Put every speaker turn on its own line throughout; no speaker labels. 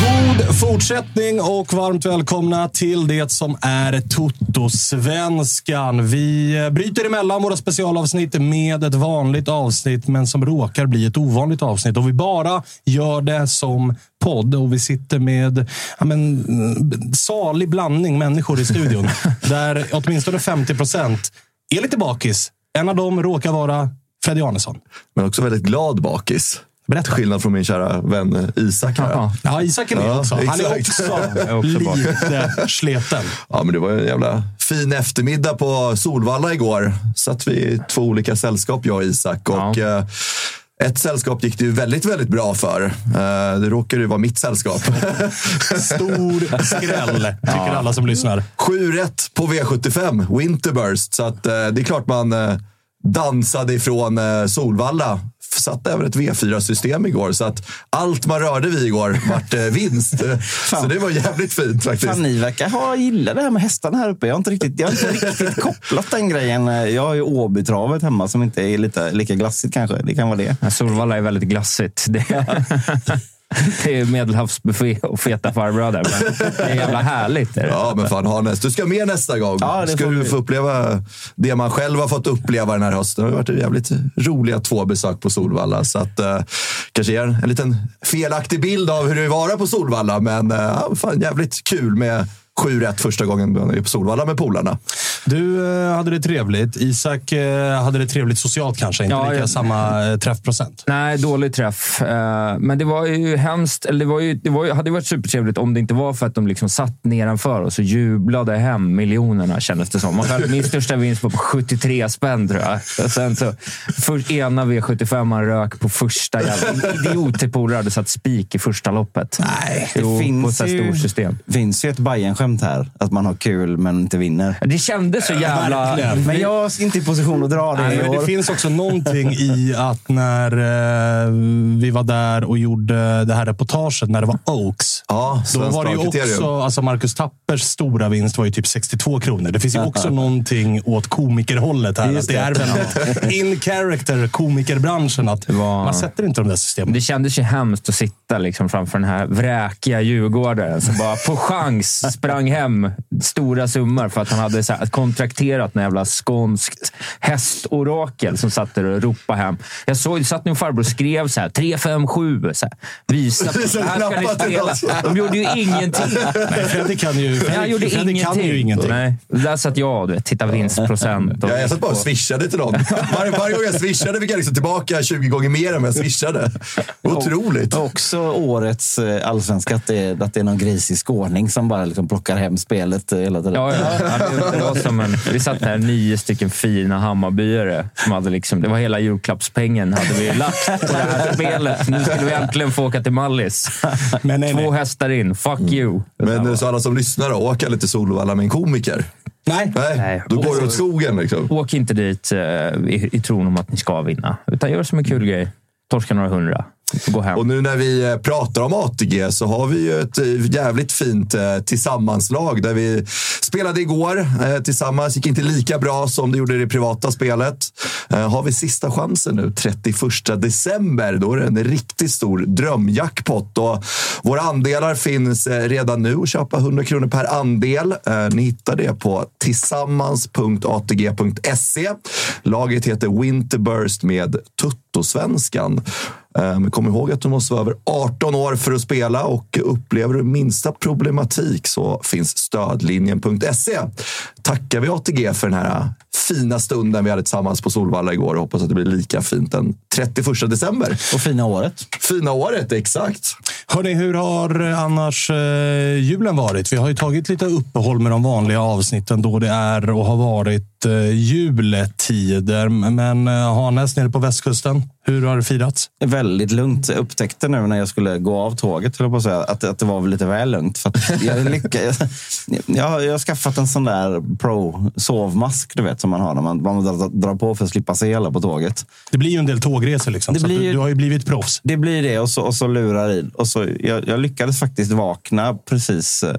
God fortsättning och varmt välkomna till det som är Toto-svenskan. Vi eh, bryter emellan våra specialavsnitt med ett vanligt avsnitt, men som råkar bli ett ovanligt avsnitt. Och vi bara gör det som podd och vi sitter med ja, men, mm, salig blandning människor i studion. där åtminstone 50 procent är lite bakis. En av dem råkar vara Freddy Arnesson.
Men också väldigt glad bakis.
Berätta.
Till skillnad från min kära vän eh, Isak. Här.
Ja, Isak är med
Ja,
också. Han är
exakt.
också, lite sleten.
Ja, men det var ju en jävla fin eftermiddag på Solvalla igår. Satt vi i två olika sällskap, jag och Isak. Och, eh, Ett sällskap gick det ju väldigt, väldigt bra för. Eh, Det råkade ju vara mitt sällskap.
Stor skräll, tycker alla som lyssnar.
7 rätt på V75, Winterburst. Så att, eh, det är klart man eh, dansade ifrån eh, Solvalla. F- Satte även ett V4-system igår, så att allt man rörde vid igår vart eh, vinst. så det var jävligt fint faktiskt.
Fan, ni verkar ha gillat det här med hästarna här uppe. Jag har inte riktigt, jag har inte riktigt kopplat den grejen. Jag har ju Åbytravet hemma som inte är lite, lika glassigt kanske. Det kan vara det.
Ja, Solvalla är väldigt glassigt. Det är, det är medelhavsbuffé och feta farbröder. Men det är jävla härligt. Är det?
Ja, men fan Hannes, du ska med nästa gång.
Ja, det
ska
får
du
vi.
få uppleva det man själv har fått uppleva den här hösten. Det har varit jävligt roliga två besök på Solvalla. Så att, eh, kanske ger en, en liten felaktig bild av hur det är att vara på Solvalla. Men eh, ja, fan, jävligt kul med sju rätt första gången man är på Solvalla med polarna.
Du eh, hade det trevligt. Isak eh, hade det trevligt socialt kanske. Inte
Ja,
lika
jag-
samma eh, träffprocent.
Nej, dålig träff. Eh, Men det var ju hemskt. Eller det, var ju, det var ju, hade ju varit supertrevligt om det inte var för att de liksom satt nedanför oss och jublade hem miljonerna, kändes det som. Man själv, min största vinst var på 73 spänn, tror jag. Och sen så, för, ena V75 man rök på första. jävla- Idiotpolare hade satt spik i första loppet. Nej,
Det
jo, på ett
finns
så här
ju-
stort system.
finns ju ett Bajen-skämt här. Att man har kul men inte vinner.
Det kändes så jävla...
verkligen.
Men jag är inte i position att dra det
Nej,
i
men
år.
det finns också någonting i att när eh, vi var där och gjorde det här reportaget när det var Oaks.
Ja,
Då
Svenskt
var det ju
Dragkriterium.
också, alltså Marcus Tappers stora vinst var ju typ 62 kronor. Det finns ju också någonting åt komikerhållet här. Att det är väldigt in character, komikerbranschen. Att
var-
Man sätter inte de där systemen.
Det kändes ju hemskt att sitta liksom framför den här vräkiga djurgårdaren som bara på chans sprang hem stora summor för att han hade så här, kontrakterat något jävla skånskt hästorakel som satt där och ropade hem. Jag såg, satt min farbror och skrev så här, 357. Så här, visa på,
Så
här ska ni
nappat det
spela.
alltså.
De gjorde ju ingenting.
Nej, Fredrik kan ju,
Men han gjorde
Fredrik, Fredrik
ingenting.
kan ju ingenting.
Nej, där satt jag och du vet, tittade vinstprocent. Och
Ja, jag satt bara och swishade till dem. Varje, varje gång jag swishade fick jag liksom tillbaka 20 gånger mer än vad jag swishade. Otroligt.
Också årets eh, allsvenska, att det, är- att det är någon grisig skåning som bara liksom plockar hem spelet eh, hela tiden.
Ja, ja. ja det, det var som en, vi satt här nio stycken fina Hammarbyare. Som hade liksom, det var hela julklappspengen hade vi lagt på det här spelet. Nu skulle vi äntligen få åka till Mallis.
Men nej, nej.
Två hästar in. Fuck you.
Men eh, så alla som lyssnar, då, åk aldrig till Solvalla med en komiker.
Nej.
Nej,
Nej.
då går det åt skogen liksom.
Åk inte dit eh, i, i tron om att ni ska vinna. Utan gör som en kul grej. Torska några hundra. Gå hem.
Och nu när vi eh, pratar om ATG så har vi ju ett eh, jävligt fint eh, tillsammanslag där vi spelade igår eh, tillsammans. gick inte lika bra som det gjorde i det privata spelet. Eh, Har vi sista chansen nu, 31 december, då är det en riktigt stor drömjackpot. Och våra andelar finns eh, redan nu att köpa 100 kronor per andel. Eh, Ni hittar det på tillsammans.atg.se. E. Laget heter Winterburst med Tuttosvenskan. Eh, Men kom ihåg att du måste vara över 18 år för att spela och upplever du minsta problematik så finns stödlinjen.se. E. Tackar vi ATG för den här fina stunden vi hade tillsammans på Solvalla igår och hoppas att det blir lika fint den 31 december.
Och fina året.
Fina året, exakt.
Hörni, hur har eh, annars eh, julen varit? Vi har ju tagit lite uppehåll med de vanliga avsnitten då det är och har varit eh, juletider. Men eh, Hannes nere på västkusten, hur har det firats?
väldigt lugnt. Jag upptäckte nu när jag skulle gå av tåget höll jag på att, säga, att, att det var lite väl lugnt. För att jag, lyckades, jag, jag, jag har skaffat en sån där pro-sovmask du vet, som man har när man, man drar, drar på för att slippa se alla på tåget.
Det blir ju en del tågresor liksom,
Det
så att
blir
du,
ju-
du har ju blivit proffs.
Det blir det och så, och så lurar i. Och så, jag, jag lyckades faktiskt vakna precis. eh,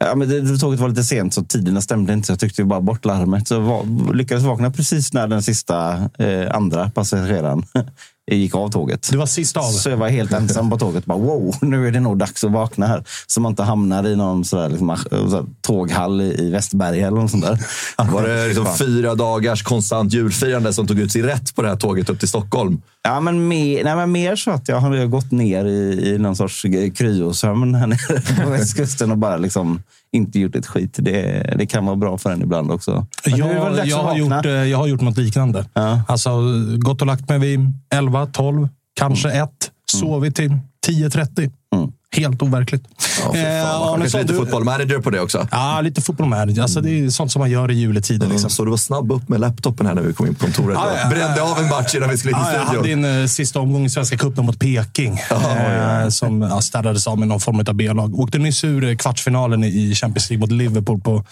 Ja, men det, det tåget var lite sent så tiderna stämde inte. Så jag tryckte ju bara bort larmet. Så jag va, lyckades vakna precis när den sista eh, andra passageraren gick av tåget.
Du var sist av.
Så jag var helt ensam på tåget. Bara, wow, nu är det nog dags att vakna här. Så man inte hamnar i någon sådär, liksom, eh, sådär, tåghall i, i Västberga eller något sånt där.
Var det liksom fyra dagars konstant julfirande som tog ut sig rätt på det här tåget upp till Stockholm?
Ja, men mer, nej, men mer så att jag har jag har gått ner i, i någon sorts g- kryosömn här nere på västkusten och bara liksom inte gjort ett skit. Det, det kan vara bra för en ibland också. Men nu är det väl
Jag,
dags
jag,
att
har
vakna.
gjort, eh, jag har gjort något liknande.
Ja.
Alltså, gått och lagt mig vid 11, 12, kanske
Mm.
1. Sovit till 10.30. Helt overkligt.
Ja, fy fan, vad sjukt.
Arnesson,
lite
du-
football manager på det också.
Ja, lite fotboll med. Alltså, det
Mm.
är sånt som man gör i juletider. Liksom.
Så du var snabb upp med laptopen här när vi kom in på kontoret.
Ja, ja, ja.
Brände av en match innan vi skulle in i
Ja, jag hade
studion.
en eh, sista omgång i Svenska cupen mot Peking. eh, Som ja, städades av med någon form av B-lag. Åkte nyss ur eh, kvartsfinalen i Champions League mot Liverpool på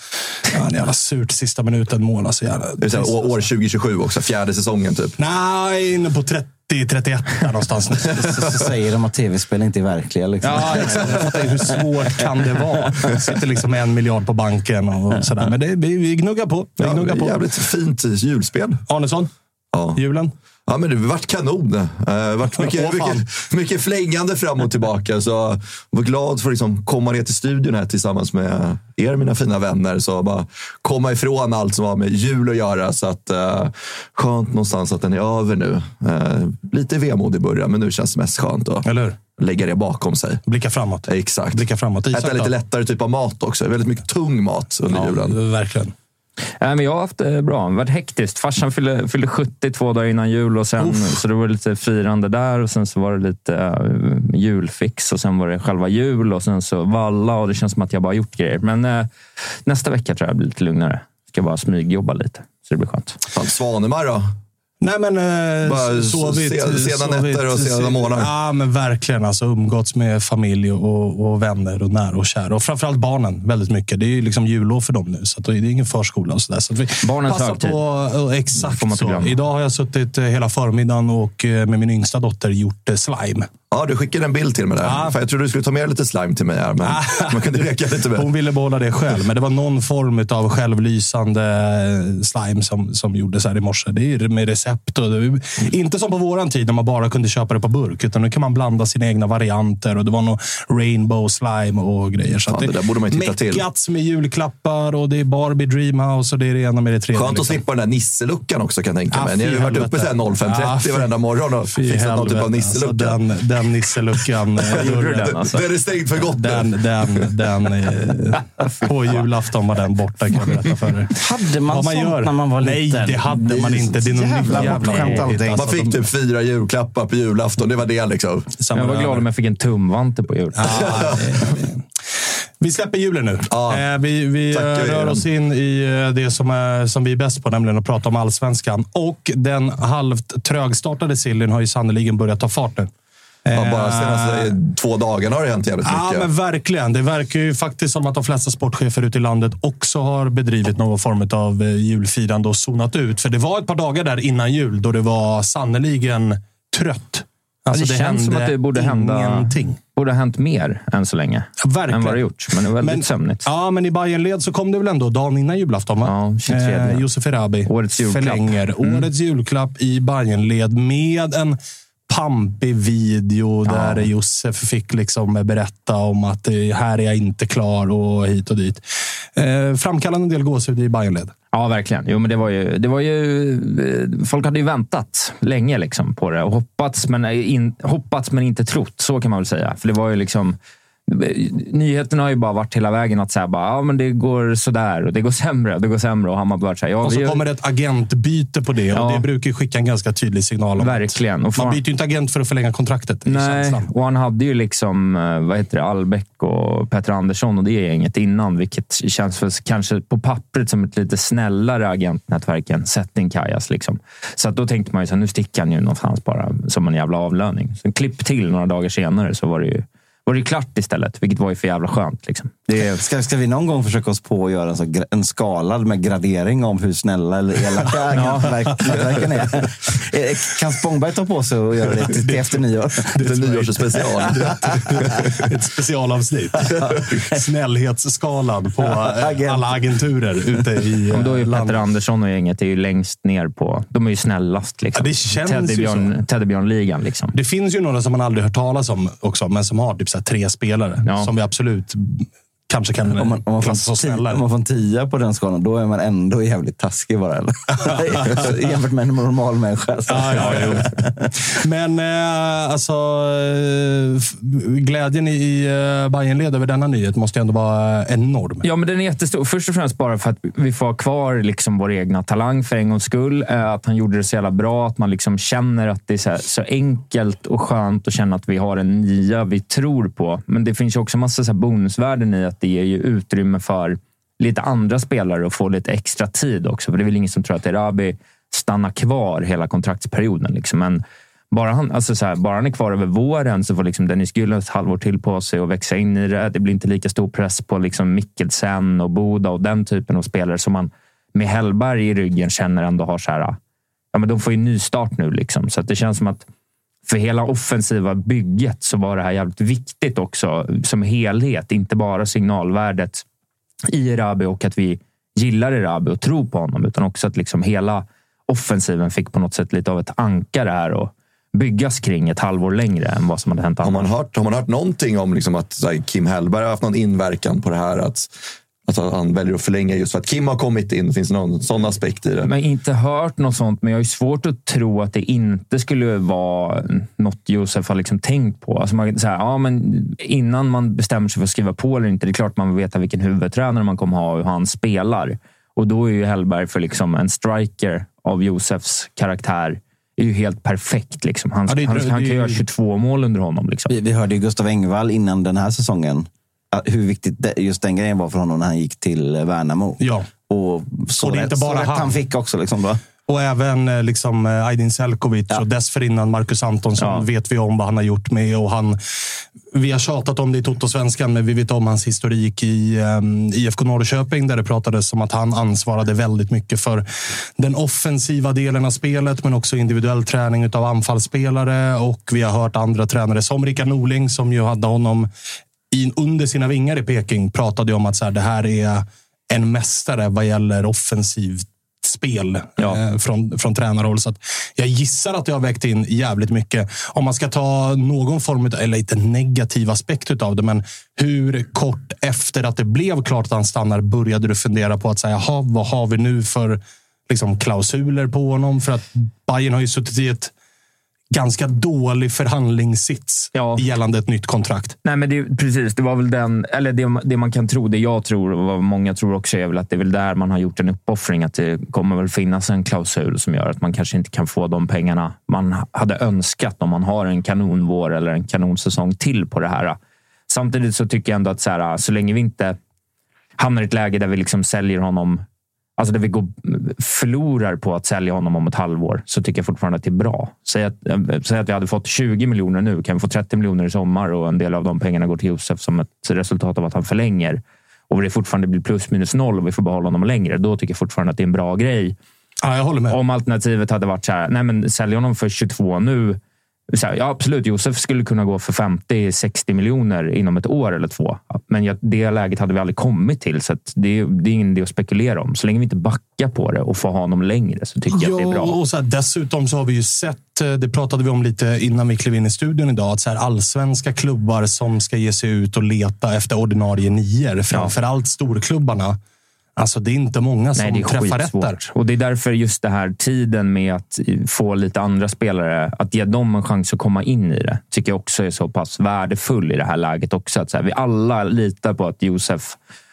ja, en jävla surt sista minuten-mål. Alltså, jävla,
Det är så här, å- år 2027 också, fjärde säsongen typ.
Nej, inne på 30-31 någonstans nu.
Så, så säger de att tv-spel inte är verkliga. Liksom.
Ja, exakt. Jag fattar ju Hur svårt kan det vara? Det sitter liksom en miljard på banken och sådär. Men det, vi, vi gnuggar på. Vi
Ja,
gnuggar på.
jävligt fint julspel.
Arnesson,
Ja.
julen?
Ja, men det vart kanon. Uh, vart mycket,
Åh, fan.
mycket, mycket flängande fram och tillbaka. Så jag var glad för att liksom komma ner till studion här tillsammans med er, mina fina vänner. Så bara komma ifrån allt som har med jul att göra. Så att, eh, skönt någonstans att den är över nu. Eh, lite vemod i början, men nu känns det mest skönt att
Eller hur?
lägga det bakom sig.
Blicka framåt.
Exakt.
Blicka framåt. Isak
Äta
då?
lite lättare typ av mat också. Väldigt mycket tung mat under julen.
Ja, verkligen.
Nej, men jag har haft det bra. Det har varit hektiskt. Farsan fyllde, fyllde 70 två dagar innan jul. Och sen, så det var lite firande där och sen så var det lite eh, julfix och sen var det själva jul och sen så valla. Och det känns som att jag bara gjort grejer. Men eh, nästa vecka tror jag blir lite lugnare. Ska bara smygjobba lite, så det blir skönt.
Fan, Svanemar då?
Nej, men eh,
Bara
s-
s-
sovit.
se- sena
sovit-
nätter och sena
se-
morgnar.
Ja, men verkligen. Alltså, umgåtts med familj och, och vänner och nära och kära. Och framförallt barnen väldigt mycket. Det är ju liksom jullov för dem nu, så att det är ingen förskola och sådär. Så att vi
Barnens
passar
högtid.
På, eh, exakt
Får man inte
så.
glömma.
Idag har jag suttit eh, hela förmiddagen och eh, med min yngsta dotter gjort eh, slime.
Ja, du skickade en bild till mig där.
Ja.
Fan, jag trodde du skulle ta med lite slime till mig här, men man kunde leka lite
Hon
med.
ville behålla det själv, men det var någon form av självlysande eh, slime som, som gjordes här i morse. Det är ju med recept. Och det, inte som på våran tid när man bara kunde köpa det på burk, utan nu kan man blanda sina egna varianter. Och Det var nog rainbow slime och grejer. Så
Ja,
att
det där borde man ju titta till.
Meckat med julklappar och det är Barbie Dreamhouse och det är det ena med det tredje.
Skönt att
liksom.
slippa den där nisseluckan också kan jag tänka
Ja,
mig. Ni har
fy
ju varit uppe
helvete.
sen 05.30
Ja, fy-
varenda morgon och
Fy
fixat någon typ
helvete,
av
Alltså,
nisselucka.
den, den nisseluckan. eh,
Gjorde du
dörren.
den alltså?
Den är stängd för gott
Den,
nu.
den, den, eh, på julafton var den borta kan jag berätta för er.
Hade man,
Vad man
sånt
gör.
när man var
Nej,
liten?
det hade man inte. Det är någon
Jävla
ny jävla
bortskämt
påhitt,
allting.
alltså.
Man fick typ fyra julklappar på julafton. Det var det liksom.
Jag var glad om jag fick en tumvante på jul.
Ja, alltså Ah, det- det- Vi släpper julen nu.
Ja.
Eh, Vi, vi eh,
Tackar vi
rör
den.
oss in i eh, det som, är, som vi är bäst på, nämligen att prata om allsvenskan. Och den halvt trögstartade sillen har ju sannerligen börjat ta fart nu.
Ja, bara senaste
Eh,
två dagarna har det hänt jävligt
Ja,
mycket.
men verkligen. Det verkar ju faktiskt som att de flesta sportchefer ute i landet också har bedrivit någon form av eh, julfirande och zonat ut. För det var ett par dagar där innan jul då det var sannerligen trött. Alltså,
det, känns som att det borde hända,
ingenting.
borde ha hänt mer än så länge.
Ja, verkligen.
Än vad det gjort. Men det är väldigt
Men-
sömnigt.
Ja, men i bayern led så kom det väl ändå dagen innan julafton? Va? Eh,
Ja, 23.
Josef Erabi
Årets julklapp. Mm.
förlänger årets julklapp i bayern led med en pampig video där Josef fick liksom berätta om att eh, här är jag inte klar och hit och dit. Eh, framkallade en del gåshud i bayern led
Ja, verkligen. Jo, men det var ju, det var ju, eh, folk hade ju väntat länge liksom på det och hoppats men, eh, in, hoppats men inte trott. Så kan man väl säga. För det var ju liksom... Nyheterna har ju bara varit hela vägen att säga bara, ja, men det går sådär och det går sämre och det går sämre. Och Hammarby har varit så här, ja,
Och
vi
så
gör-
kommer det ett agentbyte på det och
Ja.
det brukar ju skicka en ganska tydlig signal om
Verkligen. Och
att man
fan-
byter ju inte agent för att förlänga kontraktet. det är
Nej,
känslan.
och han hade ju liksom eh, vad heter det, Albeck och Petter Andersson och det gänget innan, vilket känns för, kanske på pappret som ett lite snällare agentnätverk än Kajas. Liksom. Så att då tänkte man ju så här, nu sticker han ju någonstans bara som en jävla avlöning. Sen klipp till några dagar senare så var det ju var det ju klart istället, vilket var ju för jävla skönt. Liksom.
Det, ska, ska vi någon gång försöka oss på att göra en, så, gra- en skalad med gradering om hur snälla eller elaka agentverken är? Eh, Kan Spångberg ta på sig och göra det till, till efter nyår?
Lite nyårsspecial.
Ett specialavsnitt. Snällhetsskalan på eh,
Agent.
alla agenturer ute i
Ja, men då är ju
eh,
Petter
landet.
Andersson och gänget är ju längst ner på... De är ju snällast. Liksom.
Ja, det känns ju
Teddybjörn,
så.
Teddybjörnligan. Liksom.
Det finns ju några som man aldrig hört talas om också, men som har typ så här tre spelare
Ja.
som vi absolut kanske kan
Om man, om, man får
klassa
en
som
ti-
snällare.
om man får en tia på den skalan, då är man ändå jävligt taskig bara. Eller? Jämfört med en normal människa. Så.
Ja, ja, jo. Men eh, alltså, eh, f- glädjen i- i eh, Bayernled över denna nyhet måste ju ändå vara eh, enorm.
Ja, men den är jättestor. Först och främst bara för att vi får ha kvar liksom vår egna talang för en gångs skull. Eh, Att han gjorde det så jävla bra. Att man liksom känner att det är så, här, så enkelt och skönt att känna att vi har en nia vi tror på. Men det finns ju också massa så här bonusvärden i att det ger ju utrymme för lite andra spelare att få lite extra tid också. För det är väl ingen som tror att Erabi stannar kvar hela kontraktsperioden. Liksom. Men bara han, alltså så här, bara han är kvar över våren så får liksom Dennis Güllen ett halvår till på sig och växa in i det. Det blir inte lika stor press på liksom Mikkelsen och Boda och den typen av spelare som man med Hellberg i ryggen känner ändå har så här. Ja, men de får ju nystart nu liksom. Så att det känns som att för hela offensiva bygget så var det här jävligt viktigt också som helhet. Inte bara signalvärdet i Erabi och att vi gillar Erabi och tror på honom. Utan också att liksom hela offensiven fick på något sätt lite av ett ankare här och byggas kring ett halvår längre än vad som hade hänt
Har
annars.
man hört, har man hört någonting om liksom att så här, Kim Hellberg har haft någon inverkan på det här? Att, att han väljer att förlänga just för att Kim har kommit in? Finns det någon sån aspekt i det?
Men inte hört något sånt, men jag har ju svårt att tro att det inte skulle vara något Josef har liksom tänkt på. Alltså man, så här, ja, men innan man bestämmer sig för att skriva på eller inte, det är klart man vill veta vilken huvudtränare man kommer ha och hur han spelar. Och då är ju Hellberg för liksom en striker av Josefs karaktär är ju helt perfekt. Liksom. Han,
Ja, det är-
han,
det är-
han kan göra 22 mål under honom. Liksom.
Vi, vi hörde ju Gustav Engvall innan den här säsongen. att Hur viktigt det- just den grejen var för honom när han gick till eh, Värnamo.
Ja.
Och så
Och det är
rätt,
inte bara
så rätt
han.
han. fick också. Liksom, då.
Och även eh, liksom, eh, Aydin Selkovic och dessförinnan Marcus Antonsson
Ja.
vet vi om vad han har gjort med. Och han vi har tjatat om det i Toto-svenskan, men vi vet om hans historik i um, IFK Norrköping där det pratades om att han ansvarade väldigt mycket för den offensiva delen av spelet, men också individuell träning av anfallsspelare. Och vi har hört andra tränare som Rickard Norling, som ju hade honom i, under sina vingar i Peking, pratade ju om att så här, det här är en mästare vad gäller offensivt spel eh, från, från tränarhåll. Så att jag gissar att det har vägt in jävligt mycket. Om man ska ta någon form av, eller lite negativ aspekt av det, men hur kort efter att det blev klart att han stannar började du fundera på att säga, jaha, vad har vi nu för liksom, klausuler på honom? För att Bayern har ju suttit i ett ganska dålig förhandlingssits
Ja.
gällande ett nytt kontrakt.
Nej, men det, precis. Det var väl den... Eller det, det man kan tro, det jag tror och vad många tror också är väl att det är väl där man har gjort en uppoffring. Att det kommer väl finnas en klausul som gör att man kanske inte kan få de pengarna man hade önskat om man har en kanonvår eller en kanonsäsong till på det här. Samtidigt så tycker jag ändå att så, här, så länge vi inte hamnar i ett läge där vi liksom säljer honom Alltså där vi går, förlorar på att sälja honom om ett halvår så tycker jag fortfarande att det är bra. Säg att, eh, säg att vi hade fått 20 miljoner nu, kan vi få 30 miljoner i sommar och en del av de pengarna går till Josef som ett resultat av att han förlänger och det fortfarande blir plus minus noll och vi får behålla honom längre. Då tycker jag fortfarande att det är en bra grej.
Ja, jag håller med.
Om alternativet hade varit så här, nej men sälj honom för 22 nu. Så här, ja, absolut, Josef skulle kunna gå för 50-60 miljoner inom ett år eller två. Men jag, det läget hade vi aldrig kommit till, så att det, det är ingen idé att spekulera om. Så länge vi inte backar på det och får ha honom längre så tycker jag att det är bra.
Och så här, dessutom så har vi ju sett, eh, det pratade vi om lite innan vi klev in i studion idag, att så här, allsvenska klubbar som ska ge sig ut och leta efter ordinarie nior, framförallt storklubbarna. Alltså det är inte många som
Nej, det är
träffar rätt där.
skitsvårt. Och det är därför just det här tiden med att få lite andra spelare, att ge dem en chans att komma in i det, tycker jag också är så pass värdefull i det här läget också. Att så här, vi alla litar på att Josef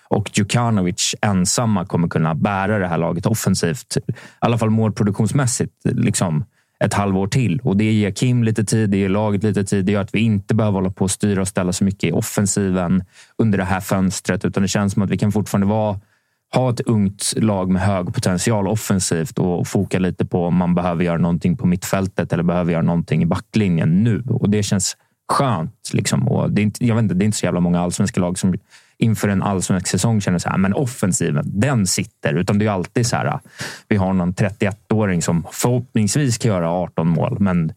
och Djukanovic ensamma kommer kunna bära det här laget offensivt. I alla fall målproduktionsmässigt. Liksom ett halvår till. Och Det ger Kim lite tid, det ger laget lite tid. Det gör att vi inte behöver hålla på och styra och ställa så mycket i offensiven under det här fönstret. Utan det känns som att vi kan fortfarande vara ha ett ungt lag med hög potential offensivt och foka lite på om man behöver göra någonting på mittfältet eller behöver göra någonting i backlinjen nu. Och det känns skönt. Liksom. Och det, är inte, jag vet inte, det är inte så jävla många allsvenska lag som inför en allsvensk säsong känner så här, men offensiven, den sitter. Utan det är alltid så här, vi har någon 31-åring som förhoppningsvis kan göra 18 mål, men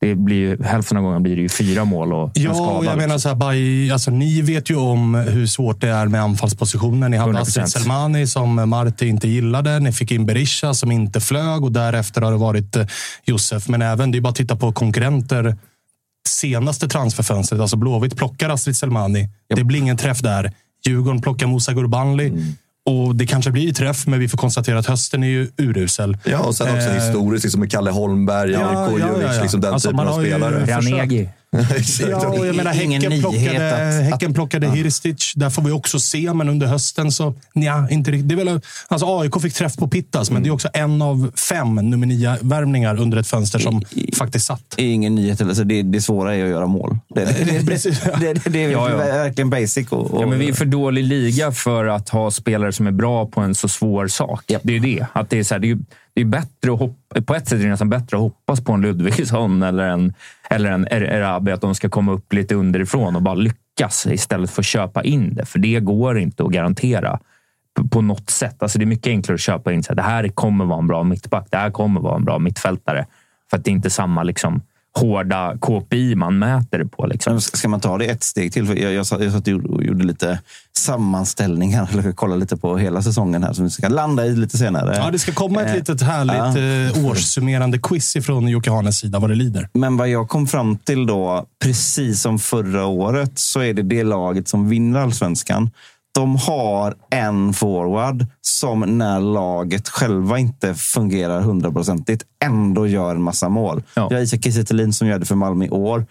det blir ju, hälften av gången blir det ju fyra mål och en
Ja,
skada.
och jag
liksom.
menar så här, Bayi- alltså, ni vet ju om hur svårt det är med anfallspositionen. Ni hade
100%.
Astrid Selmani som Marti inte gillade. Ni fick in Berisha som inte flög och därefter har det varit eh, Josef. Men även, det är bara att titta på konkurrenter senaste transferfönstret. Alltså Blåvitt plockar Astrid Selmani. Det blir ingen träff där. Djurgården plockar Musa Gurbanli.
Mm.
Och det kanske blir träff, men vi får konstatera att hösten är ju urusel.
Ja, och sen också
Eh,
historiskt liksom med Kalle Holmberg,
ja,
Jerko
ja,
Juric,
ja, ja.
liksom den
Alltså,
typen
man
av
har ju-
spelare.
försök.
Ranegi.
Exakt.
Ja, och jag menar,
ingen
häcken,
nyhet
plockade,
att-
häcken plockade Hirstic. Där får vi också se, men under hösten så... Nja, inte riktigt. Det är väl, alltså AIK fick träff på Pittas, men det är också en av fem nummer nio-värvningar under ett fönster som faktiskt satt.
Det är ingen nyhet. Alltså det, det svåra är att göra mål. Det, det, det,
Precis.
det, det, det, är
Ja, ja.
verkligen basic. Och, och,
Ja, men vi är för dålig liga för att ha spelare som är bra på en så svår sak. Det är ju det. Att det, är så här, det, är, ju- det är bättre att hoppa, på ett sätt är det nästan bättre att hoppas på en Ludvigsson eller en, eller en Er- Erabi, att de ska komma upp lite underifrån och bara lyckas istället för att köpa in det. För det går inte att garantera på- på något sätt. Alltså det är mycket enklare att köpa in så här, det här kommer vara en bra mittback. Det här kommer vara en bra mittfältare. För att det är inte samma liksom, hårda KPI man mäter det på. Liksom.
Men Ska man ta det ett steg till? För jag, jag, satt- jag satt och gjorde- och gjorde lite sammanställningar. Eller kollade lite på hela säsongen här som vi ska landa i lite senare.
Ja, det ska komma ett
Eh,
litet härligt eh, årssummerande quiz ifrån Jocke Hanes sida vad det lider.
Men vad jag kom fram till då, precis som förra året, så är det det laget som vinner allsvenskan. De har en forward som när laget själva inte fungerar hundraprocentigt ändå gör en massa mål.
Ja.
Vi har Isak Kiese Thelin som gör det för Malmö i år.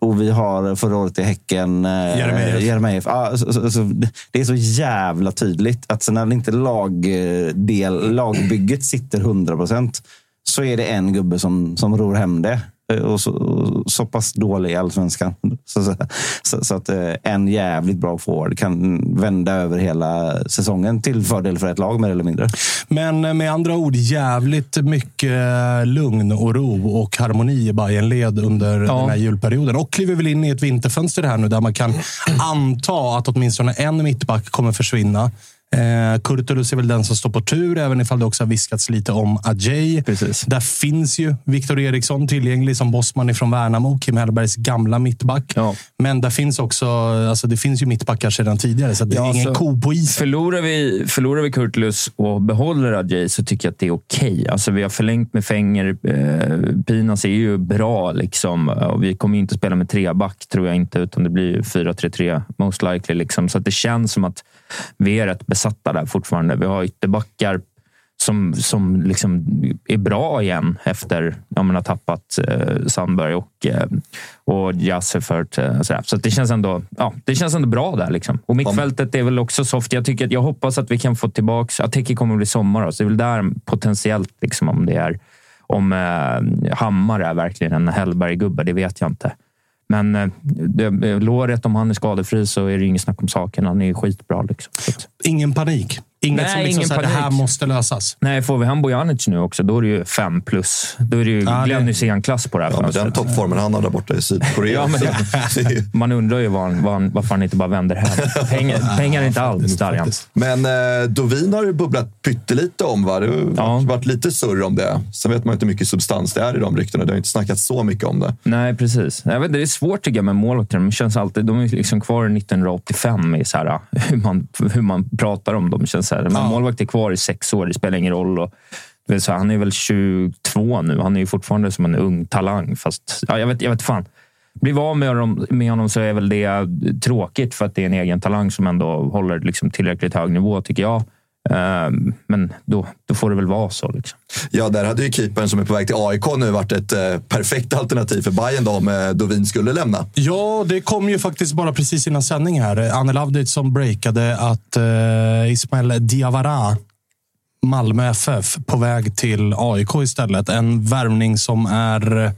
Och vi har förra året i Häcken eh,
Jeremejeff.
Jeremejeff. Ja, så, så, så, alltså, det är så jävla tydligt att sen när inte lag, eh, del, lagbygget sitter 100 procent så är det en gubbe som, som ror hem det. Eh, Och så, och så pass dålig i allsvenskan. Så, så, så, så att eh, en jävligt bra forward kan vända över hela säsongen till fördel för ett lag mer eller mindre.
Men eh, med andra ord, jävligt mycket eh, lugn och ro och harmoni i Bayern led under
Ja.
den här julperioden. Och kliver väl in i ett vinterfönster här nu där man kan anta att åtminstone en mittback kommer försvinna. Eh, Kurtulus är väl den som står på tur, även ifall det också har viskats lite om Ajay.
Precis.
Där finns ju Viktor Eriksson tillgänglig som bossman ifrån Värnamo, Kim Hellbergs gamla mittback.
Ja.
Men där finns också, alltså det finns ju mittbackar sedan tidigare, så det är
Ja, alltså,
ingen
så-
ko på isen.
Förlorar vi, förlorar vi Kurtulus och behåller Adjei så tycker jag att det är okej. Alltså, vi har förlängt med Fänger. Eh, Pinas är ju bra. Liksom. Och vi kommer ju inte att spela med treback, tror jag inte. Utan det blir ju 4-3-3, most likely. Liksom. Så att det känns som att vi är rätt besatta där fortfarande. Vi har ytterbackar som, som liksom är bra igen efter att man har tappat eh, Sandberg och, eh, och Jassefert. Eh, sådär. så att det, känns ändå, ja, det känns ändå bra där. Liksom. Och mittfältet är väl också soft. Jag, tycker att, jag hoppas att vi kan få tillbaka... Ateki kommer att bli sommar, då, så det är väl där potentiellt liksom, om det är om eh, Hammar är verkligen en Hellberg-gubbe, det vet jag inte. Men eh, det, låret, om han är skadefri så är det inget snack om saken. Han är ju skitbra. Liksom. Så att-
Ingen panik. Inget
Nej,
som liksom
ingen
så här, det här
panik.
måste lösas.
Nej, får vi han Bojanic nu också, då är det ju fem plus. Då är det ju
Ja, det-
Glenn Hysén-klass på det här
Ja, men den
fönstret.
toppformen han har där borta i Sydkorea.
Ja, men det-
Det är ju-
Man undrar ju var han- var han- varför han inte bara vänder hem. Pengar, pengar är inte allt där igen.
Men eh, Dovin har ju bubblat pyttelite om. Va? Det har ju
Ja.
varit lite surr om det. Sen vet man inte hur mycket substans det är i de ryktena. Det har inte snackats så mycket om det.
Nej, precis. Jag vet, inte, det är svårt tycker jag med målvakter. De, känns alltid, de är ju liksom kvar i 1985 i så här, hur, man, hur man pratar om dem. Känns så här. Men målvakt är kvar i sex år, det spelar ingen roll. Och, det är så här, han är väl 22 nu. Han är ju fortfarande som en ung talang. Fast, ja, jag, vet, jag vet fan. Blir av med honom, med honom så är väl det tråkigt för att det är en egen talang som ändå håller liksom tillräckligt hög nivå, tycker jag. Ehm, Men då, då får det väl vara så. Liksom.
Ja, där hade ju keepern som är på väg till AIK nu varit ett eh, perfekt alternativ för Bayern då om eh, Dovin skulle lämna.
Ja, det kom ju faktiskt bara precis innan sändning här. Anel Avdic som breakade att eh, Ismael Diawara, Malmö FF, på väg till AIK istället. En värvning som är eh,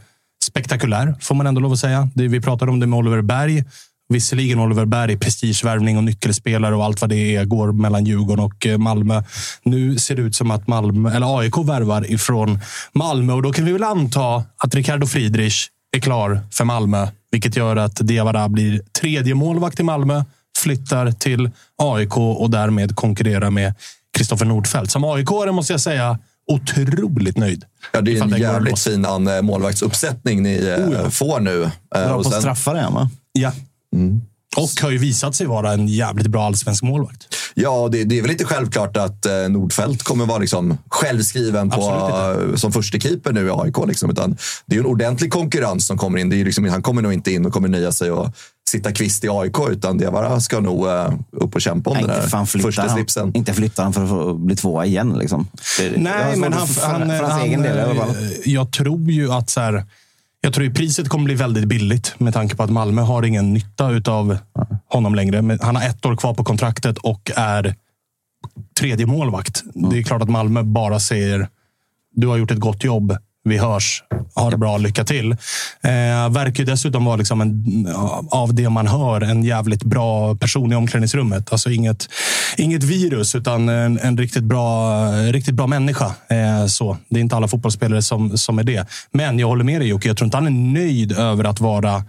spektakulär, får man ändå lov att säga. Det, vi pratade om det med Oliver Berg. Visserligen Oliver Berg, prestigevärvning och nyckelspelare och allt vad det är går mellan Djurgården och eh, Malmö. Nu ser det ut som att Malmö, eller AIK värvar ifrån Malmö och då kan vi väl anta att Ricardo Friedrich är klar för Malmö, vilket gör att Diawara blir tredje målvakt i Malmö, flyttar till AIK och därmed konkurrerar med Kristoffer Nordfeldt. Som aik måste jag säga, otroligt nöjd.
Ja, det är
Ifall
en
den går att
jävligt
låsa.
fin an, eh, målvaktsuppsättning ni eh,
Oh, ja.
får nu. Eh,
Bra
och
på
sen,
straffar är han, va?
Ja. Och har ju visat sig vara en jävligt bra allsvensk målvakt.
ja, det, det är väl inte självklart att eh, Nordfeldt kommer vara liksom, självskriven på,
Absolut
eh, som förste keeper nu i AIK. Liksom, utan det är ju en ordentlig konkurrens som kommer in. Det är ju liksom, han kommer nog inte in och kommer nöja sig och sitta kvist i AIK, utan Diawara ska nog eh, upp och kämpa om
Nej,
den
inte,
här
fan flyttar
första
han,
slipsen.
inte flyttar han för att få bli tvåa igen. Liksom. Det- det- jag har
Nej,
svårt
men
att-
han,
för,
han,
för hans
han,
egen del i alla fall.
eh, Jag tror ju att så här, jag tror ju priset kommer bli väldigt billigt med tanke på att Malmö har ingen nytta av honom längre. Men han har ett år kvar på kontraktet och är tredje målvakt. Det är klart att Malmö bara säger du har gjort ett gott jobb. Vi hörs. Ha det bra. Lycka till. Eh, verkar ju dessutom vara, liksom en, av det man hör, en jävligt bra person i omklädningsrummet. Alltså inget, inget virus, utan en, en riktigt, bra, riktigt bra människa. Eh, så. Det är inte alla fotbollsspelare som, som är det. Men jag håller med dig Jocke. Jag tror inte han är nöjd över att vara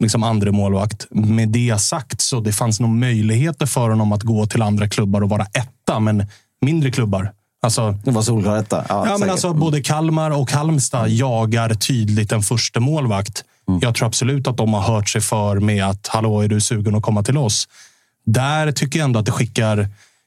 liksom andra målvakt. Med det sagt så det fanns nog möjligheter för honom att gå till andra klubbar och vara etta, men mindre klubbar. Alltså,
Det var solklar detta. Ja,
Ja, men
säkert. Mm.
alltså, både Kalmar och Halmstad jagar tydligt en första målvakt.
Mm.
Jag tror absolut att de har hört sig för med att hallå, är du sugen att komma till oss? Där tycker jag ändå att det skickar...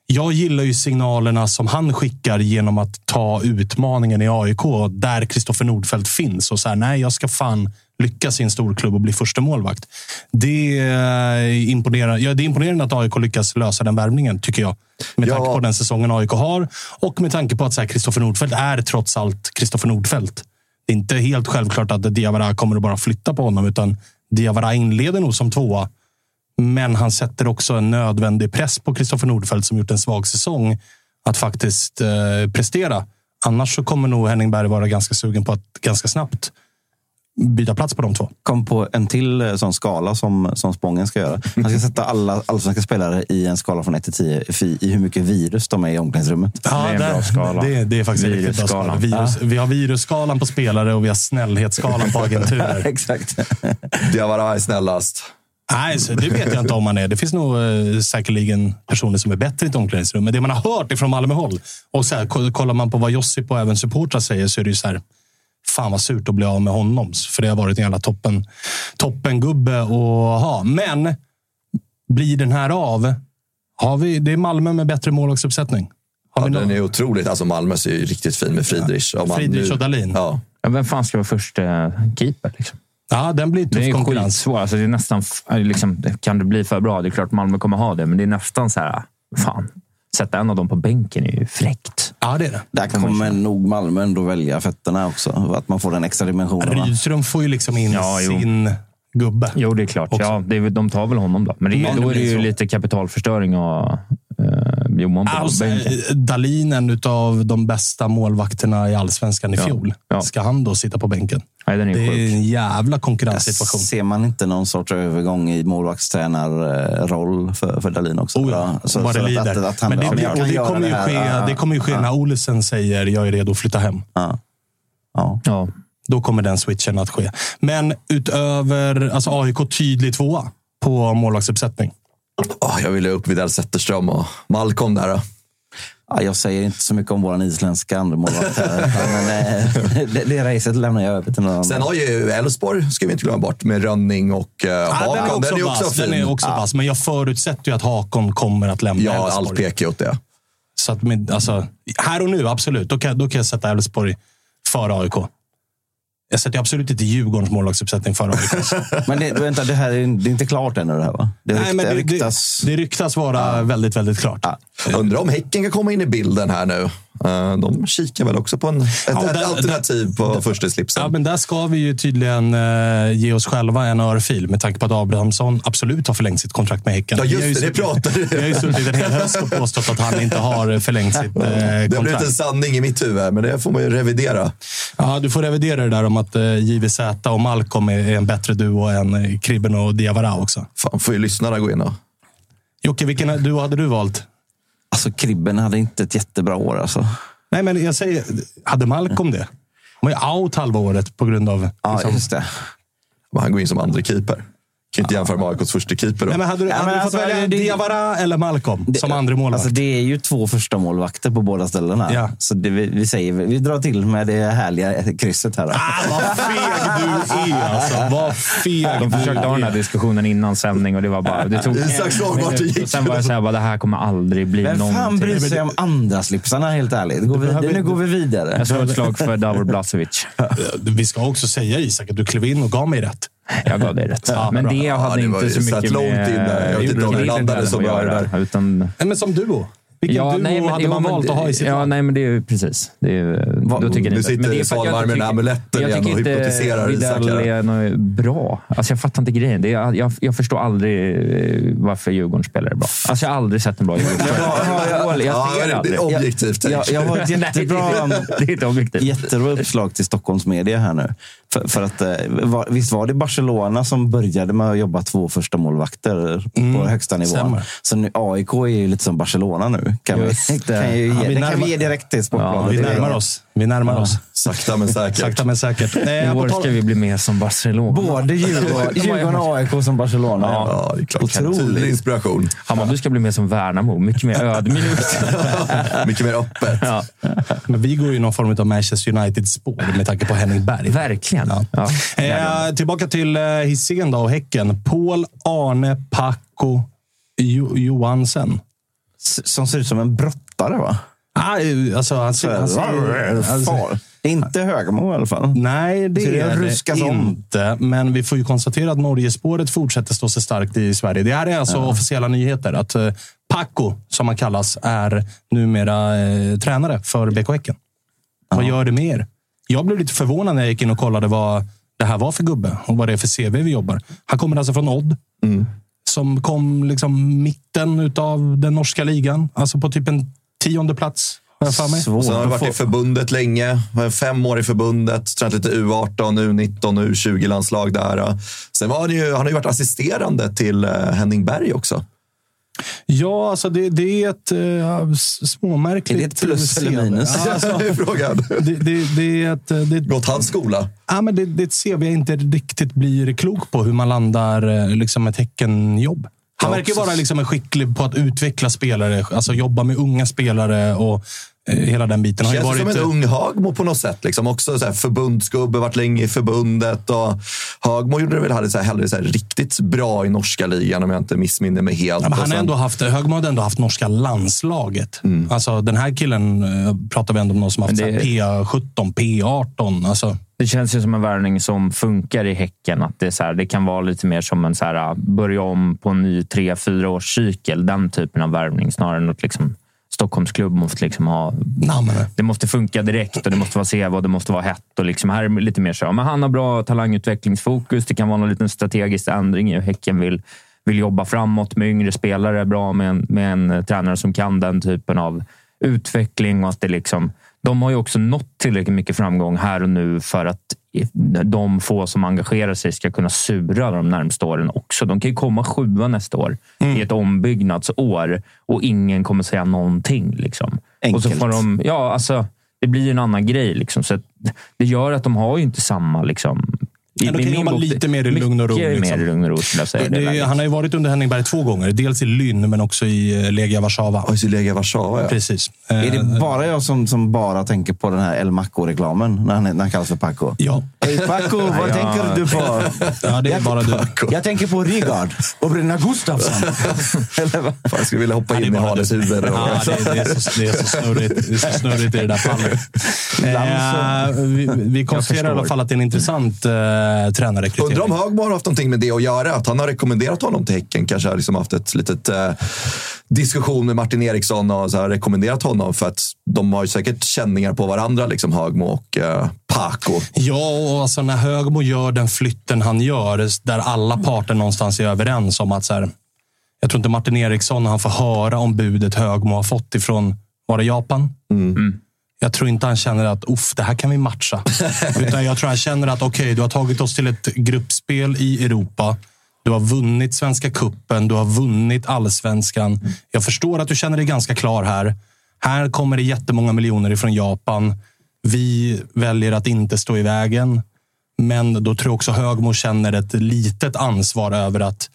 Jag gillar ju signalerna som han skickar genom att ta utmaningen i AIK där Kristoffer Nordfeldt finns och så här, nej, jag ska fan lyckas i en stor klubb och bli första målvakt. Det är imponerande, ja, det är imponerande att AIK lyckas lösa den värvningen, tycker jag. Med
Ja.
tanke på den säsongen AIK har och med tanke på att så här, Kristoffer Nordfeldt är trots allt Kristoffer Nordfeldt. Det är inte helt självklart att Diawara kommer att bara flytta på honom, utan Diawara inleder nog som tvåa. Men han sätter också en nödvändig press på Kristoffer Nordfeldt som gjort en svag säsong att faktiskt eh, prestera. Annars så kommer nog Henning Berg vara ganska sugen på att ganska snabbt byta plats på de två.
kom på en till eh, sån skala som, som Spången ska göra. Han ska sätta alla allsvenska spelare i en skala från 1 till 10 i, i hur mycket virus de är i omklädningsrummet.
är en bra skala.
Det, det är faktiskt en riktigt bra skala.
Virusskalan.
Virus, Vi har virusskalan på spelare och vi har snällhetsskalan på agenturer.
Exakt.
Diawara är snällast.
Nej, så det vet jag inte om man är. Det finns nog eh, säkerligen personer som är bättre i ett omklädningsrum. Men det man har hört ifrån Malmöhåll, och så här, ko- kollar man på vad Josip och även supportrar säger, så är det ju så här, fan vad surt att bli av med honom. För det har varit en jävla toppen, toppengubbe att ha. Men blir den här av? Har vi, det är Malmö med bättre målvaktsuppsättning. Har
Ja,
vi
den
någon?
är otroligt. Alltså Malmö är ju riktigt fin med Friedrich. Om man
Friedrich
nu-
och Dahlin.
Ja.
Ja, vem fan ska vara första keeper? Liksom?
Ja, den blir
Det är
tuff
ju
konkurrens.
skitsvår. Alltså, det är nästan, f- eh, liksom, det- kan det bli för bra? Det är klart Malmö kommer ha det, men det är nästan så här... ah, Fan, sätta en av dem på bänken är ju fräckt.
Ja, det är det.
Där kommer nog Malmö ändå välja fötterna också. Att man får den extra dimensionen. va?
Rydström får ju liksom in
Ja, jo.
sin gubbe.
Jo, det är klart.
Också.
Ja, det är, väl- de tar väl honom då. Men det,
Men det
då är det
blir
ju
så.
lite kapitalförstöring och eh, Johan på
Alltså,
bänken.
Dalin, en av de bästa målvakterna i allsvenskan i fjol.
ja.
Ska han då sitta på bänken?
Nej, den är
Det är
sjuk.
en jävla konkurrenssituation.
Ser man inte någon sorts övergång i målvaktstränarroll för, för Dahlin också?
Oh
Ja,
ja,
så-
vad
så
det
att-
lider.
att- att han-
Men
ja, men
det-
jag
och
kan
det
göra
kommer ju
här. Ja,
ske- det kommer ju ske
ja,
när Olesen säger jag är redo att flytta hem.
ja, ja.
Ja.
Då kommer den switchen att ske. Men utöver alltså AIK tydlig tvåa på målvaktsuppsättning.
Åh, Ah, jag ville upp Widell Zetterström och Malcolm där. då.
Ja, jag säger inte så mycket om vår isländska andremålvakt här. utan, men, eh, det, det racet lämnar jag över till någon
Sen
annan.
har ju Elfsborg, ska vi inte glömma bort, med Rönning och uh,
Ja, den är
Hakan.
också,
Den är också
vass. Den är
fin.
också vass. Men jag förutsätter ju att Hakon kommer att lämna
Ja,
Elfsborg.
allt pekar ju åt det.
Så att med, alltså, här och nu, absolut. Då kan, då kan jag sätta Elfsborg före AIK. Jag sätter absolut inte Djurgårdens målvaktsuppsättning före AIK.
Men det, vänta, det här är, det är inte klart ännu det här va? Det, rykta,
men det,
ryktas...
det, det ryktas vara väldigt, väldigt klart.
Undrar om Häcken kan komma in i bilden här nu. Eh, de kikar väl också på en, ett,
Ja,
ett
där-
alternativ på första slipsen.
Ja, men där ska vi ju tydligen eh, ge oss själva en örfil med tanke på att Abrahamsson absolut har förlängt sitt kontrakt med Häcken.
Ja,
Vi har ju
just det. Det
suttit-
pratade
Vi har ju
du
suttit en hel höst och påstått att han inte har förlängt sitt eh,
Det har blivit
kontrakt.
en sanning i mitt huvud, men det får man ju revidera.
Ja, du får revidera det där om att eh, JVZ och Malcolm är, är en bättre duo än eh, Kribben och Diawara också.
Fan, får ju lyssnarna gå in och...
Jocke, vilken duo hade du valt?
Alltså Kribben hade inte ett jättebra år alltså.
Nej, men jag säger, hade Malcolm det? Han var ju out halva året på grund av...
Ja,
liksom-
just det.
Men han går in som andra keeper. Kan ju inte jämföra med AIKs första keeper då.
Nej, men hade du,
Ja, men
hade du
alltså,
fått välja
det-
Diawara eller Malcolm som andra målvakt?
Alltså, det är ju två första målvakter på båda ställena.
Ja.
Så det, vi, vi, säger, vi drar till med det härliga krysset här. Då.
Ah, vad feg du är alltså. Vad feg
De
du
försökte ha den här
är.
diskussionen innan sändning och det var bara... Det tog
Isak
en
Slagvart
minut
gick.
och Sen var jag såhär, bara, det här kommer aldrig bli
Vem fan
någonting.
bryr sig om andra slipsarna helt ärligt? Går vi,
behöver
nu
inte-
går vi vidare.
Jag slår ett slag för Davor Blasevic.
Vi ska också säga Isak att du klev in och gav mig rätt.
Jag gav dig rätt.
Ja,
men
bra.
det
Ja,
hade
det var
inte
ju
så
satt
mycket
långt
med
inne. Jag vet inte om det
grillen
landade
där
så
att
bra
göra,
det
Utan,
Nej, men som duo. Vilken duo hade
jo,
man
men
valt
det-
att ha i sitt
Ja,
lag?
nej, men det är ju precis. Det är, ju-
nu
då tycker ni inte-
sitter
men det är för att jag
Svanberg
inte
med den här
tycker-
amuletten igen och hypnotiserar
Jag
Isak
tycker inte Widell
här.
är något bra. Alltså, jag fattar inte grejen. Det är, jag, jag förstår aldrig eh, varför Djurgården spelar bra. Alltså, jag har aldrig sett en bra
Ja,
Djurgårdsspelare. Jag ser
det
aldrig.
är objektivt. tänk.
Jag, jag har ett jättebra...
Nej, det är inte objektivt.
Jättebra uppslag till Stockholms media här nu. För, för att, eh, var, visst var det Barcelona som började med att jobba två första målvakter på högsta nivån?
Mm, stämmer.
Så nu, AIK är ju lite som Barcelona nu. Kan vi,
Just det.
kan ju
Ja,
ge,
vi
det kan
närmar-
vi ge direkt till
Ja,
sportbladet.
Vi
Det är
närmar
bra.
oss. Vi närmar oss.
Sakta men säkert.
Sakta men säkert.
I
Nej, på
år ska
tal-
vi bli mer som Barcelona.
Både Djurgården, Djurgården och AIK som Barcelona.
Ja, det är klart.
Otroligt.
Tydlig inspiration.
Hammarby ska bli mer som Värnamo. Mycket mer ödmjukt.
Mycket mer öppet.
Ja,
Men vi går ju i någon form av Manchester United-spår med tanke på Henning Berg.
verkligen. Ja.
Eh, tillbaka till eh, Hisingen då och Häcken. Paul Arne Paco jo- Johansen.
S- Som ser ut som en brottare va?
Ah, eh, alltså, han ser... Han ser alltså,
Far. Inte Högmo i alla fall.
nej, Mm. det
Så det
är
ruskas
det
om.
inte. Men vi får ju konstatera att Norgespåret fortsätter stå sig starkt i Sverige. Det här är alltså officiella nyheter. Att eh, Paco, som han kallas, är numera eh, tränare för BK Häcken. Vad gör det med er? Jag blev lite förvånad när jag gick in och kollade vad det här var för gubbe och vad det är för CV vi jobbar. Han kommer alltså från Odd. Som kom liksom mitten av den norska ligan. Alltså på typ en tionde plats. har jag för mig.
Svårt
Sen har jag
att
varit
få.
i förbundet länge. Var Fem år i förbundet. Tränat lite U18, U19, U20-landslag där. Sen var han ju, han har ju varit assisterande till eh, Henning Berg också.
Ja, alltså det, det är ett eh, s- småmärkligt... eh,
Är det ett plus eller
CV.
minus?
Ja, alltså,
Frågan.
det, det, det, är ett, eh, det,
Gått hans skola.
ja, men det, det är ett CV jag inte riktigt blir klok på. Hur man landar eh, liksom ett Häckenjobb. Han
Ja,
verkar ju
precis.
vara liksom en skicklig på att utveckla spelare. Alltså jobba med unga spelare och eh, hela den biten. Har ju
Känns
varit,
som en
eh,
ung Hagmo på något sätt. Liksom. Också så här förbundsgubbe, varit länge i förbundet. Och Hagmo gjorde det väl hade så här, hellre så här, riktigt bra i norska ligan om jag inte missminner mig helt.
Ja, men
Och
han har
sen-
ändå haft, eh, Högmo har ändå haft norska landslaget.
Mm.
Alltså, den här killen eh, pratar vi ändå om någon som har haft
Men det-
så här P17, P18. Alltså,
Det känns ju som en värvning som funkar i Häcken. Att det, är så här, det kan vara lite mer som en så här, börja om på en ny tre, fyra års cykel. Den typen av värvning snarare än att liksom, Stockholmsklubb måste liksom ha...
nej, men,
Det måste funka direkt och det måste vara sevärd och det måste vara hett. Och liksom, här är det lite mer så. ja, Men han har bra talangutvecklingsfokus. Det kan vara någon liten strategisk ändring i hur Häcken vill, vill jobba framåt med yngre spelare. Bra med en, med en eh, tränare som kan den typen av utveckling och att det liksom de har ju också nått tillräckligt mycket framgång här och nu för att de få som engagerar sig ska kunna sura de närmsta åren också. De kan ju komma sjua nästa år i ett ombyggnadsår och ingen kommer säga någonting. Liksom. Och så
Enkelt.
får de, ja, alltså, det blir ju en annan grej. Liksom. Så att det gör att de har ju inte samma... Liksom, i-
Men de
i
kan
min
jobba
bok-
lite mer i lugn och ro,
Mycket
liksom.
mer i lugn och ro, skulle jag säga. i det
det, är-
läget.
han har ju varit under Henning Berg två gånger. Dels i Lynn, men också i eh, Legia Warszawa.
Oj, så Legia Warszawa, ja.
Precis.
Är
Eh,
det bara jag som, som bara tänker på den här El Maco-reklamen när han, när han kallas för Paco?
Ja.
Hej Paco, vad tänker du på?
ja, det är
Jag-
bara du.
Jag tänker på Rygaard och Brynna Gustafsson. Eller
Fan,
vad?
jag skulle vilja hoppa
Ja, det är
in i
bara
Hades
du.
huvud. och-
Ja, det, det, är så, det, är så snurrigt, det är så snurrigt i det där fallet.
Ibland
Eh, vi, vi konstaterar i alla
förstår.
fall att det är en intressant eh,
Undrar
tränarrekrytering.
om Högmo har haft någonting med det att göra. Att han har rekommenderat honom till Häcken. Kanske har liksom haft ett litet eh, diskussion med Martin Eriksson och så här, rekommenderat honom. För att de har ju säkert känningar på varandra, liksom Högmo och eh, Paco.
Ja, och alltså när Högmo gör den flytten han gör, där alla parter någonstans är överens om att så här, jag tror inte Martin Eriksson, han får höra om budet Högmo har fått ifrån, var det Japan? Jag tror inte han känner att Uff, det här kan vi matcha. Utan jag tror han känner att okej, du har tagit oss till ett gruppspel i Europa. Du har vunnit Svenska Kuppen, du har vunnit allsvenskan. Jag förstår att du känner dig ganska klar här. Här kommer det jättemånga miljoner ifrån Japan. Vi väljer att inte stå i vägen. Men då tror jag också Högmo känner ett litet ansvar över att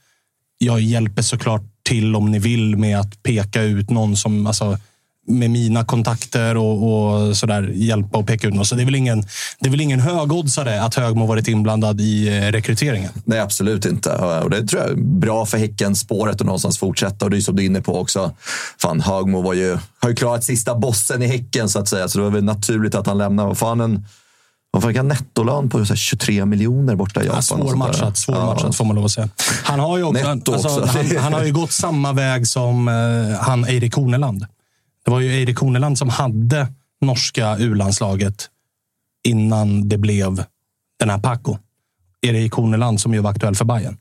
jag hjälper såklart till om ni vill med att peka ut någon som, alltså, med mina kontakter och, och sådär, hjälpa och peka ut någon. Så det är väl ingen, det är väl ingen högoddsare att Högmo varit inblandad i eh, rekryteringen.
Nej, absolut inte. Eh, Och det tror jag är bra för Häcken, spåret och någonstans fortsätta. Och det är som du är inne på också. Fan, Högmo var ju, har ju klarat sista bossen i Häcken så att säga. Så det var väl naturligt att han lämnar. Vad fan, en, vad fick han nettolön på? Så här 23 miljoner borta i Japan. och sånt där.
Svårmatchat,
Ja.
svårmatchat får man lov att säga. Han har ju, också,
Netto
alltså,
också.
han, han har ju gått samma väg som eh, han Eirik Horneland. Det var ju Eirik Horneland som hade norska U-landslaget innan det blev den här Paco. Erik Horneland som ju var aktuell för Bayern.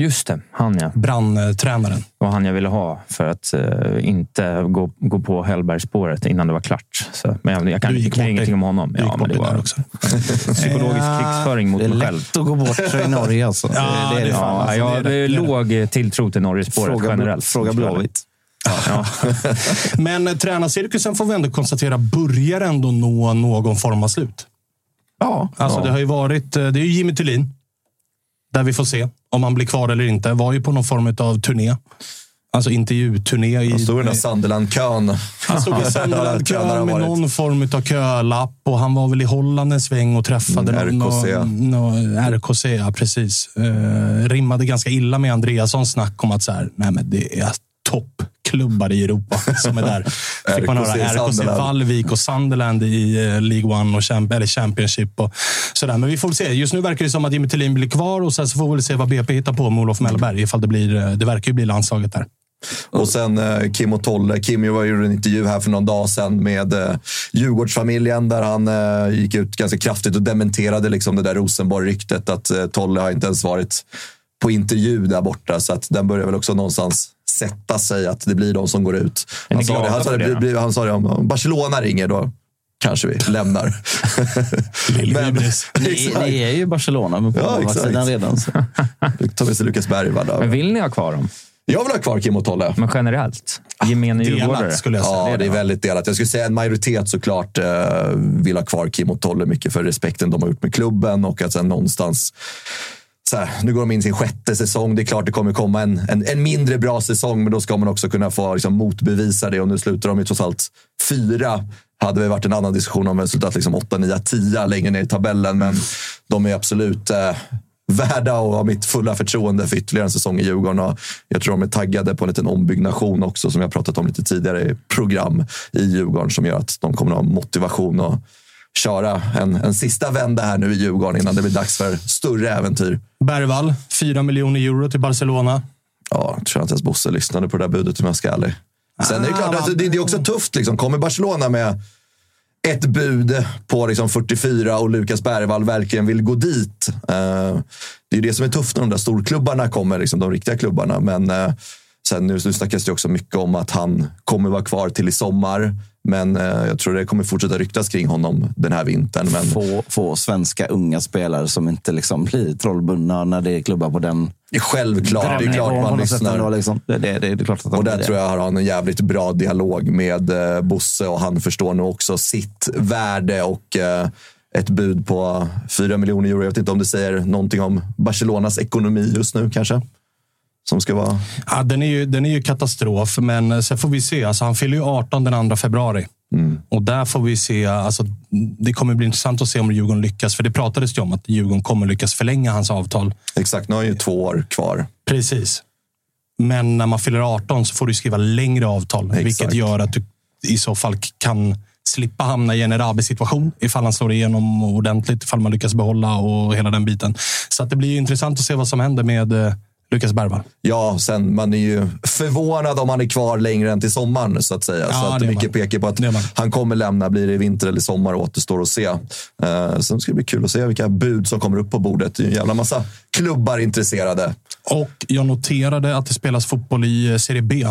Just det, han ja.
Branntränaren.
Det var han jag ville ha för att eh, inte gå, gå på Hellbergsspåret innan det var klart. Så, men jag, jag kan
Du gick
jag kan
bort
ingenting
dig.
om honom.
Du gick
men
bort det
var
där också.
Psykologisk krigsföring mot
Det är
mig själv.
lätt att gå bort sig i Norge alltså.
Ja, det är fan,
Ja,
alltså,
jag
det är
har
det. Det är
låg eh, tilltro till Norgespåret
Fråga,
generellt.
fråga Blåvitt.
Ja.
Men eh, tränarcirkusen får vi ändå konstatera börjar ändå nå någon form av slut.
Ja,
Alltså det har ju varit, eh, det är ju Jimmy Thulin. Där vi får se om han blir kvar eller inte. Var ju på någon form av turné. Alltså intervjuturné. I,
Han stod i den där Sunderland-kön.
han stod i
Tränare
Sunderland-kön
har
med
varit.
någon form av kölapp och han var väl i Holland en sväng och träffade
Mm,
någon,
RKC.
någon- RKC, ja precis. Eh, rimmade ganska illa med Andreassons snack om att så här, nej men det är toppklubbar i Europa som är där. Fick man höra
RKC
RKC
Sunderland.
Vallvik och Sunderland i eh, League One och champ eller Championship. Och sådär. Men vi får väl se. Just nu verkar det som att Jimmy Tillin blir kvar och sen så får vi väl se vad BP hittar på med Olof Mellberg. Ifall det, blir, eh, det verkar ju bli landslaget där.
Och sen eh, Kim och Tolle. Kim ju var gjorde en intervju här för någon dag sedan med eh, Djurgårdsfamiljen där han eh, gick ut ganska kraftigt och dementerade liksom det där Rosenborg-ryktet att eh, Tolle har inte ens varit på intervju där borta. Så att den börjar väl också någonstans sätta sig att det blir de som går ut.
Är ni
Han sa det,
glada
han sa
för
det,
det då?
bli- bli- han sa det om, om Barcelona ringer då kanske vi lämnar. Men,
Ni,
exakt.
ni är ju Barcelona, men på
Ja,
avvaktssidan
exakt.
redan. Så.
Ta med sig Lukas Berg. va,
Men
då.
vill ni ha kvar dem?
Jag vill ha kvar Kim och Tolle.
Men generellt? Gemene djurgårdare?
Delat skulle jag säga.
Ja, det är väldigt delat. Jag skulle säga en majoritet såklart eh, vill ha kvar Kim och Tolle mycket för respekten de har gjort med klubben och att sen någonstans så här, nu går de in i sin sjätte säsong. Det är klart det kommer komma en, en, en mindre bra säsong, men då ska man också kunna få liksom, motbevisa det. Och nu slutar de ju trots allt fyra. Hade det varit en annan diskussion om vi hade slutat liksom, åtta, nio, tio längre ner i tabellen. Men de är absolut eh, värda och har mitt fulla förtroende för ytterligare en säsong i Djurgården. Och jag tror de är taggade på en liten ombyggnation också, som jag pratat om lite tidigare i program i Djurgården, som gör att de kommer att ha motivation och köra en, en sista vända här nu i Djurgården innan det blir dags för större äventyr.
Bergvall, 4 miljoner euro till Barcelona.
Ja, jag tror inte ens Bosse lyssnade på det där budet om jag ska vara ärlig. Sen är det
Ah,
klart, alltså, det, det är också tufft. Liksom. Kommer Barcelona med ett bud på liksom 44 och Lukas Bergvall verkligen vill gå dit. Eh, det är ju det som är tufft när de där storklubbarna kommer, liksom, de riktiga klubbarna. Men eh, sen nu, nu snackas det också mycket om att han kommer vara kvar till i sommar. Men eh, jag tror det kommer fortsätta ryktas kring honom den här vintern. Men
Få, få svenska unga spelare som inte liksom blir trollbundna när det är klubbar på den
det är självklart, det är
nivån
klart
på
man
något sätt
lyssnar.
ändå, liksom. det, det, det, det är klart att de
Och där
blir
tror
det.
jag har han en jävligt bra dialog med eh, Bosse och han förstår nog också sitt värde och eh, ett bud på 4 miljoner euro. Jag vet inte om det säger någonting om Barcelonas ekonomi just nu kanske. Som ska vara...
Ja, den, är ju, den är ju katastrof, men eh, sen får vi se. Alltså, han fyller ju 18 den 2 februari. Och där får vi se. Alltså, det kommer bli intressant att se om Djurgården lyckas. För det pratades ju om att Djurgården kommer lyckas förlänga hans avtal.
Exakt, nu har han ju två år kvar.
Precis. Men när man fyller 18 så får du skriva längre avtal. Vilket gör att du i så fall k- kan slippa hamna i en Erabi-situation ifall han slår igenom ordentligt, ifall man lyckas behålla och hela den biten. Så att det blir ju intressant att se vad som händer med eh, Lukas Bergvall.
Ja, sen man är ju förvånad om han är kvar längre än till sommaren så att säga.
Ja,
så att
det är
mycket
man.
pekar på att
Det är man.
han kommer lämna. Blir det i vinter eller sommar återstår att se. Eh, sen ska det bli kul att se vilka bud som kommer upp på bordet. Det är ju en jävla massa klubbar intresserade.
Och jag noterade att det spelas fotboll i eh, Serie B,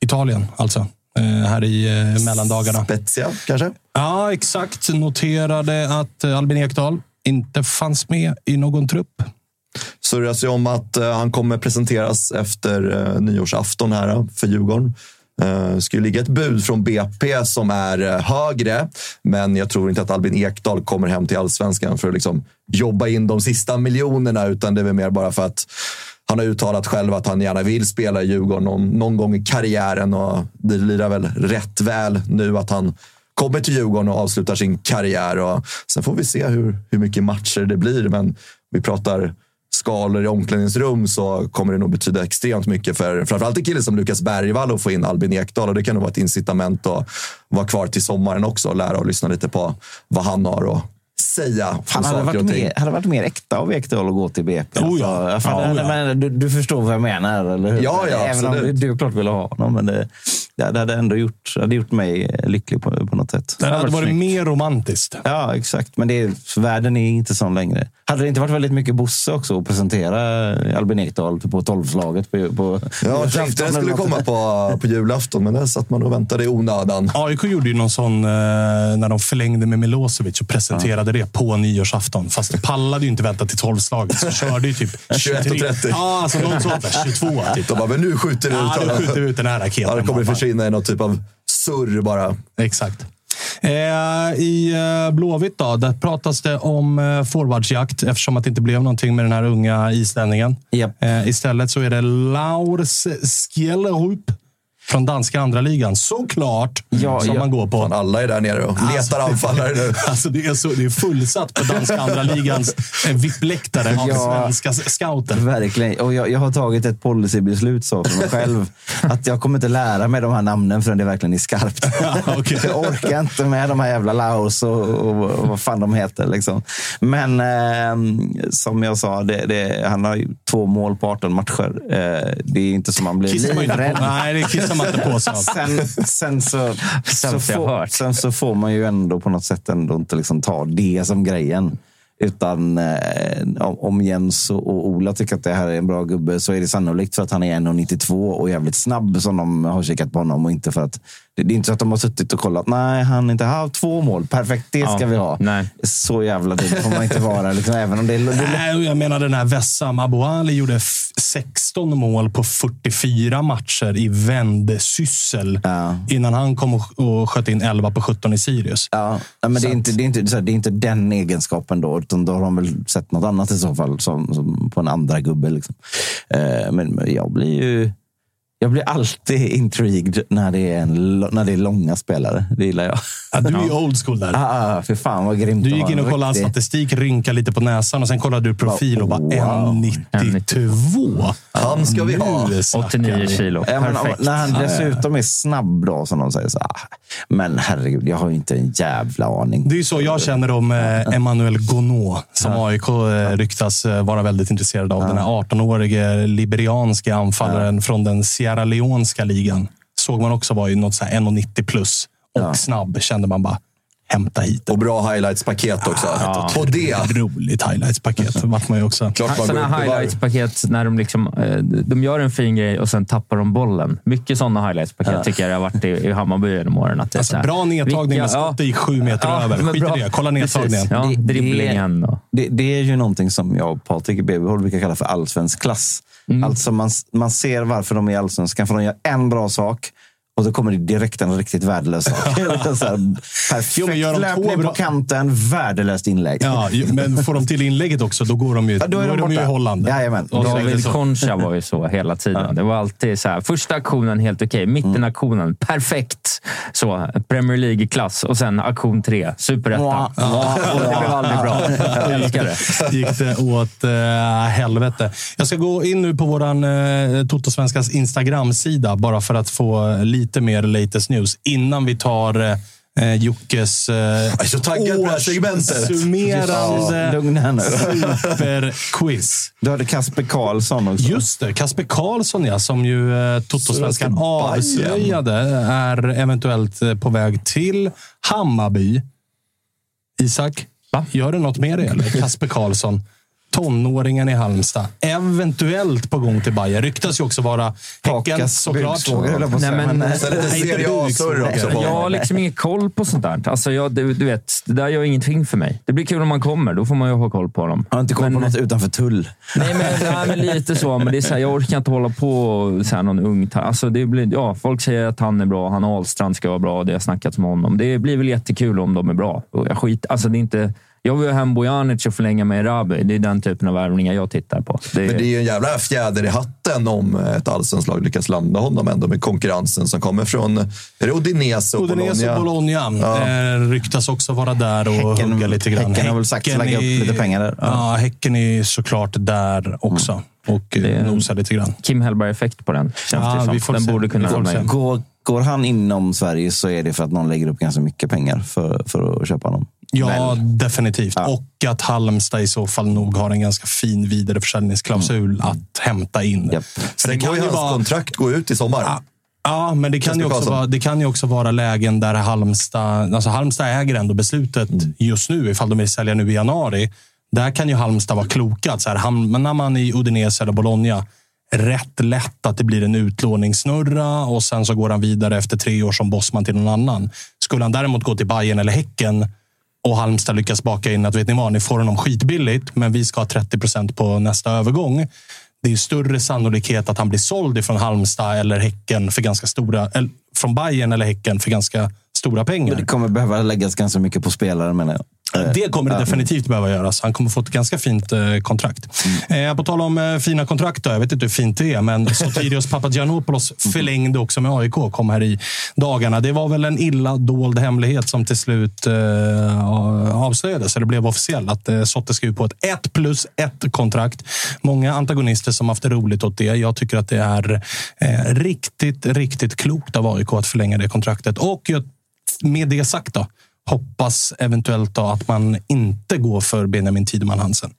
Italien alltså. eh, Här i eh, mellandagarna.
Spezia kanske?
Ja, exakt. Noterade att eh, Albin Ekdal inte fanns med i någon trupp.
surras ju om att eh, han kommer presenteras efter eh, nyårsafton här eh, för Djurgården. Eh, ska ju ligga ett bud från BP som är eh, högre, men jag tror inte att Albin Ekdal kommer hem till allsvenskan för att liksom jobba in de sista miljonerna, utan det är väl mer bara för att han har uttalat själv att han gärna vill spela i Djurgården någon, någon gång i karriären och det lirar väl rätt väl nu att han kommer till Djurgården och avslutar sin karriär. Och sen får vi se hur, hur mycket matcher det blir, men vi pratar skalor i omklädningsrum så kommer det nog betyda extremt mycket för framförallt en kille som Lukas Bergvall att få in Albin Ekdal och det kan nog vara ett incitament att vara kvar till sommaren också och lära och lyssna lite på vad han har att säga. om
Fan, hade det
saker
varit,
och ting.
mer, hade det varit mer äkta av Ekdal att gå till BP.
Oh ja.
Alltså, fan,
Ja, oh ja.
men du, du förstår vad jag menar, eller hur?
Ja, ja,
Även om
absolut.
du klart ville ha honom, men det, det det hade ändå gjort, det hade gjort mig lycklig på, på något sätt.
Det hade varit
snyggt.
mer romantiskt.
Ja, exakt. Men det är, världen är inte sån längre. Hade det inte varit väldigt mycket Bosse också att presentera Albin Ekdal typ på tolvslaget? På, på,
Ja, jag tänkte
julafton
den
eller
skulle
något?
komma på, på julafton, men där satt man och väntade i onödan.
AIK gjorde ju någon sån eh, när de förlängde med Milosevic och presenterade det på nyårsafton. Fast pallade ju inte vänta till tolvslaget, så körde ju typ
21.30.
23. Ja, alltså någon sånt där. 22 typ.
De bara, men nu skjuter vi
Ja,
ut
då skjuter vi
honom.
ut den här raketen.
Ja, det kommer
Bara,
försvinna i någon typ av surr bara.
Exakt. Eh, I eh, Blåvitt då, där pratas det om eh, forwardsjakt eftersom att det inte blev någonting med den här unga islänningen.
Japp.
Eh, istället så är det Laurs Skjellerup från danska andra ligan. Såklart!
Ja,
som
ja.
man går på.
Fan, alla är där nere och letar anfallare nu.
Alltså det, är så, det är fullsatt på danska andra ligans eh, VIP-läktare av
Ja.
svenska scouter.
Verkligen. Och jag, jag har tagit ett policybeslut så för mig själv. att jag kommer inte lära mig de här namnen förrän det verkligen är skarpt.
Ja, okej.
jag orkar inte med de här jävla Laos och, och, och vad fan de heter. Liksom. Men ehm, som jag sa, det, det, han har ju två mål på 18 matcher. Eh, det är inte som man blir
Kissar man inte
livrädd.
på, nej, det kissar man inte på sig av.
Sen, sen, så, så
Sämsta jag
får,
hört.
sen så får man ju ändå på något sätt ändå inte liksom ta det som grejen. Utan eh, om- om Jens och och Ola tycker att det här är en bra gubbe så är det sannolikt för att han är 1,92 och jävligt snabb som de har kikat på honom. Och inte för att, det det är inte så att de har suttit och kollat. Nej, han är inte här. Två mål. Perfekt, det ska
Ja,
vi ha.
nej.
Så jävla dum får man inte vara. Liksom, även om det är
Nej, jag menar den här Wessam Abouali gjorde f- 16 mål på 44 matcher i vändesyssel
Ja.
innan han kom och, och sköt in 11 på 17 i Sirius.
Ja, nej, men det är, inte, det, är inte, så här, det är inte den egenskapen då. Utan då har de väl sett något annat i så fall. Som, som på en andra gubbe liksom. eh, men, men jag blir ju... Jag blir alltid intrigued när det är, en, lo- när det är långa spelare. Det gillar jag.
Ja, du är ju old school där.
Ah, ah, för fan vad grymt.
Du
att
gick
ha
in
en
och kollade hans
riktig-
statistik, rynkade lite på näsan och sen kollade du profil och bara
Wow.
1,92.
Han ska vi ha.
Nu snackar
89
vi.
kilo.
Ja, men,
Perfekt.
när han dessutom är snabb då, som de säger. Så, ah, men herregud, jag har ju inte en jävla aning.
Det är ju så jag känner om eh, Emmanuel Gonod, som AIK eh, ryktas eh, vara väldigt intresserad av. Den här 18-årige liberianske anfallaren från den Sierra Leonska ligan. Såg man också var ju något så här 1,90 plus och snabb. Kände man bara, hämta hit
Och bra highlights-paket också. Och det.
ett roligt highlights-paket. vart man ju också.
Klart man går upp
Sådana
i varv.
highlights-paket när de, liksom, eh, de gör en fin grej och sen tappar de bollen. Mycket sådana highlights-paket tycker jag det har varit i, i Hammarby genom åren. Att det är
Alltså,
så här,
bra nedtagning
vilka-
med skottet gick sju meter över.
men
Skit i
bra.
det. Kolla nedtagningen.
Precis. Ja,
Det- det-
dribblingen. Och.
Det, det är ju någonting som jag och Patrik i BBH brukar kalla för allsvensk klass.
Mm.
Alltså man, man ser varför de är i allsvenskan, för de gör en bra sak och då kommer det direkt en riktigt värdelös sak. så här, perfekt
Jo, men gör de två
löpning
bra-
på kanten, värdelöst inlägg.
Ja, ju- men får de till inlägget också, då går de ju,
Ja,
då är de ju i
borta.
Holland.
Jajamän.
Och så-
David Concha var ju så hela tiden. Det var alltid så här, första aktionen helt okej,
Mm.
mitten aktionen perfekt. Så, Premier League-klass och sen aktion tre, superettan.
Mwah, mwah,
Och Det blev aldrig bra. Jag älskar det.
gick det åt eh, helvete. Jag ska gå in nu på vår eh, Totosvenskans Instagram-sida bara för att få lite mer latest news innan vi tar eh, Jockes eh,
är så taggad på det här segmentet.
Ja,
summerande
Lugna här nu.
superquiz.
Du hade Kasper Karlsson också.
Just det, Kasper Karlsson ja, som ju eh, Totosvenskan
Söker Bajen.
avslöjade eh, är eventuellt eh, på väg till Hammarby. Isak,
Va?
gör det något med det? Eller? Kasper Karlsson, tonåringen i Halmstad, eventuellt på gång till Bayern. Ryktas ju också vara Häcken
Pakas
såklart.
buksvågor, höll jag på att
Nej,
säga,
men-
men- eh,
Sen lite
Nej, inte
Serie A-surr
buksnack.
också. på
Jag har
honom.
liksom ingen koll på sånt där. Alltså jag, du, du vet, det där gör ingenting för mig. Det blir kul om man kommer. Då får man ju ha koll på dem.
Jag har inte koll på något utanför tull.
Nej, men, nej, men lite så. Men det är så här, jag orkar inte hålla på och så här, någon ung ta- alltså, det blir, ja, Folk säger att han är bra. Han Ahlstrand ska vara bra. Det har snackats med honom. Det blir väl jättekul om de är bra. Och jag, skit, alltså, det är inte, jag vill ha hem Bojanic och förlänga med Rabi. Det är den typen av värvningar jag tittar på. Det,
Men det är ju en jävla fjäder i hatten om ett allsvenskt lag lyckas landa honom ändå med konkurrensen som kommer från är det Udinese och
Udinese och
Bologna.
Bologna eh, ryktas också vara där och
Häcken-
hugga lite grann.
Häcken har väl sagt lägga upp
är-
lite pengar där.
Ja.
Ja. Mm.
Häcken är såklart där också och eh, nosar lite grann.
Kim Hellberg-effekt på den, känns
Ja,
det som.
vi får
den
se.
borde kunna
Vi får
vara
se.
med.
Går, går han inom Sverige så är det för att någon lägger upp ganska mycket pengar för, för att köpa honom.
Ja, definitivt. Och att Halmstad i så fall nog har en ganska fin vidareförsäljningsklausul att hämta in.
Japp.
Så det
Sen
kan
går ju
ju
hans
vara...
kontrakt gå ut i sommar.
Ja, men det kan, ju
Kasper
också
Karlsson.
vara, det kan ju också vara lägen där Halmstad... Alltså Halmstad äger ändå beslutet just nu, ifall de vill sälja nu i januari. Där kan ju Halmstad vara kloka. att Så här, hamnar man i Udinese eller Bologna, rätt lätt att det blir en utlåningssnurra och sen så går han vidare efter tre år som bossman till någon annan. Skulle han däremot gå till Bayern eller Häcken och Halmstad lyckas baka in att vet ni vad, ni får honom skitbilligt, men vi ska ha 30 procent på nästa övergång. Det är större sannolikhet att han blir såld ifrån Halmstad eller Häcken för ganska stora, eller från Bayern eller Häcken för ganska stora pengar.
Men det kommer behöva läggas ganska mycket på spelare menar jag. Eh,
Det kommer det definitivt behöva göras. Han kommer få ett ganska fint eh, kontrakt. Eh, på tal om eh, fina kontrakt, då, jag vet inte hur fint det är, men Sotirios Papagiannopoulos förlängde också med AIK och kom här i dagarna. Det var väl en illa dold hemlighet som till slut eh, avslöjades, eller blev officiell, att eh, Sotte skrev på ett 1 plus 1-kontrakt. Många antagonister som haft roligt åt det. Jag tycker att det är eh, riktigt, riktigt klokt av AIK att förlänga det kontraktet. Och jag med det sagt då, hoppas eventuellt då att man inte går för Benjamin Tideman Hansen.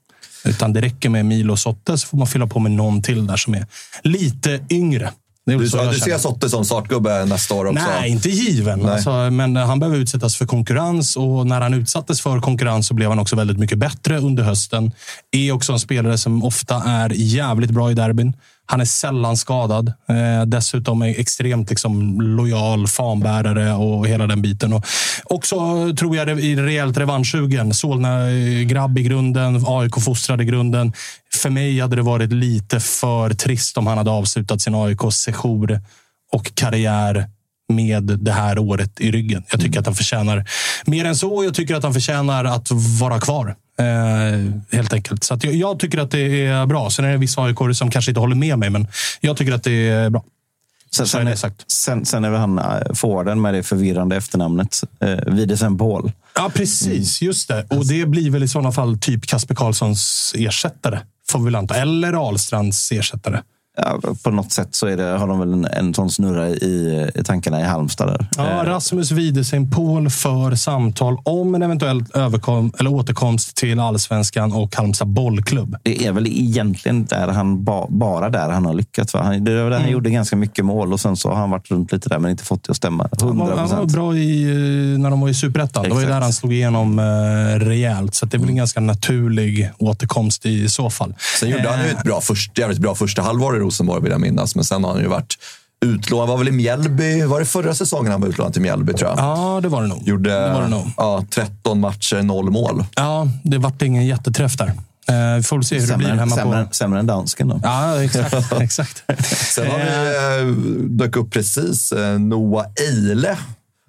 Utan det räcker med Milo Sotte så får man fylla på med någon till där som är lite yngre. Det är
Du,
så
sa,
jag
du ser
känner.
Sotte som startgubbe nästa år också.
Nej, inte given.
Nej.
Alltså, men han behöver utsättas för konkurrens och när han utsattes för konkurrens så blev han också väldigt mycket bättre under hösten. Är också en spelare som ofta är jävligt bra i derbyn. Han är sällan skadad. Eh, dessutom är extremt liksom, lojal fanbärare och hela den biten. Och också, eh, tror jag, det- i rejält revanschsugen. Solna-grabb i grunden, AIK-fostrad i grunden. För mig hade det varit lite för trist om han hade avslutat sin AIK-sejour och karriär med det här året i ryggen. Jag tycker att han förtjänar mer än så. Jag tycker att han förtjänar att vara kvar. Eh, helt enkelt. Så att jag, jag tycker att det är bra. Sen är det vissa aik som kanske inte håller med mig, men jag tycker att det är bra.
Sen,
Så är
sen,
det sagt.
sen, sen är väl han eh, forwarden med det förvirrande efternamnet. Eh, Widesen Paul.
Ja, precis. Just det. Och det blir väl i sådana fall typ Kasper Karlssons ersättare. Får vi väl anta. Eller Ahlstrands ersättare.
Ja, på något sätt så är det, har de väl en, en sån snurra i, eh, i tankarna i Halmstad. Där.
Ja, Rasmus Widesen Paul för samtal om en eventuell överkom- eller återkomst till allsvenskan och Halmstad bollklubb.
Det är väl egentligen där han ba, bara där han har lyckats. Va? Han, det var där han
Mm.
gjorde ganska mycket mål och sen så har han varit runt lite där men inte fått det att stämma.
Han var,
100
han var
procent.
bra i, eh, när de var i Superettan. Det var ju
Exakt.
där han slog igenom eh, rejält. Så att det är väl en ganska naturlig återkomst i så fall.
Sen Mm. gjorde han ju ett bra först, jävligt bra första halvår i Rosenborg vill jag minnas. Men sen har han ju varit utlånad. Var väl i Mjällby? Var det förra säsongen han var utlånad till Mjällby tror jag?
Ja, det var det nog.
Gjorde
Det var det nog.
ja, 13 matcher, noll mål.
Ja, det vart ingen jätteträff där. Eh, vi får väl se hur det blir
Sämre,
hemma på...
sämre, sämre än dansken då.
Ja, exakt. exakt.
Sen har vi, eh, dök upp precis eh, Noah Eile.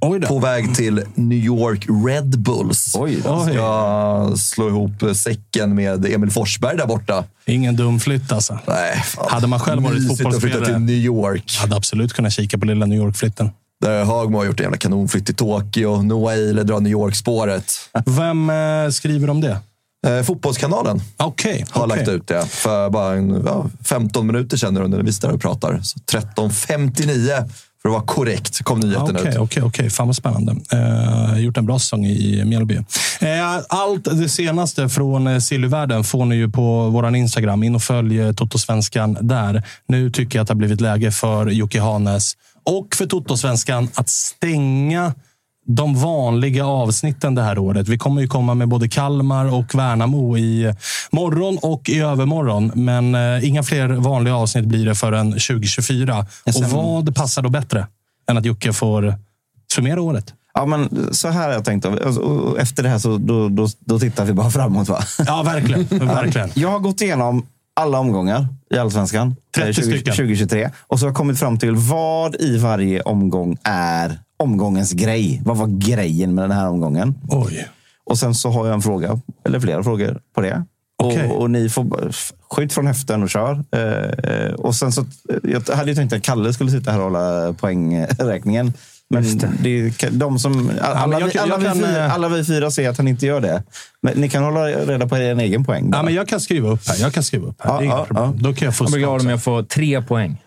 Oj då.
På väg till New York Red Bulls.
Oj då.
Oj.
Ska slå ihop eh, säcken med Emil Forsberg där borta.
Ingen dum flytt alltså.
Nej, fan.
Hade man själv varit
Mysigt att
fotbollsspelare-
flytta till New York.
Hade absolut kunnat kika på lilla New York-flytten.
Där Hagmo har gjort en jävla kanonflytt till Tokyo. Noah Eile drar New York-spåret.
Vem eh, skriver om det?
Eh, fotbollskanalen
Okej.
har
okej.
lagt ut det för bara en, ja, 15 minuter sedan när vi står och pratar. Så 13.59 för att vara korrekt kom
Ja,
nyheten
Ah, Okej,
ut.
okej, okej. Fan vad spännande. Eh, gjort en bra säsong i Mjällby. Eh, allt det senaste från eh, Sillyvärlden får ni ju på vår Instagram. In och följ eh, Totosvenskan där. Nu tycker jag att det har blivit läge för Jocke Hanes och för Totosvenskan att stänga de vanliga avsnitten det här året. Vi kommer ju komma med både Kalmar och Värnamo i eh, morgon och i övermorgon. Men eh, inga fler vanliga avsnitt blir det förrän 2024. Och vad passar då bättre än att Jocke får summera året?
Ja, men så här har jag tänkt. Alltså, och Efter det här så då, då, då tittar vi bara framåt. Va?
Ja, verkligen. verkligen.
Jag har gått igenom alla omgångar i Allsvenskan. eh,
30 stycken.
2023. Och så har jag kommit fram till vad i varje omgång är omgångens grej. Vad var grejen med den här omgången?
Oj.
Och sen så har jag en fråga, eller flera frågor på det.
Okej.
Och, och ni får bara- f- skjut från höften och kör. Eh, Eh, och sen så, eh, jag hade ju tänkt att Kalle skulle sitta här och hålla poängräkningen. Men det. är ka- de som, alla,
men jag
vi,
kan-
alla,
jag
vi
kan,
fyra,
eh,
alla vi fyra ser att han inte gör det. Men ni kan hålla reda på er egen poäng. bara.
Ja, men jag kan skriva upp här. Jag kan skriva upp här.
Ja,
det är inga
ja,
problem. Då kan jag
Jag blir
fuska.
glad om
också.
jag får tre poäng.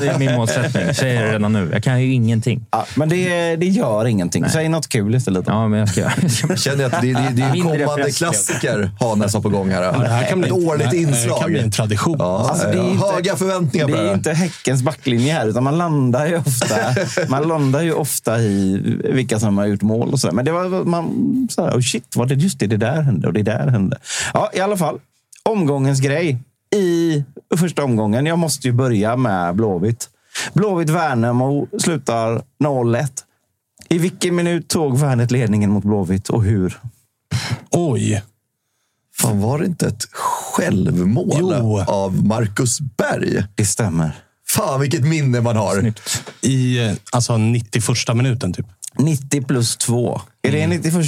Det är min målsättning. Säger det redan nu. Jag kan ju ingenting.
Ja, men det, det gör ingenting. Säg något kul istället. då.
Ja, men jag ska göra
Jag känner att det, det, det är ju
Mindre
kommande
fest,
klassiker Hanes har på gång här.
Det här kan bli,
Ett årligt
det här kan bli en
inslag.
tradition.
Ja,
Alltså, det är
jag har
inte-
höga förväntningar på
Det
det
är
här.
inte Häckens backlinje här, utan man landar ju ofta, man landar ju ofta i vilka som har gjort mål och sådär. Men det var man, så här, oh shit, var det just det, det där hände och det där hände. Ja, i alla fall. Omgångens grej i första omgången. Jag måste ju börja med Blåvitt. Blåvitt-Värnamo slutar 0-1. I vilken minut tog Värnet ledningen mot Blåvitt och hur?
Oj.
Fan, var det inte ett självmål
Jo.
av Marcus Berg?
Det stämmer.
Fan, vilket minne man har.
I eh, alltså, 91 minuten, typ.
90 plus 2. Är det 91?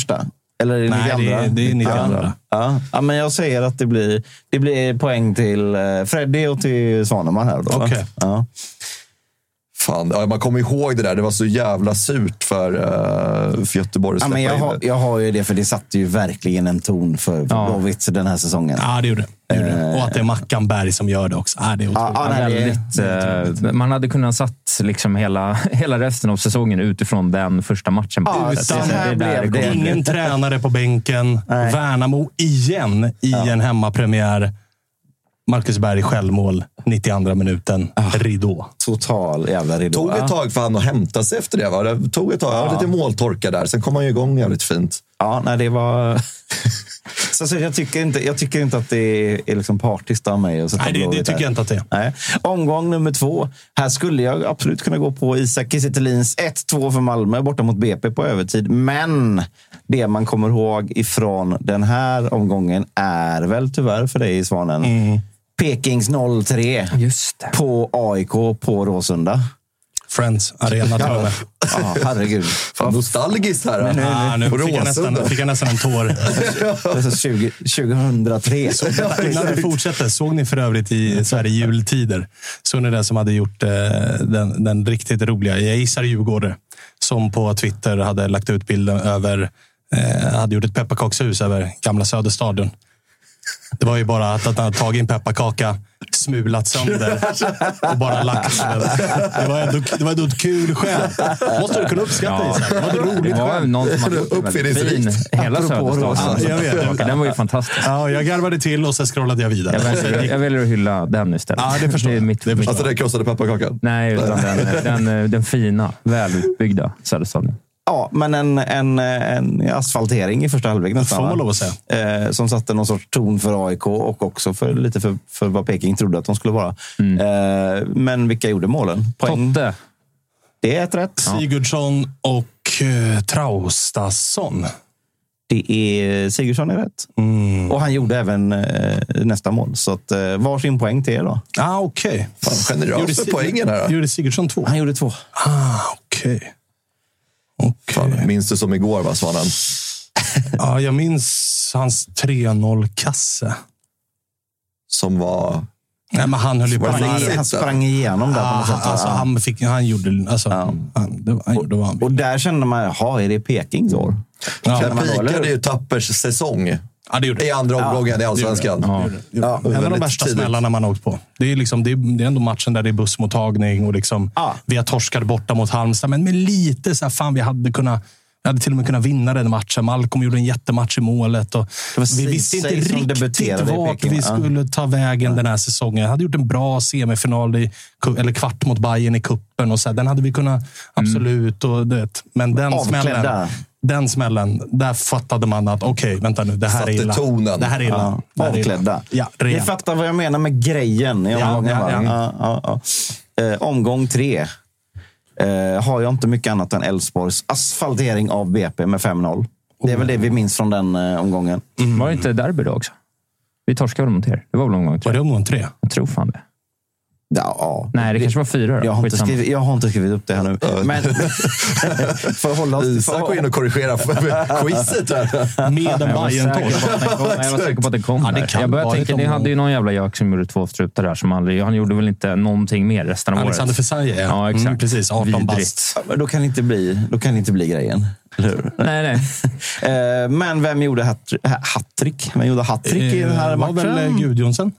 Eller är det
Nej,
92?
det är- det är 92.
Ja. Ja, men jag säger att det blir, det blir poäng till eh, Freddy och till Svanemar här. då, va?
Okej.
Ja.
Fan, ja, man kommer ihåg det där. Det var så jävla surt för, eh, för Göteborg att
Ja,
släppa
men jag,
in
har,
det.
jag har ju det, för det satte ju verkligen en ton för för
Ja.
Blåvitt den här säsongen.
Ja, det gjorde det. Gjorde det. Och att det är Mackan Berg som gör det också. Ja, det är otroligt.
Ja, ja, nej, det är-
väldigt, eh, man hade kunnat satt liksom hela, hela resten av säsongen utifrån den första matchen.
Ja,
Det är
så
där
här
det
blev
kommer.
det.
Ingen tränare på bänken. Värnamo igen i en hemmapremiär. Marcus Berg självmål, 92 minuten. Ridå.
Total jävla ridå.
tog ett tag för han att hämta sig efter det. Va? Det tog ett tag. Jag var lite måltorka där. Sen kom han ju igång jävligt fint.
Ja, nej, det var... så, så jag, tycker inte, jag tycker inte att det är liksom partiskt av mig. att sätta
Nej, det,
Blåvitt
det tycker
här.
jag inte att det är.
Nej. Omgång nummer två. Här skulle jag absolut kunna gå på Isak Kisetelins 1-2 för Malmö borta mot BP på övertid. Men det man kommer ihåg ifrån den här omgången är väl tyvärr för dig, Svanen,
Mm.
Pekings 0-3
Just det.
på AIK på Råsunda.
Friends Arena till och med.
Ja, herregud.
Fan, nostalgiskt här.
nu-
Ah, nu
På
fick jag,
Råsunda.
nästan, fick jag nästan en tår.
Alltså 20, 2003.
Innan vi fortsätter, såg ni för övrigt i så här, i jultider, såg ni det som hade gjort eh, den, den riktigt roliga, jag gissar djurgårdare, som på Twitter hade lagt ut bilden över, eh, hade gjort ett pepparkakshus över gamla Söderstadion. Det var ju bara att, att han hade tagit en pepparkaka, smulat sönder och bara lagt den. Det var ändå, det var ändå ett kul skämt. Måste du kunna uppskatta Isak. Det var ett roligt
Det var
skämt.
någon som hade gjort en väldigt fin.
Uppfinningsrikt.
Hela
Apropå
Söderstaden.
Råsunda.
som
Jag
tog tillbaka. Den var ju fantastisk.
Ja, jag garvade till och sen scrollade jag vidare.
Jag väljer, jag väljer att hylla den istället.
Ja, det förstår
är
jag.
mitt
Det förstår
Alltså
förslag.
den krossade pepparkakan.
Nej, utan den, eh, den, den fina, välutbyggda Söderstaden.
Ja, men en, en, en asfaltering i första halvlek nästan.
Får man
va?
lov att säga.
Eh, som satte någon sorts ton för AIK och också för, lite för, för vad Peking trodde att de skulle vara. Eh, men vilka gjorde målen? Poäng.
Totte.
Det är ett rätt.
Sigurdsson och eh, Traustason.
Det är Sigurdsson är rätt.
Mm.
Och han gjorde även eh, nästa mål. Så att, eh, varsin poäng till er då.
Ah, okej.
Fan, generös med
Sig-
poängen här, då.
Gjorde Sigurdsson två?
Han gjorde två.
Ah, okej. Okej.
Fan, minns du som igår, va, Svanen?
Ja, jag minns hans 3-0-kasse.
Som var...
Nej, men han höll ju på.
Var det
Han,
Sigurdsson?
Han sprang igenom där på
ah,
något sätt.
han, alltså,
Ja.
han, fick, han gjorde... Alltså, han, det var, han gjorde vad han
Och där kände man, jaha, är det Pekings år?
Ja,
Där
man då, eller
pikade
hur?
ju Tappers säsong
ja, det gjorde
i
det.
andra omgången i Allsvenskan.
Ja, en av de
väldigt
värsta
tidigt.
smällarna man har åkt på. Det är, liksom, det, är, det är ändå matchen där det är bussmottagning och liksom,
Ja.
vi har torskat borta mot Halmstad. Men med lite så här, fan vi hade kunnat vi hade till och med kunnat vinna den matchen. Malcolm gjorde en jättematch i målet. Och
var
vi visste inte
Ceesay som
riktigt
debuterade i
vart
Peking,
vi
ja.
skulle ta vägen den här säsongen. Hade gjort en bra semifinal, i, ku- eller kvart mot Bayern i kuppen och så här, Den hade vi kunnat, absolut. Och, du vet, men den
Mm. Avklädda.
smällen, den smällen, där fattade man att okej, vänta nu, det här
Satte
är illa.
tonen.
Det här är illa.
Ja,
Det här är illa.
avklädda.
Ja,
Ni
rejält.
fattar vad jag menar med grejen. i
Ja,
omgången,
ja,
va?
ja.
Ja, ja, ja. Eh, omgång tre. Eh, har jag inte mycket annat än Elfsborgs asfaltering av BP med 5-0. Det är väl
Oh.
det vi minns från den eh, omgången.
Mm.
Var det inte derby då också? Vi torskade väl mot er? Det var väl omgång
Var
tre?
det omgång tre?
Jag tror fan det.
Ja, ja.
Nej, det kanske var fyra då.
Jag har, inte
Skitsamma.
skrivit, jag har inte skrivit upp det här nu. Men för att hålla oss...
Isak går in och korrigerar quizet här.
Med en
Jag var säker på
Bajentorp.
att den kom. Nej, Jag var säker på att den kom
Ja, det
där.
kan
Jag började
vara
tänka,
ett
ni
omgång.
hade ju någon jävla jak som gjorde två strutar där som aldrig... Han gjorde väl inte någonting mer resten av
Alexander
året?
Fesaje, ja.
Ja, exakt.
Mm, precis. 18 bast.
Ja, men Då kan det inte bli, då kan det inte bli grejen. Eller hur?
Nej, nej.
Eh, men vem gjorde hattri- ha- hattrick? Vem gjorde hattrick i den här
Eh, var väl eh,
matchen?
Gudjonsen?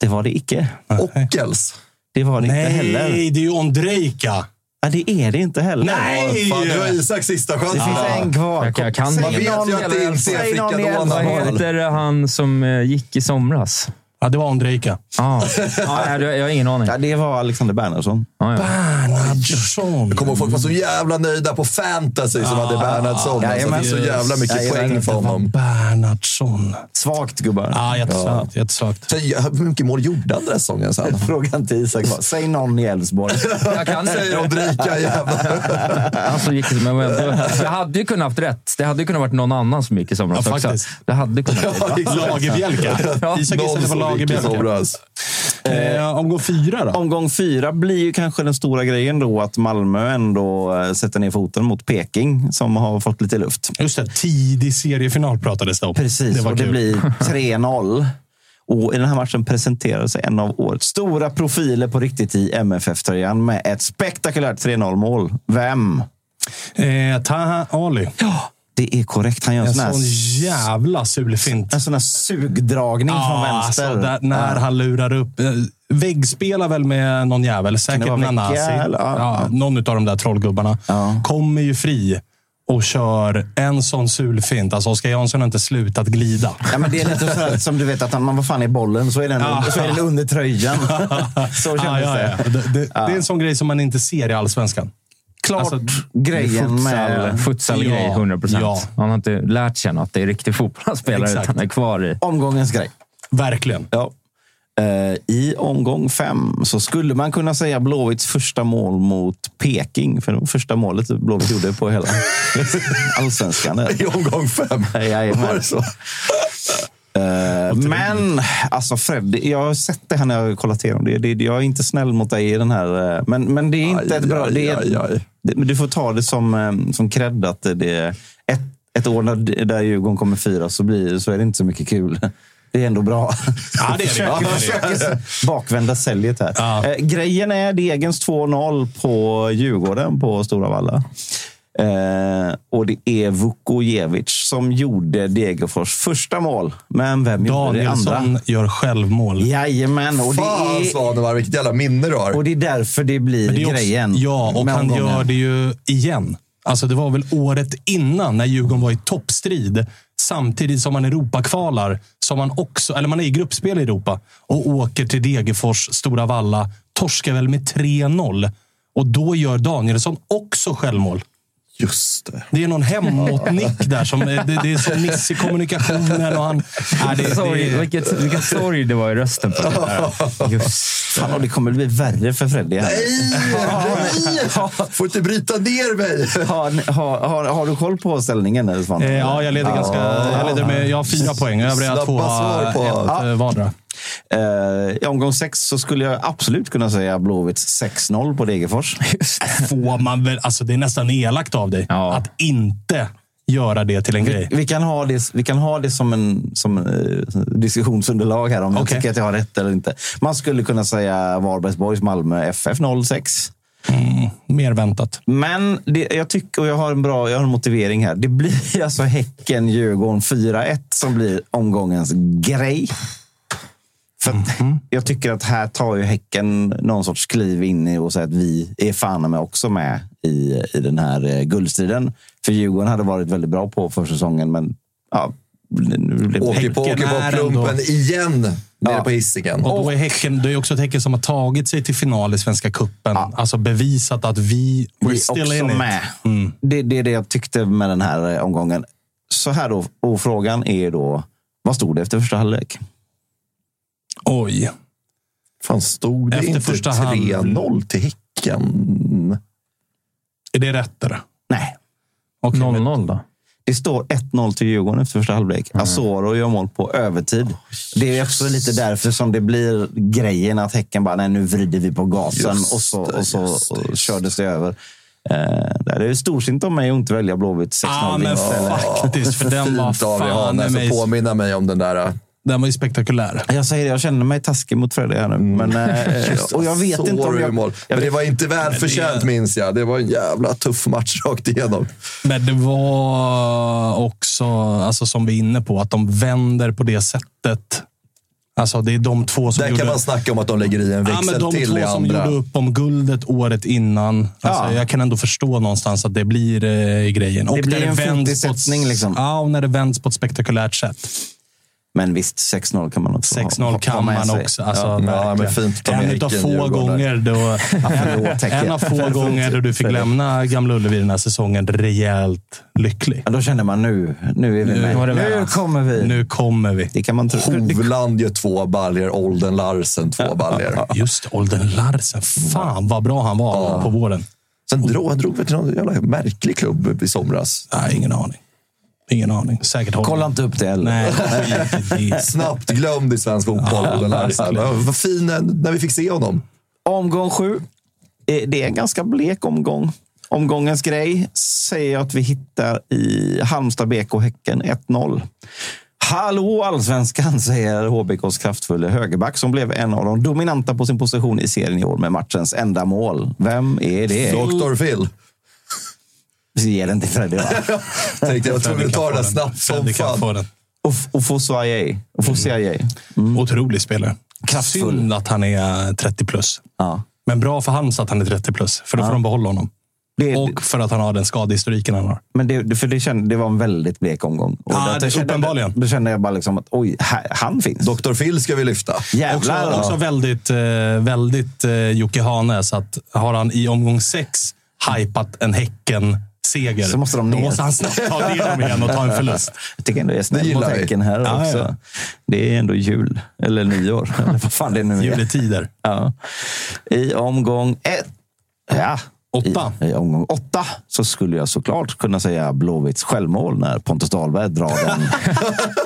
Det var det icke.
Ockels.
Det var det inte heller.
Nej, det är ju Ondrejka.
Ja, det är det inte heller.
Nej!
Fan, det var Isaks sista chans.
Det finns en kvar.
Jag, jag kan
Man vet ju att det inte är
Säg någon i
Fricka
elva
Vad
Donald.
heter han som eh, gick i somras?
Ja, det var Ondrejka.
Ah. Ja, nej, jag har ingen aning.
Ja, det var Alexander Bernersson.
Ja, ja.
Bernhardsson.
Kommer ihåg folk var så jävla nöjda på fantasy som
Ah.
hade Bernhardsson. Alltså, det
jajamän.
är så jävla mycket
Jajamän.
poäng för honom.
Bernhardsson. Ah,
Svagt gubbar.
Ja, jättesökt. Jättesökt.
Tänk, Hur mycket mål gjorde han den här säsongen sen?
Frågan till Isak var, säg någon i Elfsborg.
Jag kan
Säger
det.
Ondrejka jävlar.
Han som gick i somras. Jag hade ju kunnat haft rätt. Det hade ju kunnat varit någon annan som gick i somras
Ja,
också.
faktiskt.
Det hade kunnat varit.
Lagerbjälka.
Ja.
Isak
Någon
istället för
som gick i
Lagerbjälka.
somras.
Eh, Omgång fyra då?
Omgång fyra blir ju kanske den stora grejen då att Malmö ändå eh, sätter ner foten mot Peking som har fått lite luft.
Just det, tidig seriefinal pratades det om.
Precis,
det var
och det
kul.
blir 3-0. Och I den här matchen presenterar sig en av årets stora profiler på riktigt i MFF-tröjan med ett spektakulärt 3-0-mål. Vem?
Eh, Taha Ali.
Det är korrekt. Han gör en
En
sån här
sån jävla sulfint.
En sån här sugdragning från vänster.
alltså, där, när han lurar upp. eh, Väggspelar väl med någon jävel,
det
säkert
vara
Nanasi.
Vecchia, eller? Ja.
Ja, någon av de där trollgubbarna.
Ja.
Kommer ju fri och kör en sån sulfint. Alltså Oskar Jansson har inte slutat glida.
Ja, men det är lite för att, som du vet, att man var fan i bollen så är den,
Ja.
så är den under tröjan. så kändes
Ah, ja, ja.
det.
Det, det, det är en sån grej som man inte ser i Allsvenskan.
Klart
Alltså,
grejen med...
Futsal-grej,
Ja.
100 procent.
Ja.
Han har inte lärt sig något. Det är riktig fotbollsspelare
Exakt.
han är kvar i.
Omgångens grej.
Verkligen.
Ja. Eh, I omgång fem så skulle man kunna säga Blåvitts första mål mot Peking. För det var första målet Blåvitt gjorde på hela allsvenskan.
I omgång fem.
Jajamän.
Var det så?
Eh, Men alltså Fred, jag har sett det här när jag har kollat igenom det. det. Jag är inte snäll mot dig i den här. eh, Men, men det är inte
Aj,
ett bra...
aj,
det är,
aj, aj.
Det, men du får ta det som, eh, som cred att det är ett, ett år när, där Djurgården kommer fyra så, blir, så är det inte så mycket kul. Det är ändå bra.
Ja, det är det.
Försöker-
Ja, det är det.
försöker bakvända säljet här.
Ja.
Eh, grejen är Degens 2-0 på Djurgården på Stora Valla. Eh, och det är Vukojevic som gjorde Degerfors första mål. Men vem gjorde det andra?
Danielsson gör självmål.
Jajamän, och det,
Fan
är,
Svanemar, vilket jävla minne du har.
och det är därför det blir
Men det är också-
grejen.
Ja, och
med
han
omgången.
gör det ju igen. Alltså det var väl året innan när Djurgården var i toppstrid samtidigt som man Europakvalar. Som man också, eller man är i gruppspel i Europa och åker till Degerfors, Stora Valla. Torskar väl med 3-0. Och då gör Danielsson också självmål.
Just det.
Det är någon hemåtnick där. Som, det, det är som Nisse i kommunikationen. Och han, nej, det,
sorry,
det,
vilket, vilken sorg det var i rösten på det där. Just.
Fan, och det kommer bli värre för Freddy. här.
Nej! Får inte bryta ner mig.
Har, ni- har, har, har du koll på ställningen? Eller Svante?
Eh, ja, jag leder ganska... Jag, leder med, jag har fyra poäng. Övriga
Snabba
två
svar på-
ett eh, vardera.
Eh, I omgång sex så skulle jag absolut kunna säga Blåvitts 6-0 på Degerfors.
får man väl... Alltså det är nästan elakt av dig
Ja.
att inte göra det till en grej.
Vi kan ha det, vi kan ha det som en som, eh, diskussionsunderlag här om jag
Okej.
tycker att jag har rätt eller inte. Man skulle kunna säga Varbergsborgs Malmö FF 06.
Mer väntat.
Men det, jag tycker, och jag har en bra jag har en motivering här. Det blir alltså Häcken-Djurgården 4-1 som blir omgångens grej. För att Jag tycker att här tar ju Häcken någon sorts kliv in i och säger att vi är fan med också med i, i den här eh, guldstriden. För Djurgården hade varit väldigt bra på försäsongen, men ja, nu blev det
Åker på, åker
Häcken är
på
ändå-
plumpen igen nere
Ja.
på Hisingen.
Och då är häcken, det är också ett Häcken som har tagit sig till final i Svenska cupen. Alltså bevisat att vi...
vi
We're
är
still
också
in it.
med. Det, det är det jag tyckte med den här eh, omgången. Så här då, och frågan är då, vad stod det efter första halvlek?
Oj.
Fan, stod det
Efter
inte
första hand-
3-0 till Häcken?
Är det rätt? eller?
Nej,
Och 0-0 då?
Det står 1-0 till Djurgården efter första halvlek. Asoro gör mål på övertid. det är också lite därför som det blir grejen att Häcken bara, nej nu vrider vi på gasen
Just
och så,
det,
och så
just det,
och
just
kördes det över. Eh, det är ju storsint av mig att inte välja Blåvitt 6-0
Ja, Ah, men
vinst. eller-
faktiskt. För den var
Fint av er,
fan i
Hannes,
mig...
att påminna mig om den där. eh,
Den var ju spektakulär.
Jag säger det, jag känner mig taskig mot Fredrik här nu. Men, eh, och jag vet inte om jag...
Mål. Men det var inte välförtjänt, minns jag. Det var en jävla tuff match rakt igenom.
Men det var också, alltså som vi är inne på, att de vänder på det sättet. Alltså det är de två som
Där
gjorde...
kan man snacka om att de lägger i en
Ja,
växel
men de
till i
två som
andra.
gjorde upp om guldet året innan. Alltså,
Ja.
Jag kan ändå förstå någonstans att det blir eh, grejen. Och
blir
när
en
vänds på ett-
fotisättning, liksom.
Ja, och när det vänds på ett spektakulärt sätt.
Men visst, 6-0 kan man också ha-
6-0
ha- ha
kan
med
man
sig.
också. Alltså,
Ja,
verkligen.
ja, men fint att ta med
en
Häcken,
av få
Djurgården.
gånger då...
Förlåt, Häcken.
en av få gånger då du fick lämna Gamla Ullevi den här säsongen rejält lycklig.
Ja, då känner man nu, nu är vi
var det
med.
med,
Nu
alltså.
kommer vi.
Nu kommer vi.
Det kan man tro.
Hovland gör två baljer, Olden Larsen två baljer.
Just det, Olden Larsen. Fan vad bra han var på våren.
Sen drog han drog väl till någon jävla märklig klubb i somras.
Nej, ingen aning. Ingen aning. Säkert Holland.
Kolla inte upp det heller.
Nej, skit i det.
Snabbt glömd i svensk fotboll, Olden Larsen.
verkligen.
Ja, Vad fin när vi fick se honom.
Omgång sju. Eh, Det är en ganska blek omgång. Omgångens grej säger jag att vi hittar i Halmstad BK Häcken 1-0. Hallå allsvenskan, säger HBKs kraftfulla högerback som blev en av de dominanta på sin position i serien i år med matchens enda mål. Vem är det?
Dr. Phil.
Vi ger den till Freddy. va?
Tänkte jag var tvungen
Fredrik kan
att ta
få
den här
den.
snabbt som
Fredrik kan
fan.
få den.
Och- Och Fosuaye. Och
Mm.
Fosuaye.
Mm.
Otrolig spelare.
Kraftfull.
Synd att han är 30 plus.
Ja.
Men bra för Halmstad att han är 30 plus, för då får de behålla honom.
Det,
Och för att han har den skadehistoriken han har.
Men det, för det, kände, det var en väldigt blek omgång. Och
Ja,
där-
det-
kände-
uppenbarligen.
Då kände jag bara liksom att oj, här, han finns.
Dr. Phil ska vi lyfta.
Också,
Jävlar!
också väldigt, eh, väldigt eh, Jocke Hane. Så att har han i omgång sex hypat en Häcken-seger,
Så måste de
då
ner.
måste han snabbt ta det dem igen och ta en förlust.
Jag tycker ändå jag är
Det
snäll
gillar
mot
vi.
Häcken här
Ja,
också.
ja.
Det är ändå jul. Eller nyår. Eller vad fan det nu är.
Juletider.
Ja. I omgång ett. Ja.
Åtta.
I, I omgång åtta så skulle jag såklart kunna säga Blåvitts självmål när Pontus Dahlberg drar den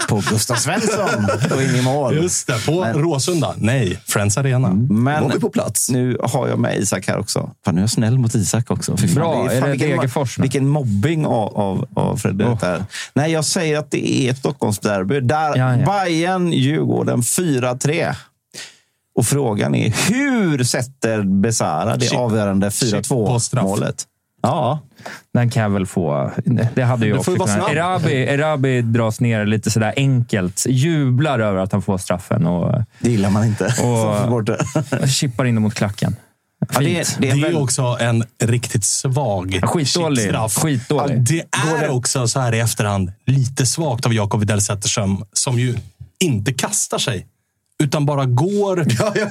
på Gustav Svensson och in i mål.
Just det, på Råsunda. Nej, Friends Arena.
Mm. Men
Var vi på plats?
nu har jag med Isak här också. Fan, nu är jag snäll mot Isak också. Fy fan,
Bra. Är det
vilken,
Degerfors nu?
vilken mobbing av, av, av Fredrik
Oh.
där. Nej, jag säger att det är ett Stockholmsderby. Där
Ja, ja.
Bayern Djurgården 4-3. Och frågan är, hur sätter Besara det
Chip.
avgörande
på straff.
4-2-målet? Ja,
Den kan jag väl få. Det hade jag
Du får
också
ju vara
kunnat.
snabb.
Erabi, Erabi dras ner lite sådär enkelt. Jublar över att han får straffen och
det gillar man inte som supporter.
chippar in mot klacken.
Ja, det,
Fint.
det
Det
är en
är
väl...
också en riktigt svag
Ja, skitdålig.
chipstraff.
Skitdålig.
Ja, Det
Går
är
det-
också så här i efterhand lite svagt av Jakob Widell Zetterström som ju inte kastar sig, utan bara går.
Ja, ja.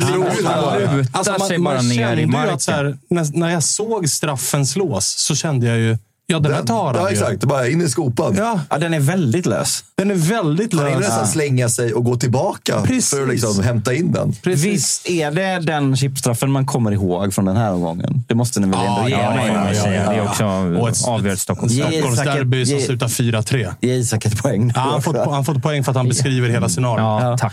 Han lutar sig bara ner
Alltså,
i
kände ju
marken.
Att så här, när, när jag såg straffen slås så kände jag ju, ja den här tar han
Ja,
ju.
exakt. Bara in i skopan.
Ja,
Ja, den är väldigt lös.
den är väldigt
Han hinner
lös.
nästan slänga sig och gå tillbaka
Precis.
för att liksom hämta in den.
Visst är det den chipstraffen man kommer ihåg från den här omgången? Det måste ni väl ändå ge
ja,
mig?
ja, ja, ja. Det är också
Och ett-
avgör Stockholms-
ett Stockholmsderby som
Ge-
slutar 4-3.
Ge Isak ett poäng.
Ja, han har fått, han har fått poäng för att han beskriver hela scenariot.
Ja, tack.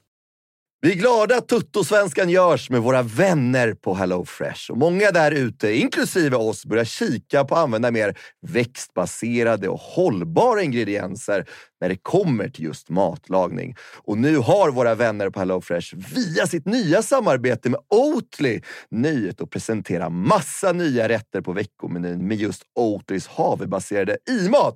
Vi är glada att Tuttosvenskan görs med våra vänner på HelloFresh. Och många där ute, inklusive oss, börjar kika på att använda mer växtbaserade och hållbara ingredienser när det kommer till just matlagning. Och nu har våra vänner på HelloFresh via sitt nya samarbete med Oatly nöjet att presentera massa nya rätter på veckomenyn med just Oatlys havrebaserade i-mat.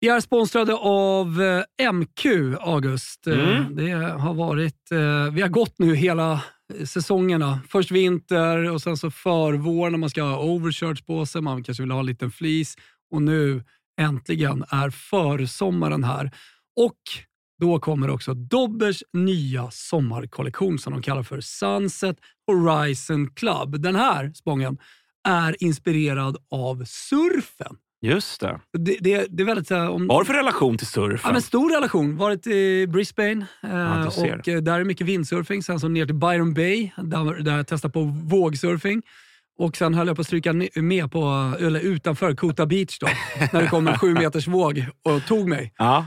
Vi är sponsrade av eh, MQ, August. Eh,
Mm.
Det har varit, eh, vi har gått nu hela säsongerna. Först vinter och sen så förvår när man ska ha overshirts på sig, man kanske vill ha en liten fleece och nu äntligen är försommaren här. Och då kommer också Dobbers nya sommarkollektion som de kallar för Sunset Horizon Club. Den här, Spången, är inspirerad av surfen.
Just det.
Det, det, det är väldigt... så här, Om,
Vad har du för relation till surfen?
Ja, men stor relation. Varit i Brisbane eh,
Ja, du ser.
och eh, där är mycket windsurfing. Sen så ner till Byron Bay där, där jag testade på vågsurfing. Och sen höll jag på att stryka ne- med på, eller utanför Kota Beach då, när det kom en sju meters våg och tog mig.
Ja.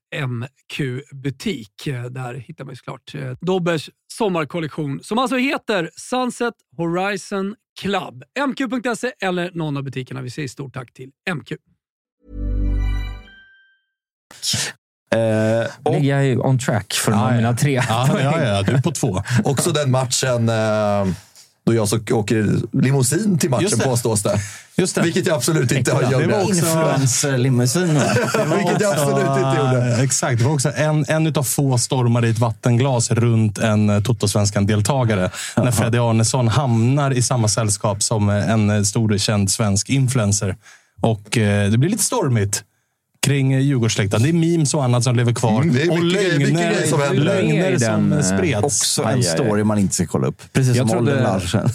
MQ-butik. Eh, Där hittar man ju såklart eh, Dobbers sommarkollektion som alltså heter Sunset Horizon Club. mq.se E eller någon av butikerna. Vi säger stort tack till MQ.
och... ligger jag ju on track för de här mina tre poäng.
du är på två. Också den matchen eh, då jag så åker limousin till matchen
Just det.
påstås det.
Just
det. Vilket jag absolut inte har gjort.
Influencer-limousin.
Vilket jag absolut inte gjorde.
Eh, Exakt. Det var också en, en utav få stormar i ett vattenglas runt en eh, Toto-svenskan-deltagare. När Freddy Arnesson hamnar i samma sällskap som eh, en eh, stor känd svensk influencer. Och eh, det blir lite stormigt kring eh, Djurgårdssläkten. Det är memes och annat som lever kvar.
Mm, det är
och
mycket- mycket grejer som händer.
lögner som eh, spreds.
Också en story man inte ska kolla upp. Precis
Jag
som
trodde-
Olden Larsen.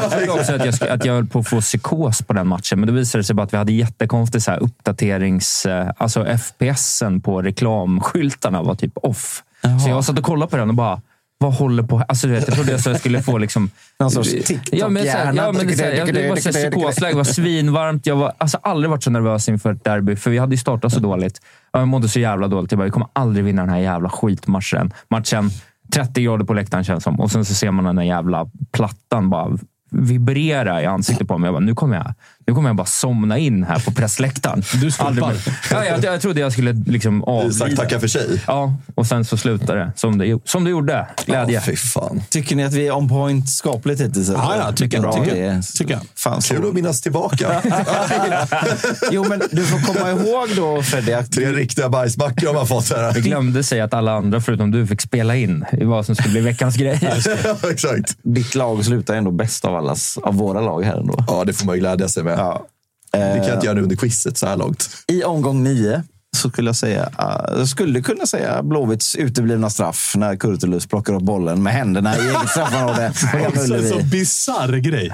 Jag trodde också att jag, sk- att jag höll på att få psykos på den matchen, men då visade det sig bara att vi hade jättekonstig så här uppdaterings... eh, Alltså FPSen på reklamskyltarna var typ off. Så jag satt och kollade på den och bara, vad håller på... Alltså, du vet, jag trodde att jag skulle få liksom...
Någon sorts
ja, men, så här, ja, men, det är så här, jag- det var så här psykosläge. Det var svinvarmt. Jag var alltså, aldrig varit så nervös inför ett derby, för vi hade ju startat så dåligt. Ja, Jag mådde så jävla dåligt. Jag bara, vi kommer aldrig vinna den här jävla skitmatchen. Matchen 30 grader på läktaren känns som. Och sen så ser man den där jävla plattan bara vibrera i ansiktet på mig. Jag bara, nu kommer jag, nu kommer jag bara somna in här på pressläktaren.
Du
Aldrig mer. ja, jag, jag trodde jag skulle liksom avlida.
Isak tackar för sig.
Ja, och sen så slutade det som det, gjo- som det gjorde. Glädje.
Åh, fy fan.
Tycker ni att vi är on point skapligt hittills? eller?
Ja, ja, tycker jag.
Bra,
Tycker
det är-
jag. Tycker jag.
Fan, så-
Kul att minnas tillbaka.
Jo, men du får komma ihåg då Freddy att
Tre riktiga bajsmackor har man fått här.
Vi glömde säga att alla andra förutom du fick spela in i vad som skulle bli veckans grej.
Exakt.
ditt lag slutar ändå bäst av allas, av våra lag här ändå.
Ja, det får man ju glädja sig med.
Ja.
Det kan jag inte göra nu under quizet så här långt.
I omgång nio så skulle jag säga, eh, jag skulle kunna säga Blåvitts uteblivna straff när Kurtulus plockar upp bollen med händerna i eget straffområde. på Gamla
Också en
Ullevi.
så bisarr grej.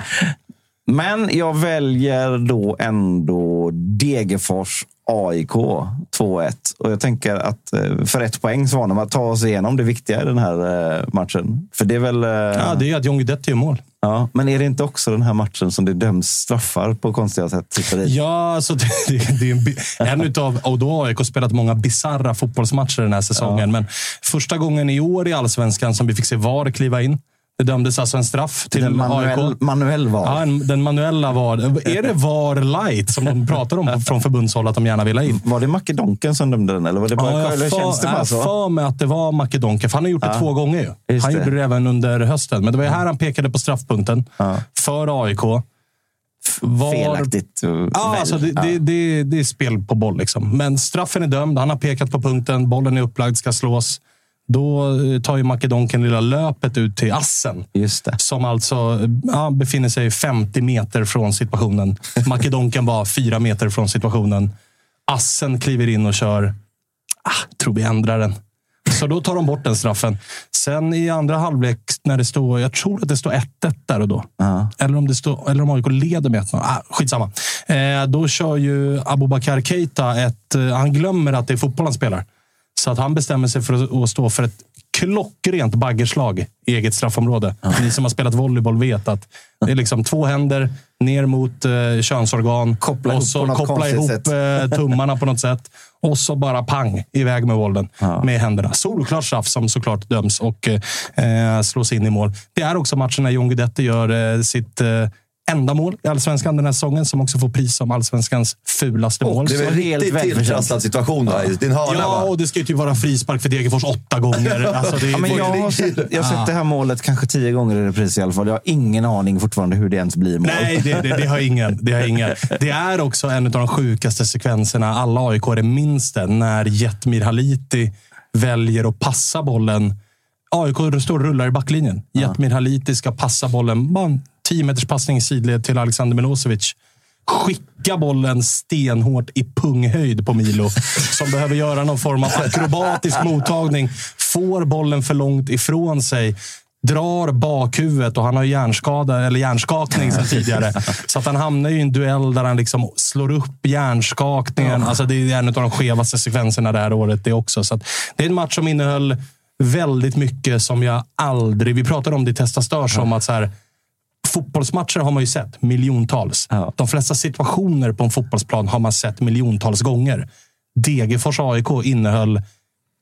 Men jag väljer då ändå Degerfors AIK 2-1. Och jag tänker att eh, för ett poäng så var de att ta oss igenom det viktiga i den här eh, matchen. För det är väl... Ja,
det är att John Guidetti gör mål.
Ja, men är det inte också den här matchen som det döms straffar på konstiga sätt? Typ, hit och dit?
Ja, så Alltså, det, det, det är en, bi- en utav, och då har AIK spelat många bizarra fotbollsmatcher den här säsongen. Men första gången i år i allsvenskan som vi fick se VAR kliva in. Det dömdes alltså en straff till
Typ Den manuell-
AIK.
Manuell VAR.
Ja, en, den manuella VAR. Är det VAR light som de pratar om från förbundshåll att de gärna vill ha in?
Var det Makedonken som dömde den? Eller var det bara
Ja,
eller
jag
känns det bara
har
så?
för mig att det var Makedonka, för han har gjort det
Ja.
två gånger. Ju.
Just
han
det.
gjorde det även under hösten, men det var ju här han pekade på straffpunkten för AIK. F- var-
Felaktigt. eh,
Ja,
väl.
alltså det, Det, det, det är spel på boll. Liksom. Men straffen är dömd, han har pekat på punkten, bollen är upplagd, ska slås. Då eh, tar ju Makedonken lilla löpet ut till assen.
Just det.
Som alltså eh, ja, befinner sig 50 meter från situationen. Makedonken var fyra meter från situationen. Assen kliver in och kör. Ah, tror vi ändrar den. Så då tar de bort den straffen. Sen i andra halvlek, när det står, jag tror att det står 1-1 där och då. Eller om, det står, eller om AIK leder med 1-0. Ah, skitsamma. Eh, då kör ju Abubakar Keita ett... Eh, han glömmer att det är fotboll han spelar. Så att han bestämmer sig för att, att stå för ett klockrent baggerslag i eget straffområde. Ni som har spelat volleyboll vet att det är liksom två händer ner mot eh, könsorgan
Koppla
och
ihop på
så
något
koppla
konstigt
ihop
sätt.
eh, tummarna på något sätt. Och så bara pang, iväg med bollen med händerna. Solklart straff som såklart döms och eh, slås in i mål. Det är också matchen när John Guidetti gör eh, sitt eh, enda mål i allsvenskan den här säsongen, som också får pris som allsvenskans fulaste mål.
Det är väl
Så-
riktigt tilltrasslad situation va? i din hörna.
Ja,
va?
och det ska ju typ vara frispark för Degerfors åtta gånger. Alltså, det,
Ja, men jag har sett, jag har sett det här målet kanske tio gånger i repris i alla fall. Jag har ingen aning fortfarande hur det ens blir mål.
Nej, det, det, det har ingen. Det har ingen. Det är också en av de sjukaste sekvenserna. Alla aik minns den. När Jetmir Haliti väljer att passa bollen. AIK står och rullar i backlinjen. Jetmir Haliti ska passa bollen. Bara en 10 meters passning i sidled till Alexander Milosevic. Skicka bollen stenhårt i punghöjd på Milo, som behöver göra någon form av akrobatisk mottagning. Får bollen för långt ifrån sig drar bakhuvudet och han har ju hjärnskada, eller hjärnskakning sedan tidigare. Så att han hamnar ju i en duell där han liksom slår upp hjärnskakningen. Alltså det är en av de skevaste sekvenserna det här året det också. Så att det är en match som innehöll väldigt mycket som jag aldrig... Vi pratade om det i Testa Störs, om att så här, fotbollsmatcher har man ju sett miljontals. De flesta situationer på en fotbollsplan har man sett miljontals gånger. Degerfors AIK innehöll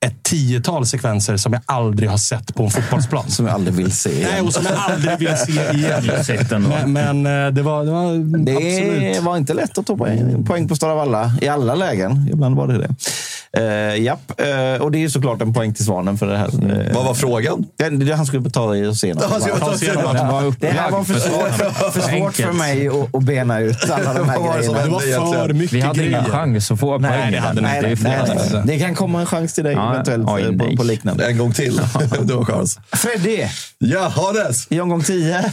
ett tiotal sekvenser som jag aldrig har sett på en fotbollsplan.
Som jag aldrig vill se igen.
Nej, och som jag aldrig vill se igen.
Sett ändå.
Men, men eh, det var, det var
Det
absolut...
var inte lätt att ta poäng, poäng på Stora Valla i alla lägen. Ibland var det det. Eh, japp, Eh, och det är ju såklart en poäng till Svanen för det här. Eh,
Vad var frågan?
den- det- han skulle ta i och se något.
Han skulle ta och se något.
Den var upplagd Det här var för
för
svårt för, för, svårt för
Enkelt.
mig att, att bena ut alla de
Vad var
här
det som
Det
grejerna.
var för
egentligen.
mycket
Vi hade
grejer.
ingen chans att få poäng.
det hade ni
Det är ju
nej,
flera.
nej. Det kan komma en chans till dig
Ja,
eventuellt
oj,
eh, på,
nej.
på liknande.
En gång till. du har chans.
Freddy!
Ja, Hannes!
i omgång 10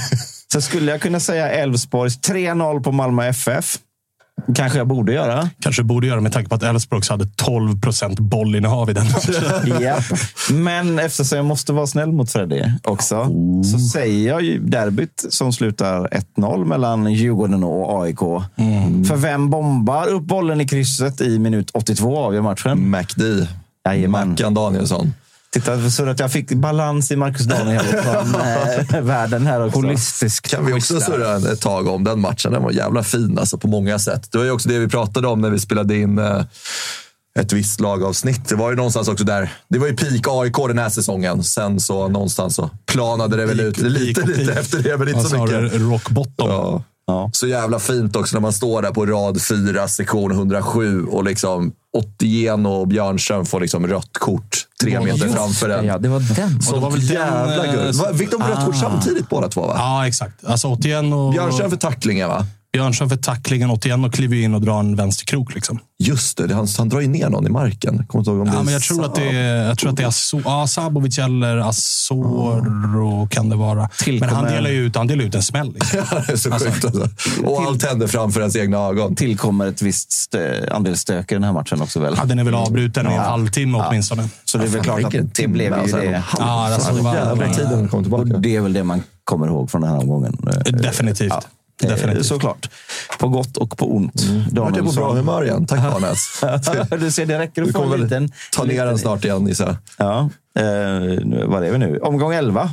så skulle jag kunna säga Elfsborgs 3-0 på Malmö FF. Kanske jag borde göra.
Kanske borde göra med tanke på att Elfsborg också hade 12 procent bollinnehav i den matchen.
Japp. Men eftersom jag måste vara snäll mot Freddy också så säger jag ju derbyt som slutar 1-0 mellan Djurgården och AIK. För vem bombar upp bollen i krysset i minut 82 avgör matchen?
MacD.
Jajamän.
Mackan Danielsson.
Titta så att jag fick balans i Marcus Daniel från eh, världen här också.
Holistisk.
Kan vi också
quiz där.
surra ett tag om den matchen. Den var jävla fin alltså, på många sätt. Det var ju också det vi pratade om när vi spelade in eh, ett visst lagavsnitt. Det var ju någonstans också där. Det var ju peak AIK den här säsongen. Sen så någonstans så planade det väl ut lite,
Gick-
lite efter det, men inte
Och
så
har
mycket.
du rock bottom.
Ja. Så jävla fint också när man står där på rad 4, sektion 107 och liksom Ottien och Björnström får liksom rött kort tre meter
Just
framför
det,
en.
Ja, det var den.
Så
var väl den,
jävla
eh, Ah.
guld. Va, Fick de rött kort samtidigt båda två? Va?
Ja, exakt. Alltså 81 och...
Björnström för tacklingen va?
Björnsson för tacklingen 81 och kliver ju in och drar en vänsterkrok. Liksom.
Just det, han, han drar ju ner någon i marken. Kommer inte ihåg om det
Ja,
är
men jag, tror att det
Saab.
är, jag tror att det är Aso, ja, Sabovic eller Asoro kan det vara. Men han delar ju ut, han delar ut en smäll. Liksom.
det är så sjukt alltså. Och allt händer framför ens egna ögon.
Tillkommer ett visst stö- andel stök i den här matchen också väl?
Ja, den är väl avbruten i en halvtimme åtminstone.
Så det är väl
Ja,
klart
fan,
att det
vilken
blev
timme,
ju
alltså.
det.
Ja, alltså, det var- Jävla tiden
när kom tillbaka.
Och det är väl det man kommer ihåg från den här omgången.
Definitivt.
Eh,
Definitivt.
Såklart. På gott och på ont. Mm.
Vart jag på bra humör igen. Tack Hannes.
du ser, det räcker
Du
att få
kommer
en
väl
liten...
ta ner den snart igen Nisse.
Ja, eh, nu- vad är vi nu? Omgång 11.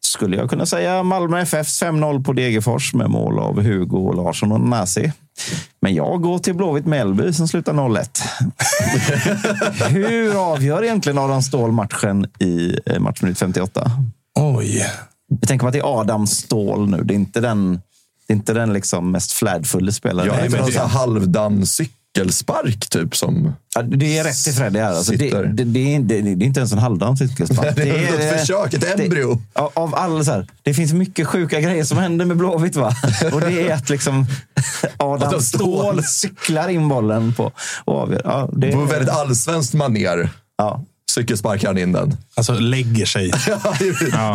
Skulle jag kunna säga Malmö FFs 5-0 på Degerfors med mål av Hugo Larsson och Nasi. Men jag går till Blåvitt Mellby som slutar 0-1. Hur avgör egentligen Adam Ståhl matchen i eh, matchminut 58?
Oj.
Vi tänker på att det är Adam Ståhl nu. Det är inte den, det är inte den liksom mest flärdfulla spelaren.
Jag är
men
någon
det,
sån här halvdan cykelspark typ som...
Ja, det är rätt till Freddy här. Alltså, det,
Sitter.
det, det, är- det, det är inte ens en halvdan cykelspark.
Det är väl ett försök, ett embryo.
Av, av alla så här, det finns mycket sjuka grejer som händer med Blåvitt. Va? Och det är att liksom Adam
Adam Ståhl.
Ståhl cyklar in bollen på och avgör. Ja, det,
På väldigt allsvenskt manér.
Ja.
Cykelsparkar han in den.
Alltså lägger sig.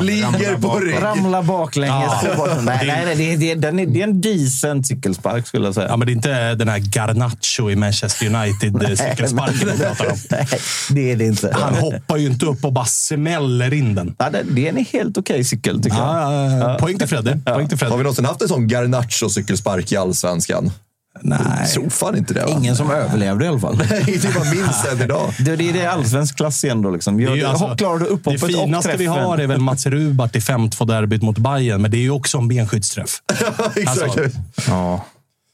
Ligger på rygg.
Ramlar baklänges.
Ja.
på bollen. Nej, nej, nej det, det, den är, det är en decent cykelspark skulle jag säga.
Ja, men det är inte den här Garnacho i Manchester United-cykelsparken vi pratar om.
Nej, det är det inte.
Han hoppar ju inte upp och bara smäller in den.
Ja, det, det är en helt okej cykel tycker jag.
Ja, ja, ja. Poäng till Fredde. Poäng till Fredde.
Har vi någonsin haft en sån Garnacho-cykelspark i allsvenskan?
Nej.
Jag tror fan inte det. Va?
Ingen som överlevde i alla fall.
Nej, det var minst än idag.
Det, det är det allsvensk klass igen då. Liksom.
Det är
Gör,
ju
det
alltså-
klarar du
Det
upphoppet och
finaste
träffen.
vi har är väl Mats Rubart i 5-2 derbyt mot Bayern, men det är ju också en benskyddsträff.
Exakt.
Alltså,
Ja.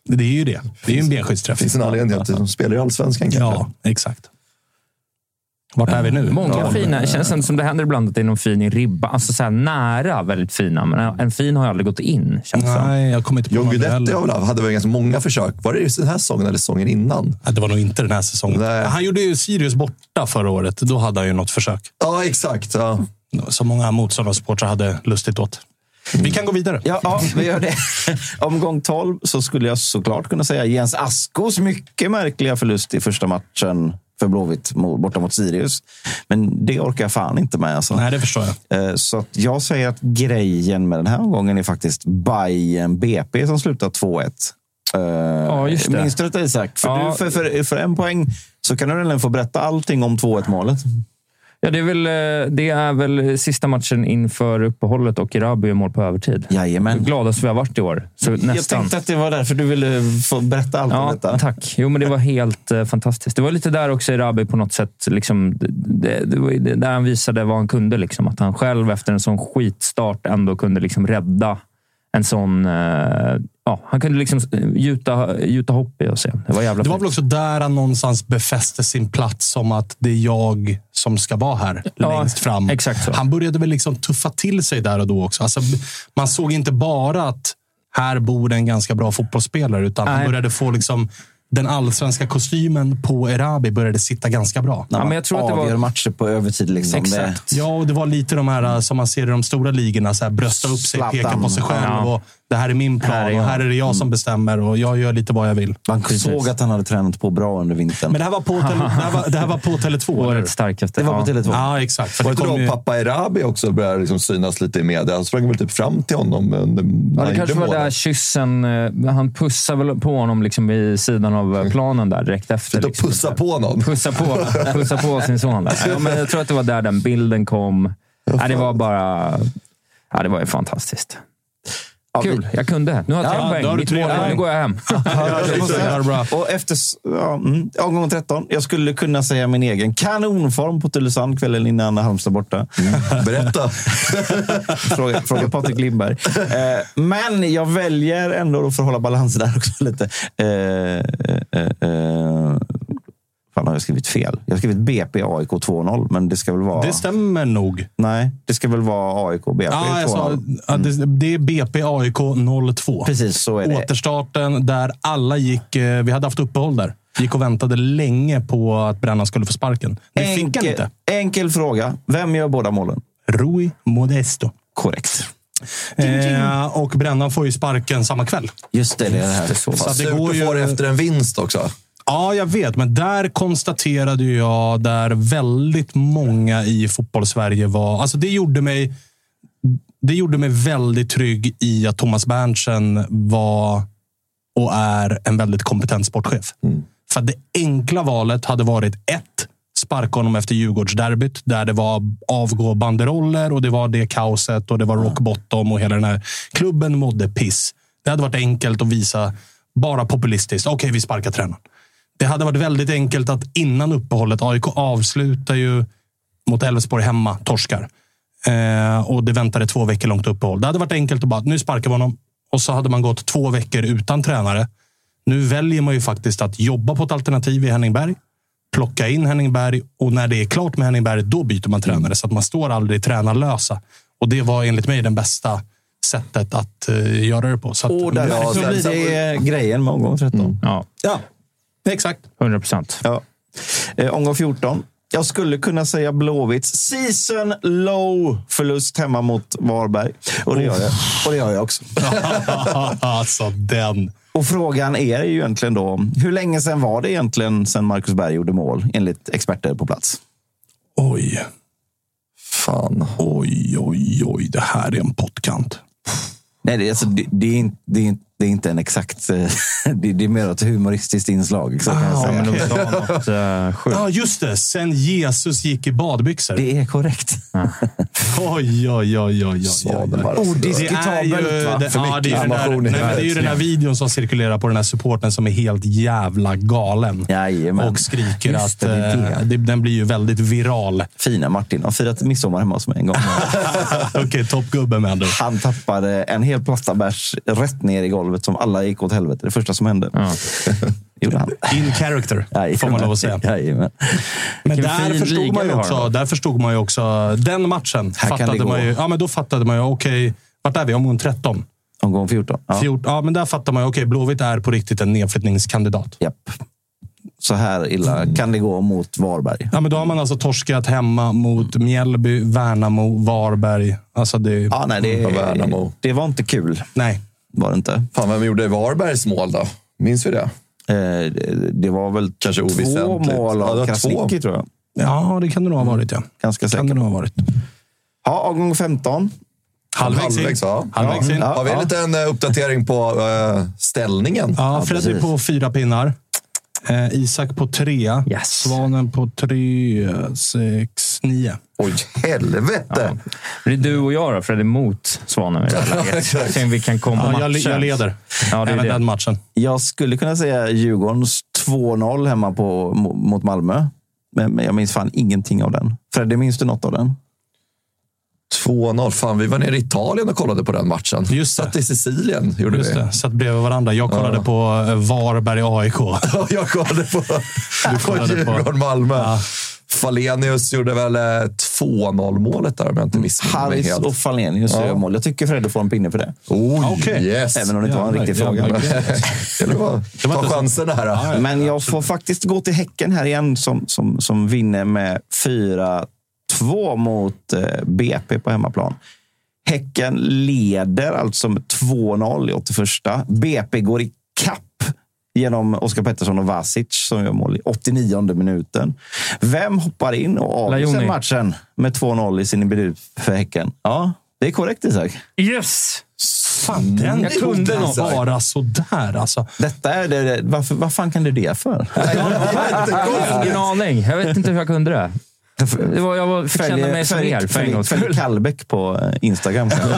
Det är ju det. Det är ju en benskyddsträff.
finns en anledning till att de spelar i allsvenskan kanske.
Ja, exakt. Vart är vi nu?
Många
Ja.
fina. Det känns ändå som det händer ibland att det är någon fin i ribba. Alltså så här nära väldigt fina, men en fin har ju aldrig gått in. Känns det som.
Nej, jag kommer inte på
John
någon
Guidetti
duell.
har väl haft- hade väl ganska många försök. Var det just den här säsongen eller säsongen innan?
Nej, Det var nog inte den här säsongen.
Nej.
Han gjorde ju Sirius borta förra året. Då hade han ju något försök.
Ja, exakt. Ja.
Som många motståndarsupportrar hade lustigt åt. Vi kan gå vidare.
Ja, ja, vi gör det. Omgång 12 så skulle jag såklart kunna säga Jens Askos mycket märkliga förlust i första matchen för Blåvitt mo- borta mot Sirius. Men det orkar jag fan inte med. Alltså.
Nej, det förstår jag.
Eh, Så att jag säger att grejen med den här omgången är faktiskt Bayern BP som slutar 2-1. Eh,
just det.
Minns du detta Isak? För,
Ja.
du, för, för, för en poäng så kan du redan få berätta allting om 2-1 målet.
Ja, det, är väl, eh, det är väl sista matchen inför uppehållet och Irabi gör mål på övertid.
Jajamän.
Gladast vi har varit i år. Så
Jag
nästan.
tänkte att det var därför du ville få berätta allt om detta.
Ja, tack. Jo, men det var helt eh, fantastiskt. Det var lite där också Irabi på något sätt, liksom, det, det, det var ju det- där han visade vad han kunde. Liksom, att han själv efter en sån skitstart ändå kunde liksom rädda en sån... Eh, ja, han kunde liksom eh, gjuta, gjuta hopp i och se. Det var jävla
Det var
fint.
väl också där han någonstans befäste sin plats som att det är jag som ska vara här
Ja,
längst fram.
exakt så.
Han började väl liksom tuffa till sig där och då också. Alltså, b- man såg inte bara att här bor en ganska bra fotbollsspelare, utan han
Nej.
började få liksom den allsvenska kostymen på Erabi började sitta ganska bra.
Ja,
När man
men jag tror att det var-
avgör matcher på övertid. Liksom.
Exakt.
Ja, och det var lite de här eh, som man ser i de stora ligorna. Så här, brösta upp sig, peka
Zlatan.
på sig själv.
Ja.
Och, det här är min plan
Här är jag. Mm.
och här är det jag som bestämmer och jag gör lite vad jag vill.
Det, man såg att han hade tränat på bra under vintern.
Men det här var på, tele, det här var, det här var på Tele2, eller hur?
Årets starkaste.
det var på
ja.
Tele2.
Ja, exakt. För
Var
det
inte då
kom ju...
pappa Erabi också började liksom synas lite i media? Han sprang väl typ fram till honom under
Ja, det kanske var där kyssen... eh, Han pussar väl på honom liksom i sidan av eh, planen där direkt efter.
Sluta
liksom.
pussa på någon.
Pussa på, pussa på sin son. Där. Ja, men jag tror att det var där den bilden kom. Ja, det var bara... Ja, det var ju fantastiskt.
Ja, vi-
Kul. Jag kunde. Nu har jag
Ja, då
tre
har
poäng.
du
Mitt
tre
mål är-
poäng.
Nu går jag hem.
Ja, det måste jag
Ja, bra.
göra. Och efter ja, mm, omgång 13, jag skulle kunna säga min egen kanonform på Tylösand kvällen innan Halmstad borta.
Mm.
Berätta.
Fråga, fråga Patrik Lindberg. Eh, men jag väljer ändå, för att hålla balansen där också lite. Eh, eh, eh, fan, har jag skrivit fel? Jag har skrivit BP AIK 2-0, men det ska väl vara...
Det stämmer nog.
Nej, det ska väl vara AIK BP
Ja,
2-0.
jag sa, ja, det, det är BP AIK 02.
Precis, så är det.
Återstarten där alla gick... eh, Vi hade haft uppehåll där. Gick och väntade länge på att Brännan skulle få sparken. Det fick han inte.
enkel fråga. Vem gör båda målen?
Rui Modesto.
Korrekt.
Eh, och Brännan får ju sparken samma kväll.
Just det, det är det här.
Så,
Fast
att det
Surt
går
du
ju...
får efter en vinst också.
Ja, jag vet. Men där konstaterade ju jag där väldigt många i fotbollssverige var... Alltså det gjorde mig... Det gjorde mig väldigt trygg i att Thomas Berntsen var och är en väldigt kompetent sportchef. För att det enkla valet hade varit ett, sparka honom efter Djurgårdsderbyt där det var avgå banderoller och det var det kaoset och det var rock bottom och hela den här klubben mådde piss. Det hade varit enkelt att visa bara populistiskt. Okej, vi sparkar tränaren. Det hade varit väldigt enkelt att innan uppehållet, AIK avslutar ju mot Elfsborg hemma, torskar. Eh, och det väntade två veckor långt uppehåll. Det hade varit enkelt att bara, nu sparkar vi honom. Och så hade man gått två veckor utan tränare. Nu väljer man ju faktiskt att jobba på ett alternativ i Henning Berg. Plocka in Henning Berg och när det är klart med Henning Berg, då byter man tränare. Så att man står aldrig tränarlösa. Och det var enligt mig det bästa sättet att eh, göra det på. Så att,
Och där
Ja,
så
sen-
blir det eh, grejen med omgång 13.
Ja.
ja, exakt.
100 procent.
Ja. Eh, omgång 14. Jag skulle kunna säga Blåvitts season low förlust hemma mot Varberg. Och det gör jag, och det gör jag också.
alltså den.
Och frågan är ju egentligen då, hur länge sedan var det egentligen sedan Marcus Berg gjorde mål, enligt experter på plats?
Oj.
Fan.
Oj, oj, oj. Det här är en pottkant.
Nej, det, är alltså, det, det, är, inte- det, är, inte- det är inte en exakt... eh, Det, det är mer ett humoristiskt inslag. Så kan jag
Ah,
säga.
okej.
Men de sa något, eh,
Ja,
sjukt.
ah, just det. Sen Jesus gick i badbyxor.
Det är korrekt.
Oj, oj, oj, oj, oj. oj.
Odiskutabelt,
Det är ju
va?
det-
För
ja,
mycket
det är ju den där-
information i
nej, men det är ju den här
världen.
videon som cirkulerar på den här supporten som är helt jävla galen.
Jajamän.
Och skriker
Just
att
det, det
eh,
är
det, den blir ju väldigt viral.
Fina Martin har firat midsommar hemma hos mig en gång.
Okej, toppgubben med andra ord.
Han tappade en hel plastabärs rätt ner i golvet som alla gick åt helvete. Det första som hände. gjorde han.
In character, får man lov att säga.
Jajamän.
Men
Vilken
där
fin
förstod,
liga
man ju
vi har
också,
då.
där förstod man ju också... Den matchen
Här kan det
fattade
gå.
man ju... Ja, men då fattade man ju, okej, vart är vi? Omgång 13?
Omgång 14. Ja.
14, ja, men där fattar man ju, okej, Blåvitt är på riktigt en nedflyttningskandidat.
Japp. Så här illa kan det gå mot Varberg.
Ja, men då har man alltså torskat hemma mot Mjällby, Värnamo, Varberg. Alltså det...
Ja, nej,
Ja,
det,
Värnamo.
det var inte kul.
Nej.
Var det inte.
Fan, vem gjorde Varbergs mål då? Minns vi det?
Eh, Det var väl
Kanske
två
oväsentligt.
mål
Ja, det
av
var
Krasniqi,
två.
tror jag.
Ja, det kan det nog ha varit, ja.
Ganska
Kan det
säkert.
nog ha varit.
Ja, omgång 15.
Halvvägs in.
Halvvägs, ja.
Halvvägs in.
Ja.
Har vi en liten eh, uppdatering på eh, ställningen?
Ja, Freddy
precis.
på fyra pinnar. Eh, Isak på tre.
Yes.
Svanen på tre, sex, nio.
Oj, helvete!
Det är du och jag då, Fredrik, mot Svanen i det här läget.
exakt.
Sen vi kan komma
Ja, jag, le-
matchen.
jag leder.
Ja, det är
Även
det.
den matchen.
Jag skulle kunna säga Djurgårdens 2-0 hemma på, mo- mot Malmö. Men, men jag minns fan ingenting av den. Fredde, minns du något av den?
2-0. Fan, vi var nere i Italien och kollade på den matchen.
Just det.
Satt i Sicilien, gjorde
Just
vi.
det. Satt bredvid varandra. Jag kollade på eh, Varberg AIK.
Ja, jag kollade på, på
kollade på-
Djurgården-Malmö.
Ja.
Fallenius gjorde väl eh, 2-0 målet där om
Mm.
jag inte missminner mig
Harris
helt.
och Falenius
Ja.
gör mål. Jag tycker Fredde får en pinne för det.
Oj,
Okej.
yes!
Även om det inte var en
Jävlar,
riktig
jävlar,
fråga.
Eller vad?
var
Ta
inte så-
chansen här.
Ja,
Men jag får faktiskt gå till Häcken här igen som, som, som vinner med 4-2 mot eh, BP på hemmaplan. Häcken leder alltså med 2-0 i 81. BP går i kapp genom Oskar Pettersson och Vasic som gör mål i 89 minuten. Vem hoppar in och avgör
Lajoni.
sen matchen med 2-0 i sin debut för Häcken? Ja, det är korrekt Isak.
Yes!
Fan, den alltså.
Jag kunde
kunde
något.
vara sådär alltså.
Detta är det, varför, vad fan kan du det för?
Jag har ingen aning. Jag vet inte hur jag kunde det. det var, jag var, fick känna mig som er för en gångs
Följ
skull.
Kallbäck på eh, Instagram.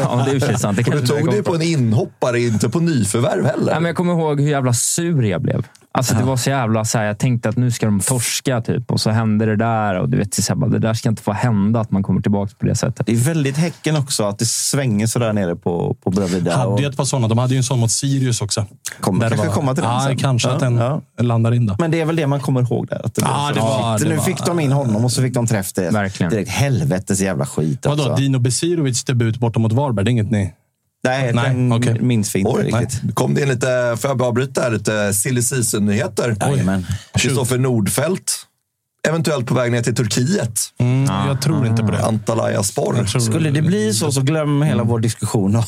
Ja, det är i och för sig sant. Det
Du
kanske
tog
jag
det ju
kom
på en inhoppare, inte på nyförvärv heller.
Nej, men jag kommer ihåg hur jävla sur jag blev. Alltså, det var så jävla så här, Jag tänkte att nu ska de torska typ. och så hände det där. Och du vet, så här, bara, det där ska inte få hända, att man kommer tillbaka på det sättet.
Det är väldigt Häcken också, att det svänger sådär nere på, på Bravida.
Hade
Och,
ju ett par sådana. De hade ju en sån mot Sirius också.
Kommer-
Där det
kanske
var-
komma till den
ja,
sen.
Kanske
Ja,
att den
ja.
landar in där.
men det är väl det man kommer ihåg där. Att det
Ja,
blev så.
det var-
Shit,
det
nu
var-
fick de in honom och så fick de träff direkt.
Verkligen.
direkt. Helvetes jävla skit.
Vadå?
Alltså.
Dino Besirovic debut borta mot Varberg, det är inget ni...
Nej,
Nej,
den
okej.
minns vi inte
Oj, nej.
riktigt.
kom det in lite, får jag bara avbryta här, lite silly season-nyheter?
Jajamän.
Kristoffer Nordfeldt eventuellt på väg ner till Turkiet.
Mm.
Mm, Jag tror inte på det.
Antalya Spor.
Skulle det bli så, så glöm hela
Mm.
vår diskussion om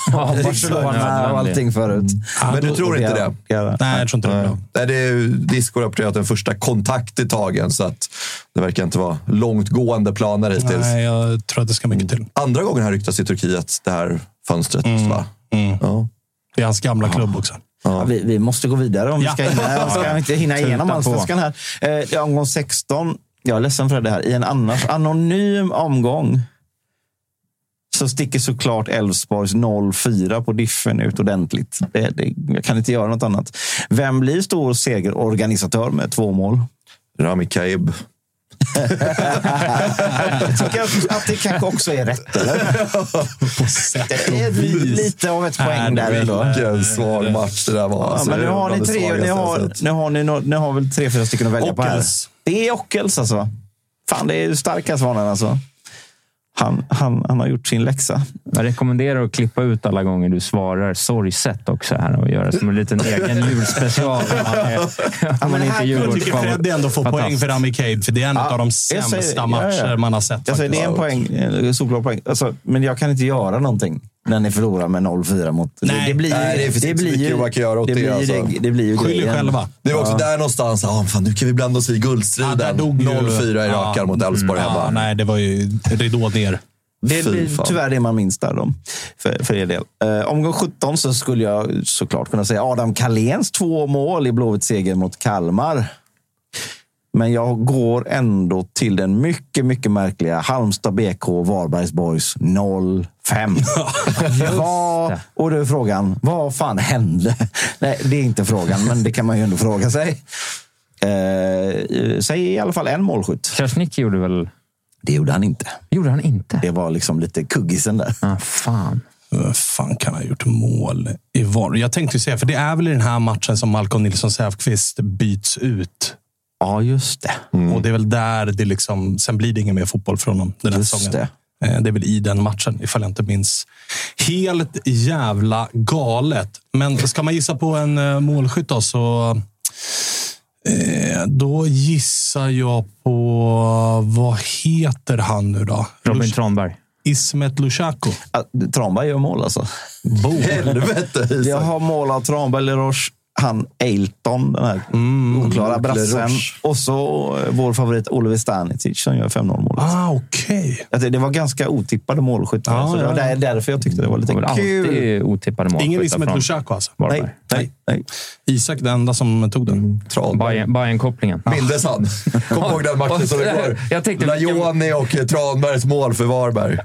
Barcelona och allting förut.
Men du tror inte det?
Nej, jag tror inte det.
Nej, det är ju Disco rapporterat en första kontakt i tagen, så att det verkar inte vara långtgående planer hittills.
Nej, jag tror att det ska mycket
Mm.
till.
Andra gången har ryktats i Turkiet, det här fönstret. Va?
Mm.
Ja.
Det är hans gamla klubb också.
Ja,
vi, vi måste gå vidare om
Ja.
vi ska hinna, ska inte hinna
Tuta
igenom
på.
allsvenskan här. Eh, det är omgång 16. Jag är ledsen för det här. I en annars anonym omgång så sticker såklart Elfsborgs 0-4 på diffen ut ordentligt. Det, det, jag kan inte göra något annat. Vem blir stor segerorganisatör med två mål?
Rami Kaib.
jag tycker att det kanske också är rätt, eller? Det är lite av ett poäng där ändå.
Vilken svag match det där var.
Ja,
alltså.
men nu
Det var
har ni
det
tre, ni
svagaste jag
har,
sett.
nu har ni, nå- ni har väl tre, fyra stycken att välja på här.
Ockels.
Det är Ockels alltså. Fan, det är ju starka svanen alltså. Han, han, han har gjort sin läxa.
Jag rekommenderar att klippa ut alla gånger du svarar sorgset också här och göra som en liten egen julspecial. om man är- Om man inte är
jag
Djurgårds-
tycker Freddy ändå får poäng
Fantastiskt.
för Rami Cade, för det är en av de
jag säger-
sämsta
ja, ja.
matcher man har sett.
Alltså, det är en
faktiskt.
poäng, en solklar poäng. Alltså, men jag kan inte göra någonting när ni förlorar med 0-4 mot...
Nej.
det blir ju-
Nej, det finns inte så
blir
mycket
ju-
man kan göra åt det,
blir ju
alltså.
det, det blir ju
Skyll er
grejen.
själva.
Det var också där någonstans. Ah, fan, nu kan vi blanda oss i
Ja, där
guldstriden.
dog ju-
0-4 i rakan
Ja. Mm.
mot Elfsborg
Ja,
hemma.
nej, det var ju ridå ner.
Det
Fy
blir
fan.
tyvärr det man minns där. Då, för, för er del. Eh, omgång 17 så skulle jag såklart kunna säga Adam Carléns två mål i Blåvitts seger mot Kalmar. Men jag går ändå till den mycket, mycket märkliga Halmstad BK Varbergs Boys 05. vad, och då är frågan, vad fan hände? Nej, det är inte frågan, men det kan man ju ändå fråga sig. Eh, säg i alla fall en målskytt.
Krasniqi gjorde väl...
Det gjorde han inte.
gjorde han inte?
Det var liksom lite kuggisen där.
Ah, fan.
Vad fan kan han ha gjort mål i var? Jag tänkte ju säga, för det är väl i den här matchen som Malcolm Nilsson Säfqvist byts ut.
Ja, just det.
Och det är väl där det liksom, sen blir det ingen mer fotboll från honom den här
Just
säsongen.
det.
Eh, Det är väl i den matchen, ifall jag inte minns. Helt jävla galet. Men ska man gissa på en eh, målskytt då, så... eh, Då gissar jag på... Vad heter han nu då?
Robin
Lush-
Tranberg.
Ismet Lushaku.
Ah, Tranberg gör mål alltså.
Boom.
Helvete, Isak.
Jag har mål av Tranberg, Leroche, han Ailton, den här oklara brassen.
Leroche.
Och så eh, vår favorit Oliver Stanisic som gör 5-0 målet.
Ah, okej.
Att Det, det var ganska otippade målskyttar.
Ja,
så det var
ja, ja.
där, därför jag tyckte det var
Det
lite
var väl
kul.
alltid otippade mål.
Ingen Ismet Lushaku alltså?
Varberg.
Nej, nej, nej.
Isak den enda som tog den.
Mm.
Tran.
Bayern- Bayern-kopplingen.
Mindes han? Kom ihåg den matchen som igår.
Jag tänkte-
Lajoni och eh, Tranbergs mål för Varberg.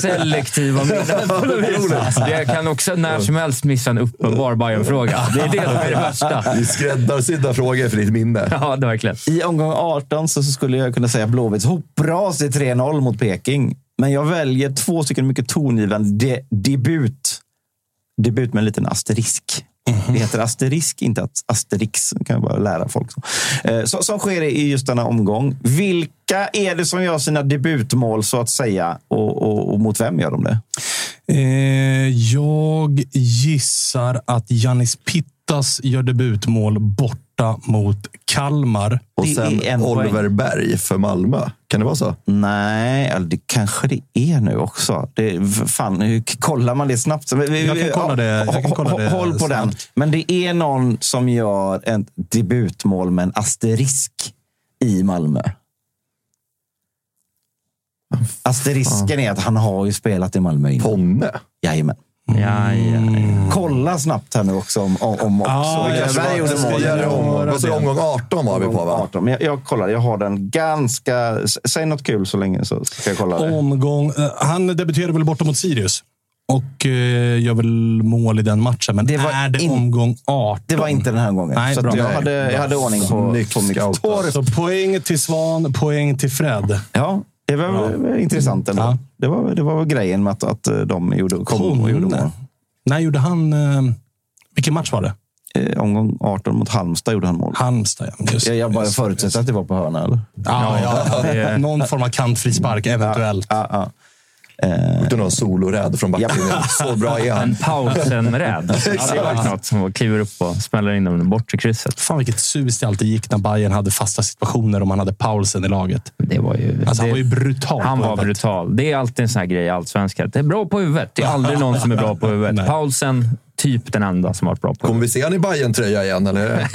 selektiva minnen på något vis. Jag Alltså, kan också när som helst missa en uppenbar Bayern-fråga. Det är det som är det värsta.
Vi skräddarsydda frågor för ditt minne.
Ja, det är verkligen.
I omgång 18 så, så skulle jag kunna säga Blåvitts hopras i 3-0 mot Peking. Men jag väljer två stycken mycket tongivande de, debut. Debut med en liten asterisk. Det heter asterisk, inte att asterix. Det kan jag bara lära folk. Så. Eh, så, som sker i just denna omgång. Vilka är det som gör sina debutmål så att säga? Och, och, och mot vem gör de det?
Eh, jag gissar att Janis Pittas gör debutmål borta mot Kalmar.
Och
Det
sen
är en
Oliver
poäng.
Berg för Malmö. Kan det vara så?
Nej, eller det kanske det är nu också. Det, fan, hur kollar man det snabbt?
Jag
Vi-
kan
vi-
kolla
ja,
det- jag kan kolla
hå- hå-
det
Håll på den.
snabbt.
Men det är någon som gör ett debutmål med en asterisk i Malmö. Asterisken är att han har ju spelat i Malmö innan.
Ponne?
Jajamän.
Ja, ja,
Kolla snabbt här nu också om, om, om också.
Mm. Ah,
Oliver
det kanske
Berg
var-
gjorde
det ska
mål.
göra om-
Vad sa du, omgång 18 var vi på va?
18. Men jag, jag kollar, jag har den ganska... s- Säg något kul så länge så ska jag kolla det.
Omgång. Eh, han debuterade väl borta mot Sirius och eh, gör väl mål i den matchen. Men
Det var
är det
in-
omgång 18?
Det var inte den här gången.
Nej,
så att
bra.
jag,
Nej,
hade, jag hade ordning på,
Snyggt
på mitt
scoutat.
torp.
Så poäng till Svan, poäng till Fred.
Ja, det var väl intressant ändå.
Ja.
Det, var, det var väl grejen med att, att eh, de gjorde, kom och gjorde mål.
Ponne. När gjorde han... Eh, vilken match var det?
Eh, omgång 18 mot Halmstad gjorde han mål.
Halmstad, ja. Just,
Jag, jag bara
just.
förutsätter att det var på hörna, eller?
Ja, ja, ja.
det-
Någon form av kantfri spark, eventuellt.
Ja, ja.
Utan någon soloräd från backlinjen. Så bra är han.
En Paulsen-räd. Ja, det var ju något som kliver upp och smäller in den bort till krysset.
Fan vilket sus det alltid gick när Bayern hade fasta situationer och man hade Paulsen i laget.
Det var ju,
alltså, han
det-
var ju brutal.
Han
på
var
huvudet.
brutal. Det är alltid en sån här grej i Allsvenskan. Det är bra på huvudet. Det är aldrig någon som är bra på huvudet. Paulsen, typ den enda som har varit bra på
Kommer vi se han i bayern tröja igen? Eller?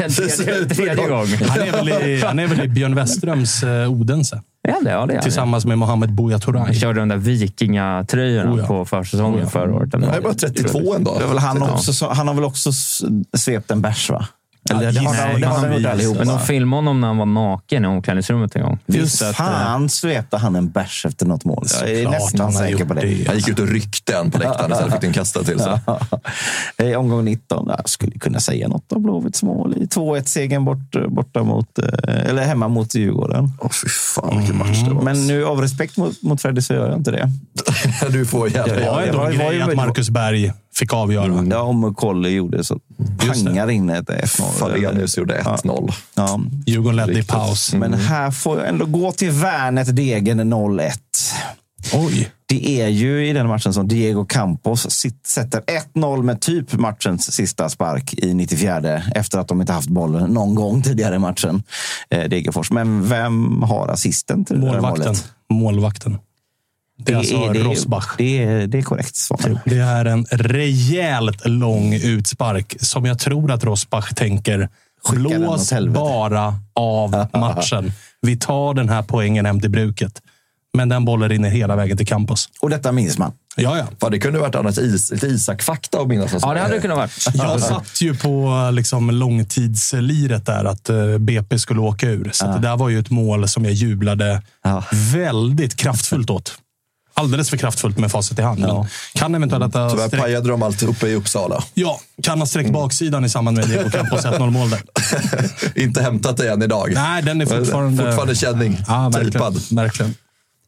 Tredje- tredje gången.
Han är väl i, han är väl i Björn Weströms eh, Odense?
Ja, det, ja, det är han.
Tillsammans med Mohamed Buya Turay.
Han körde de där vikingatröjorna
Oh ja.
på försäsongen förra året.
Han är bara 32 ändå.
Det är väl han,
Ja.
också, som- han har väl också s- svept en bärs, va? Eller, det har
Nej,
de- det har de
Men
gjort
de
allihopa.
filmade honom när han var naken i omklädningsrummet en gång.
Just
Så att,
fan svepte han en bärs efter något mål. Jag eh, är
Såklart han har
nästan säker
gjort
på det.
det.
Han gick ut och ryckte en på läktaren och sen fick den kastad till sig.
I omgång 19. Jag skulle kunna säga något om Blåvitts mål i 2-1-segern bort, borta mot, eh, eller hemma mot Djurgården.
Åh, fy fan vilken match det var.
Men nu av respekt mot, mot Freddy så gör jag inte det.
Mm. Du får jävla...
Det var ändå en grej att Marcus Berg fick avgöra.
Ja, om Kolle gjorde så pangar in ett 1-0.
Fallenius gjorde 1-0.
Ja.
Djurgården ledde i paus.
Men här får jag ändå gå till Värnet Degen 0-1.
Oj!
Det är ju i den matchen som Diego Campos sitt, sätter 1-0 med typ matchens sista spark i 94 efter att de inte haft bollen någon gång tidigare i matchen. Eh, Degerfors. Men vem har assisten till det där
Målvakten.
målet?
Målvakten. Det är alltså
det,
Rosbach. Typ.
Det är, det är korrekt svar.
Det är en rejält lång utspark som jag tror att Rosbach tänker
Skicka den åt
blås
helvete."
bara av matchen. Vi tar den här poängen hem till bruket. Men den bollen rinner hela vägen till campus.
Och detta minns man.
Ja, ja.
Fan, det kunde varit annars is, lite Isak-fakta att minnas.
Ja, det hade det kunnat varit.
Jag satt ju på liksom, långtidsliret där att eh, BP skulle åka ur. Så att det där var ju ett mål som jag jublade väldigt kraftfullt åt. Alldeles för kraftfullt med facit i hand. Men Kan eventuellt att
Tyvärr
ha sträckt,
pajade de allt uppe i Uppsala.
ja, kan ha sträckt baksidan i samband med Diego Campos 1-0 mål där.
Inte hämtat det än idag.
Nej, den är fortfarande...
Fortfarande känning.
Ja, verkligen.
Tejpad.
verkligen.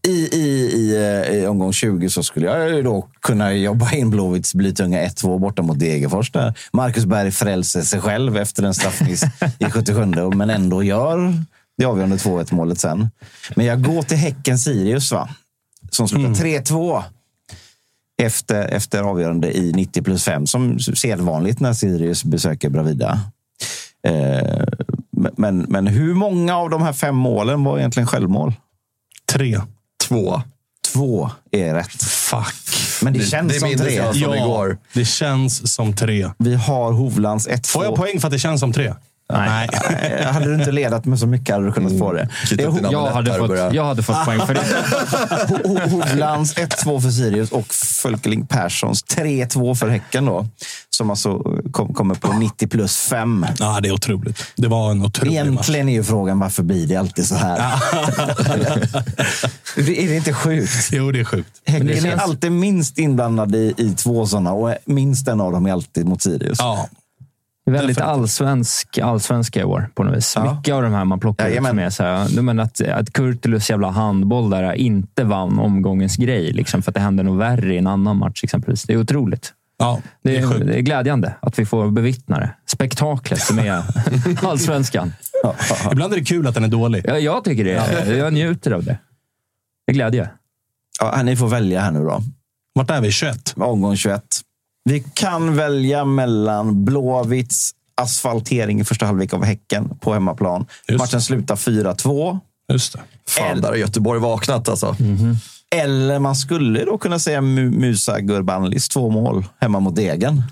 I, i, i, eh, i omgång 20 så skulle jag ju då kunna jobba in Blåvitts Blytunga 1-2 borta mot Degerfors. Där Marcus Berg frälser sig själv efter en straffmiss i 77 men ändå gör det avgörande 2-1 målet sen. Men jag går till Häcken-Sirius, va? som slutar 3-2 efter, efter avgörande i 90 plus 5, som sedvanligt när Sirius besöker Bravida. Eh, men, men hur många av de här fem målen var egentligen självmål?
Tre.
Två.
Två är rätt.
Fuck.
Men det,
Det-
känns
det
som
minns
tre.
jag. Som igår.
det känns som tre.
Vi har Hovlands 1-2.
Får jag poäng för att det känns som tre? Nej.
Eh, Hade du inte ledat med så mycket hade du kunnat få
Mm.
det.
Kitta
det är
upp
Ho-
dina
Jag
amuletter
hade,
och börja-
fått, jag hade fått poäng för det.
Ho- Ho- Hovlands 1-2 för Sirius och Fölkeling Perssons 3-2 för Häcken. Då, som alltså kom, kommer på 90 plus 5.
Ja, det är otroligt. Det var en otrolig match.
Egentligen är ju frågan varför blir det alltid så här? Det- är det inte sjukt?
Jo, det är sjukt.
Häcken
det
är
känns-
alltid minst inblandad i, i två sådana och minst en av dem är alltid mot Sirius.
Ja,
Väldigt allsvensk, allsvenska i år på något vis. Mycket av de här man plockar ut
Jajamän.
som är så här, nej, men att, att Kurtulus jävla handboll där inte vann omgångens grej. Liksom, för att det hände nog värre i en annan match exempelvis. Det är otroligt.
ja
Det är,
sjukt.
det är glädjande att vi får bevittna det. Spektaklet som är allsvenskan.
Ibland är det kul att den är dålig.
Jag, jag tycker det. är- Jag njuter av det. Det är glädje.
Ja, ni får välja här nu då.
Vart är vi? 21?
omgång 21. Vi kan välja mellan Blåvitts asfaltering i första halvlek av Häcken på hemmaplan.
Just.
Matchen slutar 4-2.
Just det.
Fan, där har Göteborg vaknat alltså.
Mm.
Eller man skulle då kunna säga Mu- Musa Gurbanlis två mål hemma mot Degen.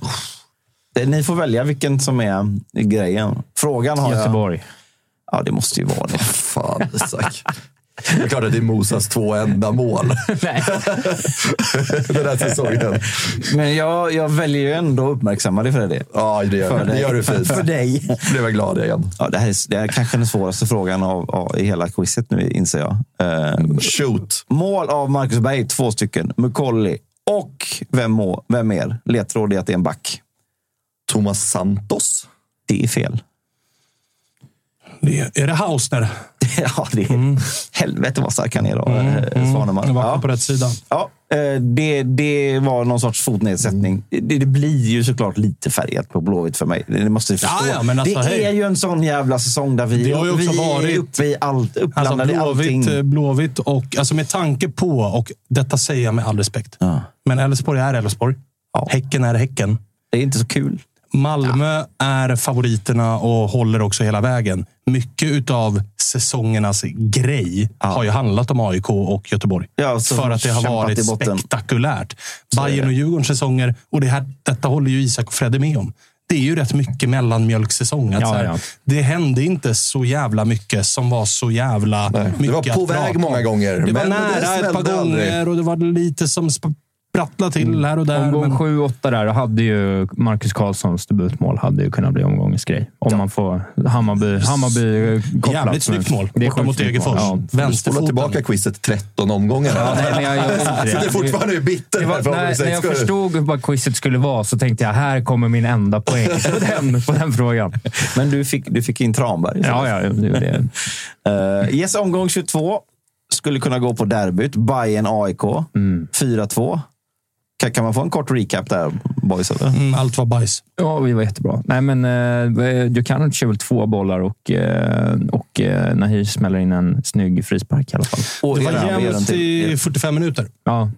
Det- Ni får välja vilken som är grejen. Frågan har jag...
Göteborg.
Ja, det måste ju vara det.
Fan, Isak. Det är klart att det är Mosas två enda mål
Nej.
den här säsongen.
Men jag, jag väljer ju ändå att uppmärksamma dig för det.
Ja, det
För
gör,
dig.
det gör du fint.
För dig.
Blev jag glad igen.
Ja, det, här är, det här är kanske den svåraste frågan av, av, i hela quizet nu, inser jag. Eh,
Shoot.
Mål av Marcus Berg, två stycken. Mukolli och vem, må, vem mer? Ledtråd är att det är en back.
Thomas Santos.
Det är fel.
det är, är det Hausner? Mm.
ja, det är, Helvete vad stark han är då, eh, Svanemar.
Jag vaknade
Ja.
mm. på rätt sida.
Ja, Eh, Det, det var någon sorts fotnedsättning.
Mm.
Det, det blir ju såklart lite färgat på Blåvitt för mig. Det måste ni förstå.
Ja, ja, men alltså,
det
hej.
är ju en sån jävla säsong där vi,
Det har ju också
vi
varit-
är uppe i allt.
Alltså
Uppblandade i
Blåvitt,
allting.
eh, Blåvitt och, alltså med tanke på, och detta säger jag med all respekt, men Elfsborg är Elfsborg. Häcken är Häcken.
Det är inte så kul.
Malmö är favoriterna och håller också hela vägen. Mycket av säsongernas grej har ju handlat om AIK och Göteborg.
så
för att det har
kämpat
varit
i botten.
spektakulärt.
Så är
Bayern
det.
och Djurgårdens säsonger, och det här, detta håller ju Isak och Fredde med om. Det är ju rätt mycket mellanmjölksäsong. Att
Ja,
så här,
ja.
Det hände inte så jävla mycket som var så jävla mycket
Det var
att
på
prata
väg
om.
många gånger,
Det var
men det
nära ett par
smällde
gånger
aldrig. Mm.
och det var lite som sprattlade till här och där.
Omgång
men-
7-8 där hade ju Marcus Karlssons debutmål hade ju kunnat bli omgångens grej. Om man får Hammarby, Hammarby kopplat.
Jävligt snyggt mål.
sjukt
Borta mot
snyggt
Degerfors.
mål.
Du spolar tillbaka quizet 13 omgångar.
Ja, nej, men jag gör inte
Så det är fortfarande bitter.
Det var,
här för
när, när jag
Hammarby skull.
förstod vad quizet skulle vara så tänkte jag, här kommer min enda poäng på den, på den frågan.
Men du fick, du fick in Tranberg.
Ja, ja, det gjorde jag.
Eh, yes, omgång 22 skulle kunna gå på derbyt. Bayern AIK.
Mm.
4-2. Kan, kan man få en kort recap där, boys? Eller?
Mm, allt var bajs.
Ja, vi var jättebra. Nej, men eh, Djukanovic kör väl två bollar och, eh, och eh, Nahir smäller in en snygg frispark i alla fall.
det var jämnt i 45 minuter.
Ja.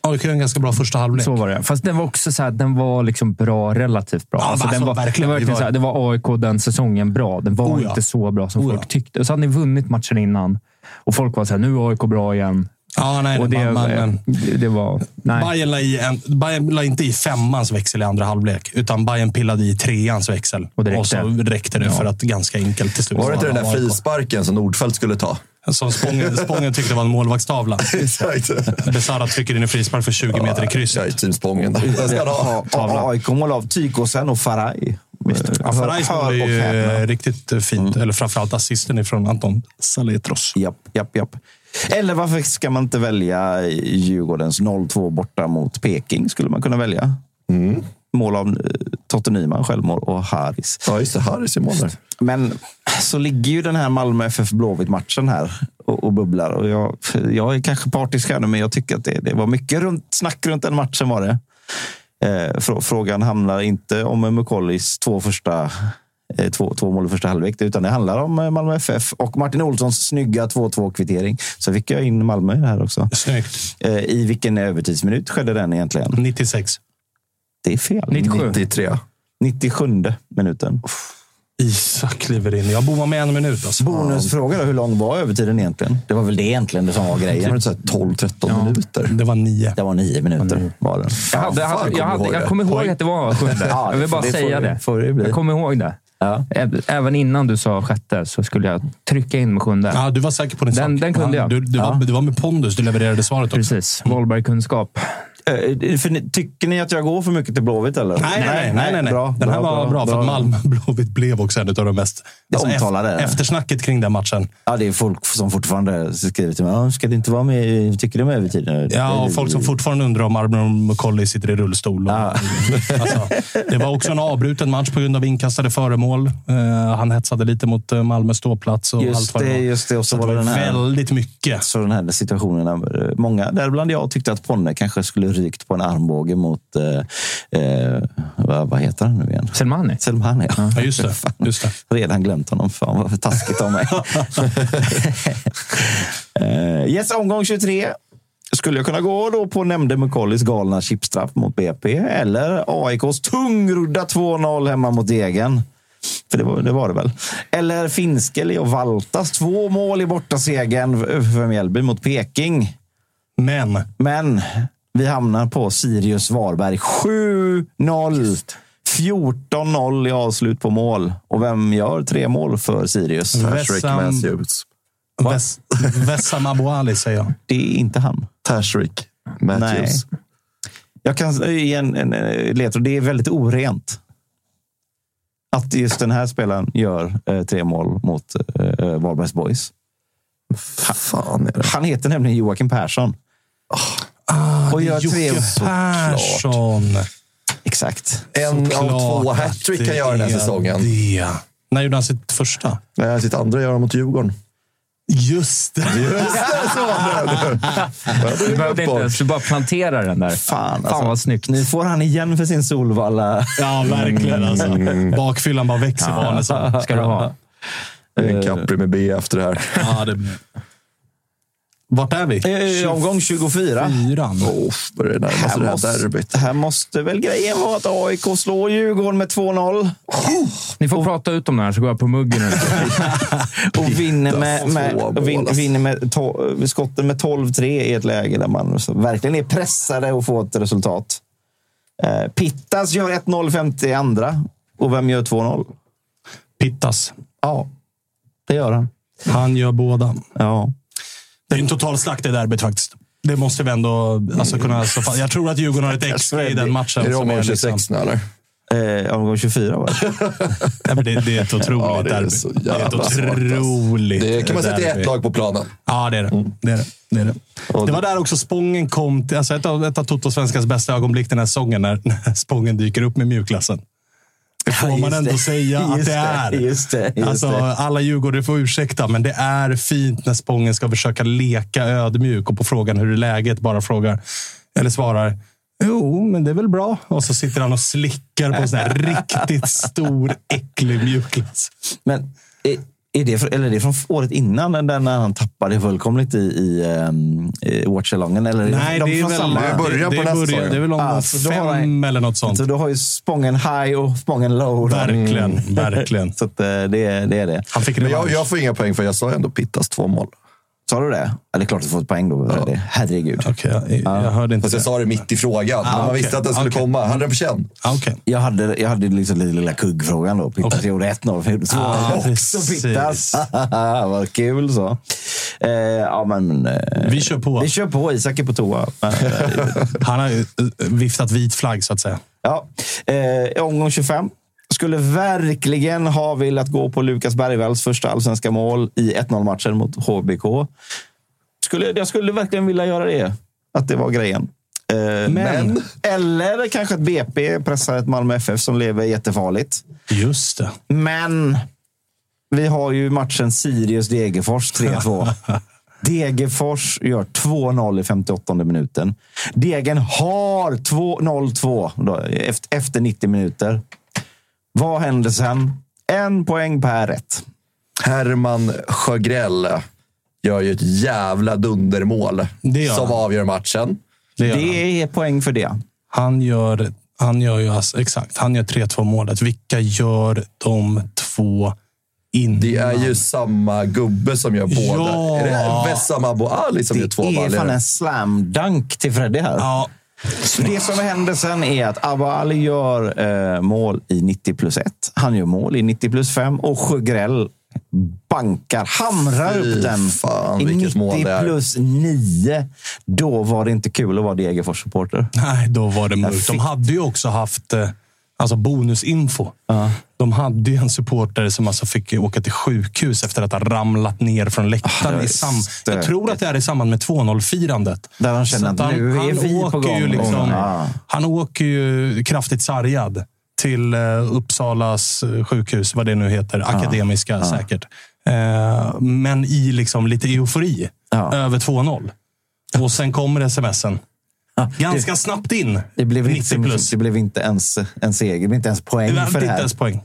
AIK gör en ganska bra första halvlek.
Så var det. Fast den var också så här, den var liksom bra, relativt bra.
Ja, alltså,
den var,
verkligen.
den var,
Vi
verkligen
var-
så här, det var AIK den säsongen bra. Den var
Oh ja.
inte så bra som
Oh ja.
folk tyckte. Och så hade ni vunnit matchen innan och folk var så här, nu är AIK bra igen.
Ja, nej,
och
nej,
det,
man- man-
det, det var... Nej.
Bayern la, i en, Bayern la inte i femmans växel i andra halvlek, utan Bayern pillade i treans växel. Och, så räckte det för att ganska enkelt till slut.
Var det inte den där
AIK.
frisparken som Nordfeldt skulle ta?
Som Spången, Spången tyckte var en målvaktstavla. Besara trycker in en frispark för 20 meter i krysset.
Jag är team Spången.
AIK-mål av Tykosen och Faraj.
Ja, Farajs mål är ju eh, riktigt eh, fint.
Mm.
Eller framförallt assisten ifrån Anton Saletros.
Japp, japp, japp. Eller varför ska man inte välja Djurgårdens 0-2 borta mot Peking? Skulle man kunna välja.
Mm.
Mål av eh, Totte Nyman, självmål, och Haris.
Ja, just det. Haris i mål där.
Men så ligger ju den här Malmö FF Blåvitt-matchen här och, och bubblar. Och jag, jag är kanske partisk här nu, men jag tycker att det, det var mycket runt, snack runt den matchen. var det. Eh, frå- frågan handlar inte om Mukollis två första eh, Två, två mål i första halvlek, utan det handlar om eh, Malmö FF och Martin Olssons snygga 2-2-kvittering. Så fick jag in Malmö i det här också. Eh,
Snyggt.
I vilken övertidsminut skedde den egentligen?
96.
Det är fel.
97.
93.
97 minuten.
Isak kliver in. Jag bommar med en minut. Alltså.
Bonusfråga då, hur lång var övertiden egentligen? Det var väl det egentligen det som var
Det
grejen.
var 12-13 minuter.
Det var nio.
Det var nio minuter. Var den.
Jag, hade, jag, hade, jag, hade, jag kommer ihåg att det var sjunde.
Ja, det
jag vill
får-
bara
det får
säga
det-
det.
får det bli.
jag kommer ihåg det. Ä- Även innan du sa sjätte så skulle jag trycka in med sjunde.
Ja, du var säker på din
den,
sak.
Den kunde
Ja,
jag.
Du, du, var, du var med pondus. Du levererade svaret också.
Precis. Wahlberg-kunskap.
Eh, för ni- Tycker ni att jag går för mycket till Blåvitt eller?
Nej, nej, nej. nej, nej,
Bra,
den här
bra,
var bra, för att Malmö Blåvitt blev också en av de mest...
Det omtalade,
ef-
eller?
Eftersnacket kring den matchen.
Ja, det är folk som fortfarande skriver till mig. "Ja, Ska det inte vara med? i- Tycker du om övertiden?
Ja, och folk som fortfarande undrar om Arbron McCauley sitter i rullstol. Och, alltså, det var också en avbruten match på grund av inkastade föremål. Eh, han hetsade lite mot eh, Malmö ståplats och allt
Just
vad
det,
var.
just det. Och
Så
så var det
det var
den här.
väldigt mycket.
Så den här situationen. eh, Många, däribland jag, tyckte att Ponne kanske skulle rykt på en armbåge mot... Eh, eh, vad, vad heter han nu igen?
Selmani.
Selmani, ja.
Ja, just det.
Fan,
Just det.
Redan glömt honom. Fan vad för taskigt av mig. Eh, yes, omgång 23. Skulle jag kunna gå då på nämnde McCaulleys galna chipstraff mot BP eller AIKs tungrodda 2-0 hemma mot Degen? För det var det, var det väl? Eller Finskeli och Valtas två mål i bortasegern för- för Mjällby mot Peking.
Men.
Men vi hamnar på Sirius Varberg. 7-0. 14-0 i avslut på mål. Och vem gör tre mål för Sirius?
Wessam- Wes- Wessam Abouali säger jag.
Det är inte han.
Tashrik Matthews.
Nej. Jag kan ge en, en, en ledtråd. Det är väldigt orent. Att just den här spelaren gör eh, tre mål mot eh, Varbergs Boys.
Fan är det?
Han heter nämligen Joakim Persson.
Ah,
Och
det
gör
är
tre-
Jocke Persson.
Exakt.
En
Såklart
av två
att
hattrick han gör den här
det är
säsongen.
Det. När gjorde han sitt första?
Nej, Sitt andra gör han mot Djurgården.
Just det!
Du behövde inte ens, du bara plantera den där. Fan,
alltså.
vad snyggt.
Nu får han igen för sin Solvalla.
Ja, verkligen alltså.
Mm.
Bakfyllan bara växer liksom.
Ja.
ja. barnet. så.
Ska du ha?
Det är en Capri med B efter det här.
Ja, det... Vart är vi?
Eh, Omgång 24.
Fyran.
Oh, börjar närma sig det här
måste,
derbyt.
här måste väl grejen vara att AIK slår Djurgården med 2-0
Oh,
Ni
Oh.
får prata ut om det här så går jag på muggen.
och vinner med,
två
med,
mål,
vin,
alltså.
vinner med, to, skotten med 12-3 i ett läge där man så verkligen är pressade och får ett resultat. Eh, Pittas gör 1-0 50 i andra. Och vem gör 2-0?
Pittas.
Ja, det gör han.
Han gör båda.
Ja.
Det är en total slakt i derbyt faktiskt. Det måste vi ändå alltså, kunna slå fast. Jag tror att Djurgården har ett XG i den matchen.
Är det
som
omgång
liksom-
26 nu eller?
Eh, omgång 24 var det.
Nej, men det, det är ett otroligt
Ja, det är
derby.
så
det är
jävla
ett
smart, alltså.
otroligt
Det kan man säga att det är
derby.
ett lag på planen.
Ja, det är det.
Mm.
Det, är det. det, är det. det var där också Spången kom till... Alltså ett av, ett av Toto-svenskans bästa ögonblick den här säsongen, när, när Spången dyker upp med mjukklassen. Det får
Ja,
man
just
ändå
det.
säga att
Just
det
det,
är.
just det, just
alltså,
det.
Alla Djurgårdare får ursäkta, men det är fint när Spången ska försöka leka ödmjuk och på frågan hur är läget bara frågar, eller svarar Jo, men det är väl bra. Och så sitter han och slickar på en sån här riktigt stor, äcklig mjukglass.
Men är, är det, för, eller är det från året innan den där när han tappade fullkomligt i, i, ehm, i Watchalongen? Eller
Nej,
de
det är
från
väl...
samma-
det- det är början. Det är väl om
Ah, så då
fem
har han-
eller något sånt.
Så då har ju Spången high och Spången low. då. Mm.
Verkligen, verkligen.
Så att, eh, det, är, det är det.
Han fick
Men
revansch.
jag, jag får inga poäng för jag sa ju ändå Pittas två mål.
Sa du det? Ja, det är klart att du får ett poäng då. Det. Herregud.
Okej, jag, jag hörde inte
Fast jag
det.
sa det mitt i frågan. men man
Ah, okej.
visste att den skulle
Okej.
komma. Hade den på känn?
Ah, Okej.
Jag hade, jag hade liksom den lilla kuggfrågan då. Pittas gjorde 1-0. för- Så
Ah,
var det också
precis.
Pittas.
Ah.
Vad kul så. Eh, ja, men, eh,
Vi kör på.
Vi kör på. Isak är på toa. Men, eh,
Han har ju eh, viftat vit flagg, så att säga.
Ja, eh, omgång 25. Skulle verkligen ha velat gå på Lukas Bergvalls första allsvenska mål i 1-0-matchen mot HBK. Skulle, jag skulle verkligen vilja göra det. Att det var grejen. Eh, men. Eller kanske att BP pressar ett Malmö FF som lever jättefarligt.
Just det.
Men vi har ju matchen Sirius-Degerfors 3-2. Degerfors gör 2-0 i 58 minuten. Degen har 2-0-2 då, eft- efter 90 minuter. Vad händer sen? En poäng per rätt.
Herman Sjögrell gör ju ett jävla dundermål
Det gör
som
han.
avgör matchen.
Det gör han.
Det är poäng för det.
Han gör, han gör ju alltså, exakt, han gör 3-2 målet. Vilka gör de två innan?
Det är ju samma gubbe som gör båda.
Ja.
Är det Vessam Ali som gör två
Det är fan
baller?
en slam dunk till Freddy här.
Ja,
Det som händer sen är att Abba Ali gör eh, mål i 90 plus 1. Han gör mål i 90 plus 5 och Sjögrell bankar, hamrar
Fy
upp den
fan,
i
vilket mål det är.
plus 9. Då var det inte kul att vara Degerfors-supporter.
nej, då var det mörkt.
fick-
De hade ju också haft eh, alltså bonusinfo. De hade ju en supporter som alltså fick åka till sjukhus efter att ha ramlat ner från läktaren.
det var
i sam, jag
stökigt.
tror att det är i samband med 2-0-firandet.
Där han känner
Så
att nu är vi på
åker
gång.
Ju liksom,
Ja.
Han åker ju kraftigt sargad till eh, Uppsalas eh, sjukhus, vad det nu heter. Akademiska säkert. Eh, men i liksom lite eufori.
Ja.
Över 2-0. Och sen kommer smsen. Ganska snabbt in.
Det blev,
90
inte,
plus.
det blev inte ens en seger, det blev inte ens
Det
poäng
var
för
inte
det här.
ens poäng.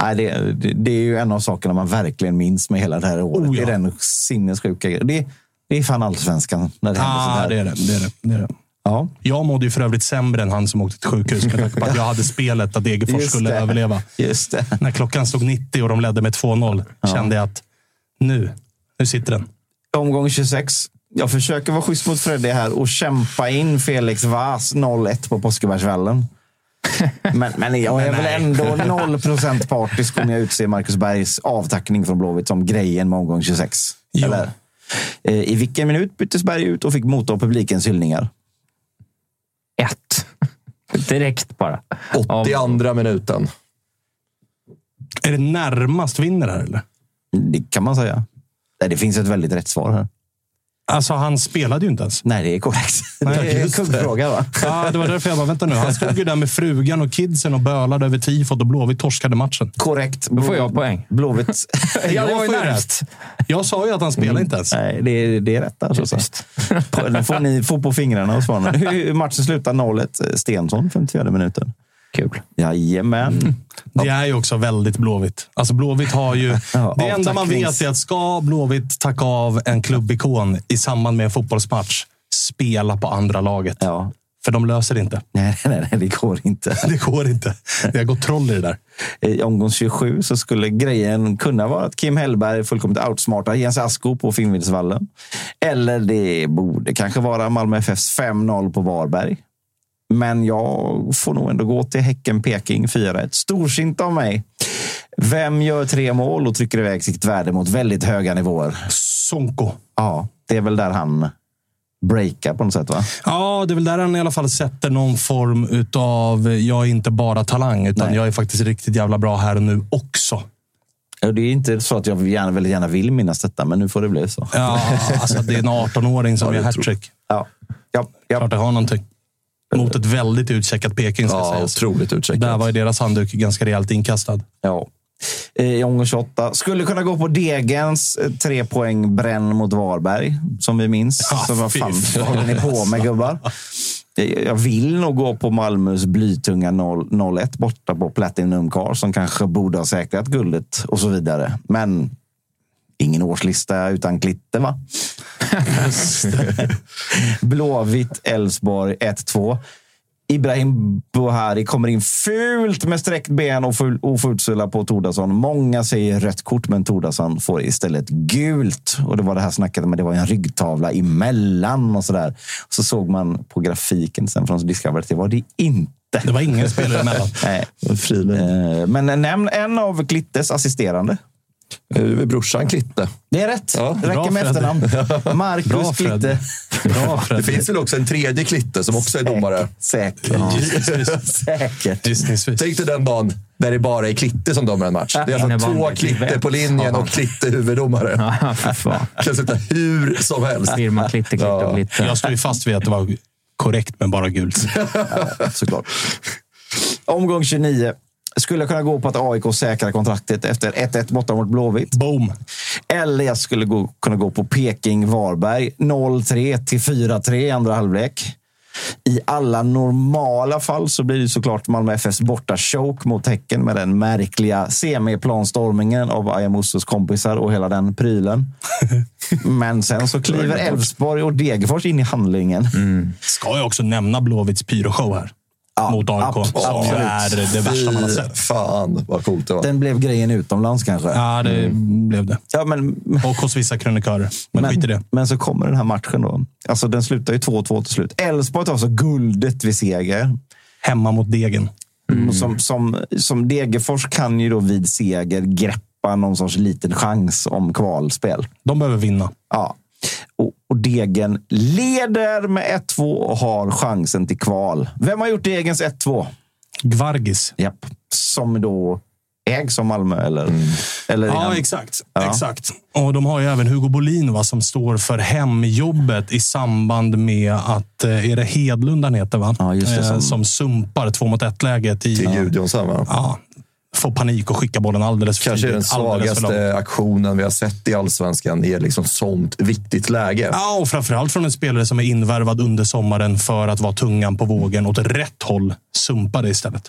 Nej, det, det, det är ju en av sakerna man verkligen minns med hela det här året.
Oh, ja.
Det är den sinnessjuka grejen. Det, det är fan allsvenskan när det händer sånt
Ah,
här.
det är det. det, är det, det, är det.
Ja.
Jag mådde ju för övrigt sämre än han som åkte till sjukhus med tanke på att jag hade spelet att Degerfors
Just
skulle
det.
överleva.
Just det.
När klockan slog 90 och de ledde med 2-0 kände jag att nu, nu sitter den.
omgång 26. Jag försöker vara schysst mot Freddy här och kämpa in Felix Vas 0-1 på Påskebergsvallen. Men, men jag är väl ändå 0% partisk om jag utser Marcus Bergs avtackning från Blåvitt som grejen med omgång 26.
Jo.
Eller? Eh, I vilken minut byttes Berg ut och fick motta publikens hyllningar?
Ett. Direkt bara.
82 minuten.
Är det närmast vinner här eller?
Det kan man säga. Nej, det finns ett väldigt rätt svar här.
Alltså, han spelade ju inte ens.
Nej, det är korrekt. Det är en kuggfråga, va?
Ja, det var därför jag bara, vänta nu. Han stod ju där med frugan och kidsen och bölade över tifot och Blåvitt torskade matchen.
Korrekt.
Då får jag poäng.
Blåvitt.
ja, det
Jag
var ju
får ju
närmast. Jag sa ju att han
Mm.
spelade inte ens.
Nej, det är, det är rätt alltså. Så. På- Den får ni få på fingrarna hos honom. Hur- Matchen slutar 0-1. Stensson, 54 minuten.
Kul.
Jajamän.
Det är ju också väldigt Blåvitt. Alltså Blåvitt har ju... Det enda man
avtacknings-
vet är att ska Blåvitt tacka av en klubbikon i samband med en fotbollsmatch, spela på andra laget. För de löser det inte.
Nej, nej, nej, det går inte.
Det går inte. Det har gått troll i det där.
I omgång 27 så skulle grejen kunna vara att Kim Hellberg fullkomligt outsmartar Jens Asko på Finnvedsvallen. Eller det borde kanske vara Malmö FFs 5-0 på Varberg. Men jag får nog ändå gå till Häcken-Peking 4-1. Storsint av mig. Vem gör tre mål och trycker iväg sitt värde mot väldigt höga nivåer?
Sonko.
Ja, det är väl där han breakar på något sätt, va?
Ja, det är väl där han i alla fall sätter någon form av jag är inte bara talang, utan jag är faktiskt riktigt jävla bra här och nu också.
Ja, Det är inte så att jag gärna, väldigt gärna vill minnas detta, men nu får det bli så.
Ja, alltså det är en 18-åring som gör hattrick.
Ja. Ja, ja.
Klart det har någonting. Mot ett väldigt utcheckat Peking, ska
Ja,
sägas.
otroligt utcheckat.
Där var ju deras handduk ganska rejält inkastad.
Ja. Eh, I omgång 28. Skulle kunna gå på Degens eh, tre poäng bränn mot Varberg, som vi minns.
Ah,
så vad
fy
fan
fan.
vad håller ni på med gubbar? Eh, Jag vill nog gå på Malmös blytunga 0 0-1 borta på Platinum Car som kanske borde ha säkrat guldet och så vidare. Men ingen årslista utan klitter, va? Blåvitt, Elfsborg 1-2. Ibrahim Buhari kommer in fult med sträckt ben och ful- och futsula på Tordasson. Många säger rött kort, men Tordasson får istället gult. Och det var det här snacket om att det var en ryggtavla emellan och sådär. Så såg man på grafiken sen från Discovery att det var det inte.
Det var ingen spelare emellan.
Nej.
Mm.
Eh, Men nämn en av Klittes assisterande.
Det är väl Eh, brorsan Klitte.
Det är rätt.
Ja,
det
bra,
räcker med
Fred.
efternamn.
Bra,
Marcus
Fred.
Klitte.
Bra,
Det
Fred.
finns väl också en tredje Klitte som också är domare.
Säkert. Säkert.
Gissningsvis.
Tänk dig den dagen där det bara är Klitte som dömer en match. Det är alltså
Innebandy.
två Klitte på linjen och Klitte huvuddomare.
Ja, för fan.
Kan sitta hur som helst.
Firma klitter, klitter och glitter.
Jag står ju fast vid att det var korrekt, men bara gult.
såklart. Omgång 29. Skulle jag kunna gå på att AIK säkrar kontraktet efter 1-1 borta mot Blåvitt.
Boom!
Eller jag skulle gå, kunna gå på Peking-Varberg 0-3 till 4-3 i andra halvlek. I alla normala fall så blir det såklart Malmö FFs borta choke mot Häcken med den märkliga semiplanstormningen av Ayamusos kompisar och hela den prylen. Men sen så kliver Elfsborg och Degerfors in i handlingen.
Ska jag också nämna Blåvitts pyroshow här?
Ja,
mot AIK.
ab-
som ju
absolut.
är det värsta man har
Fy
sett.
fan vad coolt det var.
Den blev grejen utomlands kanske.
Ja, det blev det.
Ja, men,
Och hos vissa krönikörer. Men, skit i det.
men så kommer den här matchen då. Alltså den slutar ju 2-2 till slut. Elfsborg tar alltså guldet vid seger.
Mm. Hemma mot degen.
Och Som, som, som Degerfors kan ju då vid seger greppa någon sorts liten chans om kvalspel.
De behöver vinna.
Ja. Och, och Degen leder med 1-2 och har chansen till kval. Vem har gjort Degens 1-2?
Gvargis.
Japp. Som då ägs av Malmö, eller? eller
Mm. Ja,
han-
exakt.
Ja.
exakt. Och de har ju även Hugo Bolin va, som står för hemjobbet i samband med att, eh, är det Hedlund han heter? Va?
Ja, just det,
Eh,
som-
som... sumpar två mot ett-läget i...
Till Gudjonsson va?
Ja, får panik och skickar bollen alldeles för
Kanske är den
tidigt, alldeles för långt.
svagaste aktionen vi har sett i allsvenskan i ett liksom sånt viktigt läge.
Ja, och framförallt från en spelare som är invärvad under sommaren för att vara tungan på vågen åt rätt håll. Sumpade istället.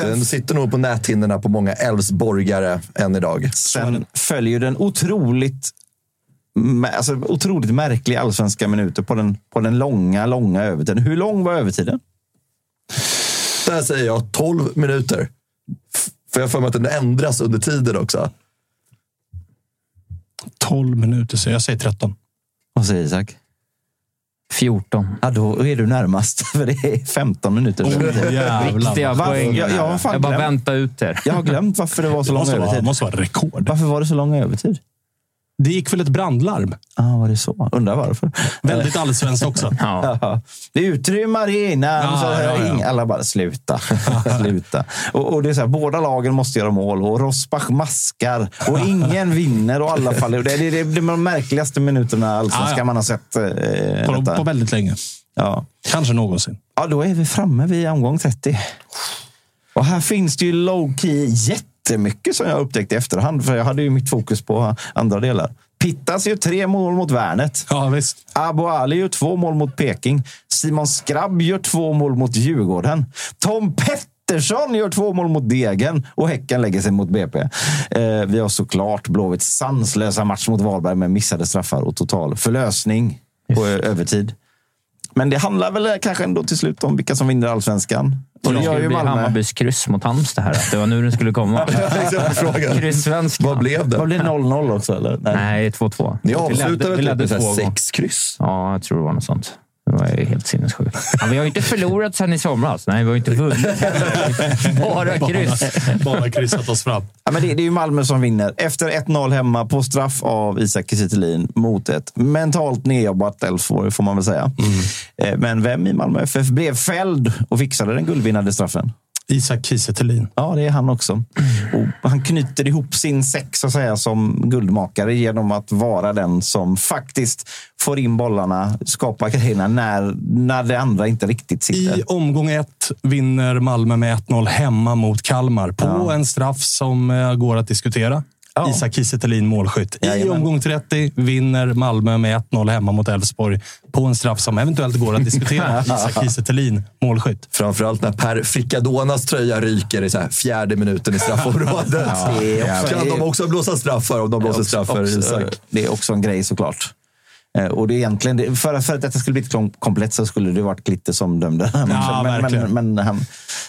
Den sitter nog på näthinnorna på många Elfsborgare än idag.
Sen följer den otroligt, mä- alltså, otroligt märkliga allsvenska minuter på den, på den långa, långa övertiden. Hur lång var övertiden?
Där säger jag 12 minuter. F- För jag har för mig att den ändras under tiden också.
12 minuter, så jag säger 13.
Vad säger Isak?
14.
Ja, då är du närmast, för det är 15 minuter.
Oh,
Viktiga
Va?
poäng.
Jag- jag har fan
bara
glömt.
väntar ut er.
Jag har glömt varför det var så
Det
lång
måste vara,
övertid.
måste vara rekord.
Varför var det så lång övertid?
Det gick väl ett brandlarm?
Ja, ah, var det så? Undrar varför.
Väldigt allsvenskt också.
ja. Utrym arenan!
Ja,
så,
ja, ja.
ing- Alla bara, sluta. sluta. Och, och det är så här, båda lagen måste göra mål och Rosbach maskar och ingen vinner och alla faller. Det är, det är, det är de märkligaste minuterna allsvenskan
Ja, ja.
man har sett. Eh,
På,
detta.
på väldigt länge.
Ja.
Kanske någonsin.
Ja, då är vi framme vid omgång 30. Och här finns det ju low-key jättemycket som jag upptäckte i efterhand. För jag hade ju mitt fokus på andra delar. Pittas gör tre mål mot Värnet.
Ja, visst.
Abo Ali gör två mål mot Peking. Simon Skrabb gör två mål mot Djurgården. Tom Pettersson gör två mål mot Degen och Häcken lägger sig mot BP. Eh, vi har såklart Blåvitts sanslösa match mot Varberg med missade straffar och total förlösning på ö- övertid. Men det handlar väl eh, kanske ändå till slut om vilka som vinner allsvenskan.
Och det skulle bli Hammarbys kryss mot Halmstad här. Att det var nu den skulle komma. Kryssvenskan. Vad blev
Vad blir 0-0 också? Eller? Nej,
Nej 2-2.
Ni
Vi
avslutade
ledde- vi
typ
ledde
med så här
två gånger.
sex kryss.
Ja, jag tror det var något sånt. Det var ju helt sinnessjukt. Ja, vi har ju inte förlorat sedan i somras. Nej, vi har ju inte vunnit. Bara kryss.
Bara kryssat oss fram.
Ja, men det, det är ju Malmö som vinner. Efter 1-0 hemma på straff av Isak Kiese mot ett mentalt nedjobbat Elfsborg, får man väl säga. Eh, Men vem i Malmö FF blev fälld och fixade den guldvinnande straffen?
Isak Kiese
Ja, det är han också. Och han knyter ihop sin säck så att säga, som guldmakare genom att vara den som faktiskt får in bollarna, skapar grejerna när, när det andra inte riktigt sitter.
I omgång ett vinner Malmö med 1-0 hemma mot Kalmar på en straff som eh, går att diskutera. Isak Kiese Thelin, målskytt. I omgång 30 vinner Malmö med 1-0 hemma mot Elfsborg på en straff som eventuellt går att diskutera. Isak Kiese Thelin, målskytt.
Framförallt när Per Fricadonas tröja ryker i så här fjärde minuten i straffområdet.
Ja, det är också-
kan de också blåsa straffar om de blåser
Eh, också-
straffar
också-
Isak?
Det är också en grej såklart. Eh, Och det är egentligen, det- för, för att detta skulle bli ett kom- komplett så skulle det varit Glitter som dömde den här
Ja,
matchen. men,
verkligen.
men, men Ah, han,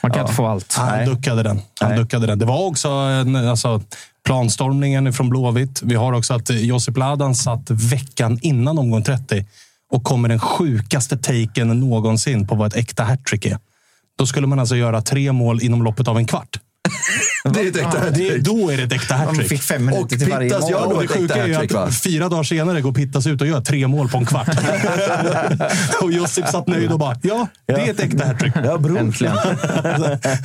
Man kan inte få allt.
Han duckade den. Han duckade den. Det var också en, alltså, planstormningen från Blåvitt. Vi har också att eh, Josip Ladan satt veckan innan omgång 30 och kommer den sjukaste taken någonsin på vad ett äkta hattrick är. Då skulle man alltså göra tre mål inom loppet av en kvart.
Det är ett äkta
Det,
hattrick.
då är det ett äkta hattrick.
Man fick fem minuter Och till varje Pittas mål. gör då
Och det
ett äkta
sjuka är ju
hattrick,
att
va?
fyra dagar senare går Pittas ut och gör tre mål på en kvart. och Josip satt nöjd och bara, ja, det är ett äkta hattrick.
ja, bror. Äntligen.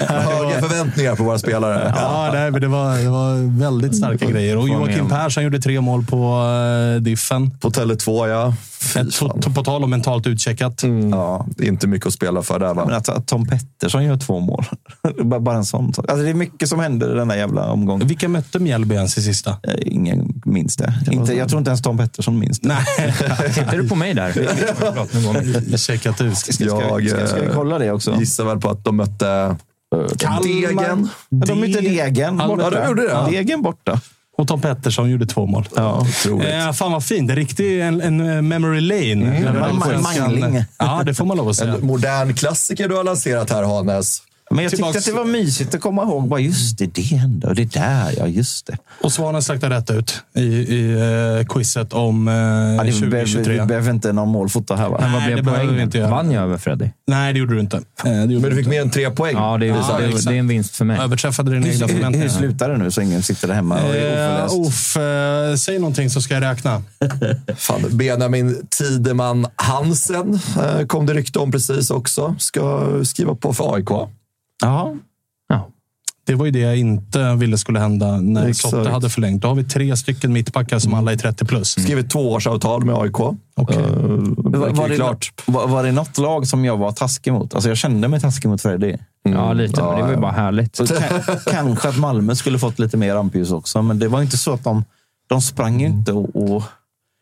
Höga förväntningar på våra spelare.
Ja, nej, men det, var, det var väldigt starka grejer. Och
Får med
Joakim
om.
Persson gjorde tre mål på eh, Diffen.
På Tele2, ja. Fy
Ett,
fan. Mm.
på, på tal om mentalt utcheckat.
Ja, det är inte mycket att spela för där,
Men
va?
att, att Tom Pettersson gör två mål. bara, bara en sån sak. Alltså, det är mycket som händer i den där jävla omgången.
Vilka mötte Mjällby ens i sista?
Eh, Ingen minns det. Inte, jag tror inte ens Tom Pettersson minns det.
Nej,
Tittar du på mig där? Förlåt, nu går min-
checkat ut.
Ska, ska, vi- ska, ska vi kolla det också?
Gissar väl på att de mötte
Kalmar.
Degen.
Ja, De är inte Degen
Ja,
borta.
de gjorde det, ja.
Degen borta.
Och Tom Pettersson gjorde två mål.
Ja, otroligt.
Eh, fan vad fint. Det är riktigt en, en eh, memory lane.
det var en
Allsvenskan.
mangling.
Ja, det får man lov att säga.
En modern klassiker du har lanserat här,
Eh,
Hanes.
Men jag
Tillbaks-
tyckte att det var mysigt att komma ihåg. Bara, just det, det hände. Och det där, ja just det.
Och Svanen slaktade rätt ut i, i eh, quizet om eh,
Ja, det vi behöver-
2023.
Vi behöver inte någon målfoto här va?
Men vad
Nej, det
blev
behöver vi inte
poängen?
göra.
Vann jag över Freddy?
Nej, det gjorde du inte. Eh, det gjorde
Men du
inte.
fick mer än tre poäng.
Ja, det är,
Ja,
det,
exakt.
är, det är en vinst för mig.
Överträffade dina egna
Hur, hur, hur
förväntningar.
slutar det nu så ingen sitter där hemma och är
Eh,
oförläst?
oh.
Off, eh, säg någonting så ska jag räkna.
Fan, Benjamin Tideman Hansen eh, kom det rykte om precis också. Ska skriva på för AIK.
Ja.
Ja.
Det var ju det jag inte ville skulle hända när
Exakt.
Sotte hade förlängt. Då har vi tre stycken mittbackar som alla är 30 plus.
Mm.
Skrivit tvåårsavtal med AIK.
Okej.
Eh, det
Var,
verkar
var,
ju
det,
klart.
Var, var det något lag som jag var taskig mot? Alltså jag kände mig taskig mot Freddy.
ja, lite. men det var ju bara härligt.
Så ka- kanske att Malmö skulle fått lite mer rampljus också, men det var inte så att de, de sprang ju inte och... och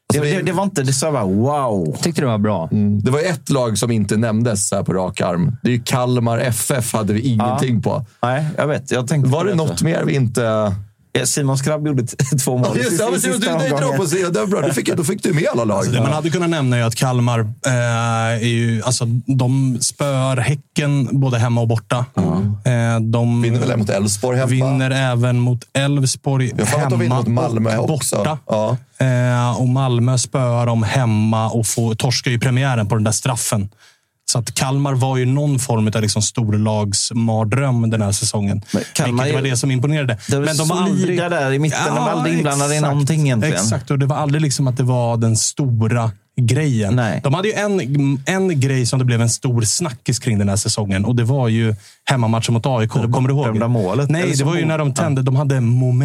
det,
Alltså, det-
det, det var inte det så här bara wow.
Jag tyckte det var bra.
Det var ju ett lag som inte nämndes här på rak arm. Det är ju Kalmar FF hade vi ingenting på.
Nej, jag vet. Jag tänkte
Var det något mer vi inte...
Ja, Simon Skrabb gjorde t- två mål.
Just det, ja, men du, du, du, du, drar på sig. Ja, det var bra. Du fick, då fick du med alla lag.
Det man hade kunnat nämna är att Kalmar eh, är ju, alltså, de spöar Häcken både hemma och borta. Eh, de
Vinner väl mot Elfsborg hemma?
vinner även mot Elfsborg
Jag har för mig att de vinner
hemma
mot Malmö
och
också.
borta.
Ja.
Eh, och Malmö spöar dem hemma och får, torskar ju premiären på den där straffen. Så att Kalmar var ju någon form av liksom storlagsmardröm den här säsongen.
Kalmar
vilket
är-
var det som imponerade.
de är solida där i mitten. De är aldrig inblandade i någonting egentligen.
Exakt, och det var aldrig liksom att det var den stora grejen. De hade ju en, en grej som det blev en stor snackis kring den här säsongen och det var ju hemmamatchen mot AIK. Kommer du ihåg?
målet. Eller
Nej, det
som
var ju
mål.
när de tände. De hade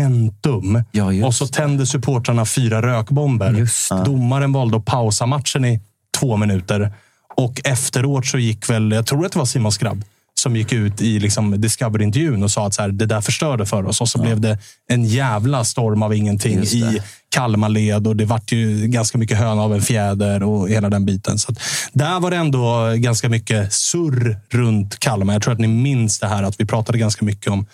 momentum. och så tände supportrarna fyra rökbomber. Domaren valde att pausa matchen i två minuter. Och efteråt så gick väl, jag tror att det var Simon Skrabb, som gick ut i liksom Discovery-intervjun och sa att så här, det där förstörde för oss. Och så blev det en jävla storm av ingenting
Just det.
i Kalmarled och det vart ju ganska mycket höna av en fjäder och hela den biten. Så att där var det ändå ganska mycket surr runt Kalmar. Jag tror att ni minns det här att vi pratade ganska mycket om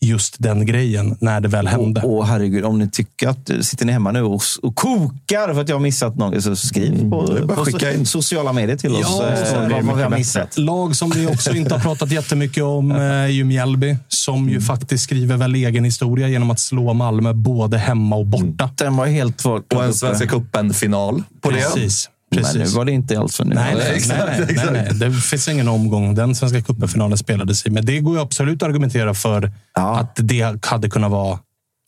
just den grejen när det väl hände.
Åh herregud, om ni tycker att eh, sitter ni hemma nu och, och kokar för att jag har missat något, så skriv
det
på,
är bara
på
att skicka in.
sociala medier till oss.
Mm. Ja,
eh,
så är det
vad, vad vi har
mycket
missat.
bättre. Lag som vi också inte har pratat jättemycket om eh, är ju Mjällby, som
Mm.
ju faktiskt skriver väl egen historia genom att slå Malmö både hemma och borta.
Den var helt
Och en Svenska cupen-final på det.
Precis. Precis.
Men nu var det inte alls för nu.
Nej, nej,
exakt,
nej, nej,
exakt.
nej, nej. Det finns ingen omgång den Svenska cupen-finalen spelades i. Men det går ju absolut att argumentera för att det hade kunnat vara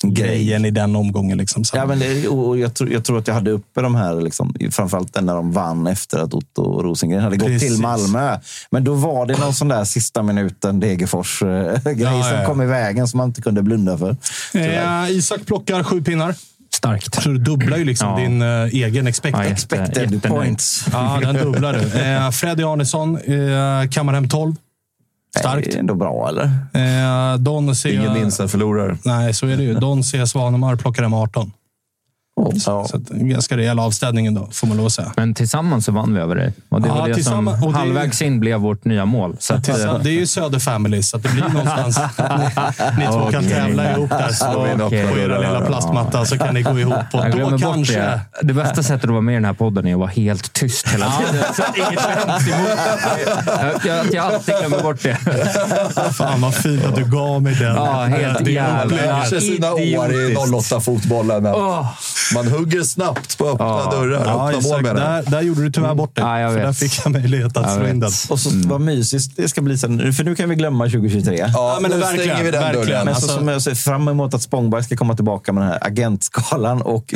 grejen i den omgången. Liksom. Så-
Ja, men det, och och jag, tror, jag tror att jag hade uppe de här, liksom, framförallt den när de vann efter att Otto Rosengren hade gått
Precis.
till Malmö. Men då var det någon sån där sista minuten Degerfors-grej
Ja,
som
ja, ja.
kom i vägen som man inte kunde blunda för.
Eh, Isak plockar sju pinnar.
Starkt.
Så du dubblar ju liksom
Ja.
din eh, egen expected,
Ja, jätte- Expected jättenöjd. points.
Ja, den dubblar du. Eh, Freddy Arnesson, eh, Kammarhem 12. Starkt.
Det är ändå bra, eller?
Eh, Don ser...
Ingen vinst, förlorar.
Nej, så är det ju. Don C. Svanemar plockar hem 18. Så, så att, en ganska rejäl avstädning ändå, får man lov att säga.
Men tillsammans så vann vi över dig. Och det
Ja,
var det som
tillsammans- och det-
halvvägs in blev vårt nya mål. Så att, eh,
Tillsammans- Alltså, Det är ju Söder Family, så att det blir någonstans... ni, ni två kan
Okej.
tävla ihop där så,
Okej.
på era lilla plastmatta så kan ni gå ihop. Och
Jag glömmer
då
bort
kanske...
Det. det bästa sättet att vara med i den här podden är att vara helt tyst hela
Ja,
tiden. Så att inget skäms emot. Jag- Jag, jag alltid glömmer bort det.
Fan vad fint att du gav mig den.
Ja, helt
Det är
jävla
upplägget.
Kanske sina år i 08-fotbollen. Man hugger snabbt på öppna dörrar.
Ja,
öppna mål
Isak,
menar jag.
där, där gjorde du tyvärr bort det.
Ja, jag
för
vet.
där fick jag möjlighet att
Jag
slå in den.
Och så vad mysigt det ska bli sen. För nu kan vi glömma 2023.
Ja, men
nu
verkligen,
stänger vi den
verkligen.
dörren.
Men så,
Alltså-
som jag ser fram emot att Spångberg ska komma tillbaka med den här agentskalan och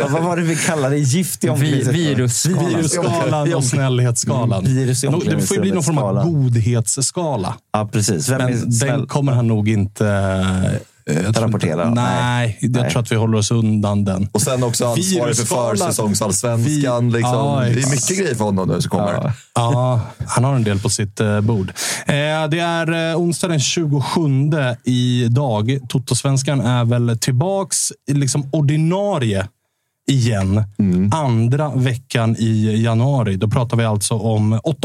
vad vad var det vi kallade det? Gift i omklädningsrummet?
virusskalan.
Virusskalan och snällhetsskalan.
Mm, virus i
Nå- det får ju bli någon form av
omklädningsrummet-skala.
godhetsskala.
Ja, precis. Vem är
Men den
snäll?
kommer han nog inte... eh, jag tror
Rapportera,
Inte, nej,
nej.
jag
Nej.
tror att vi håller oss undan den.
Och sen också ansvarig för
Virusskalan.
försäsongsallsvenskan.
Vi-
Liksom.
Ja,
det är
exakt.
mycket grejer för honom nu som kommer.
Ja, han har en del på sitt eh, bord. Eh, det är eh, onsdag den 27 idag. Totosvenskan är väl tillbaks i liksom ordinarie igen.
Mm.
Andra veckan i januari. Då pratar vi alltså om 8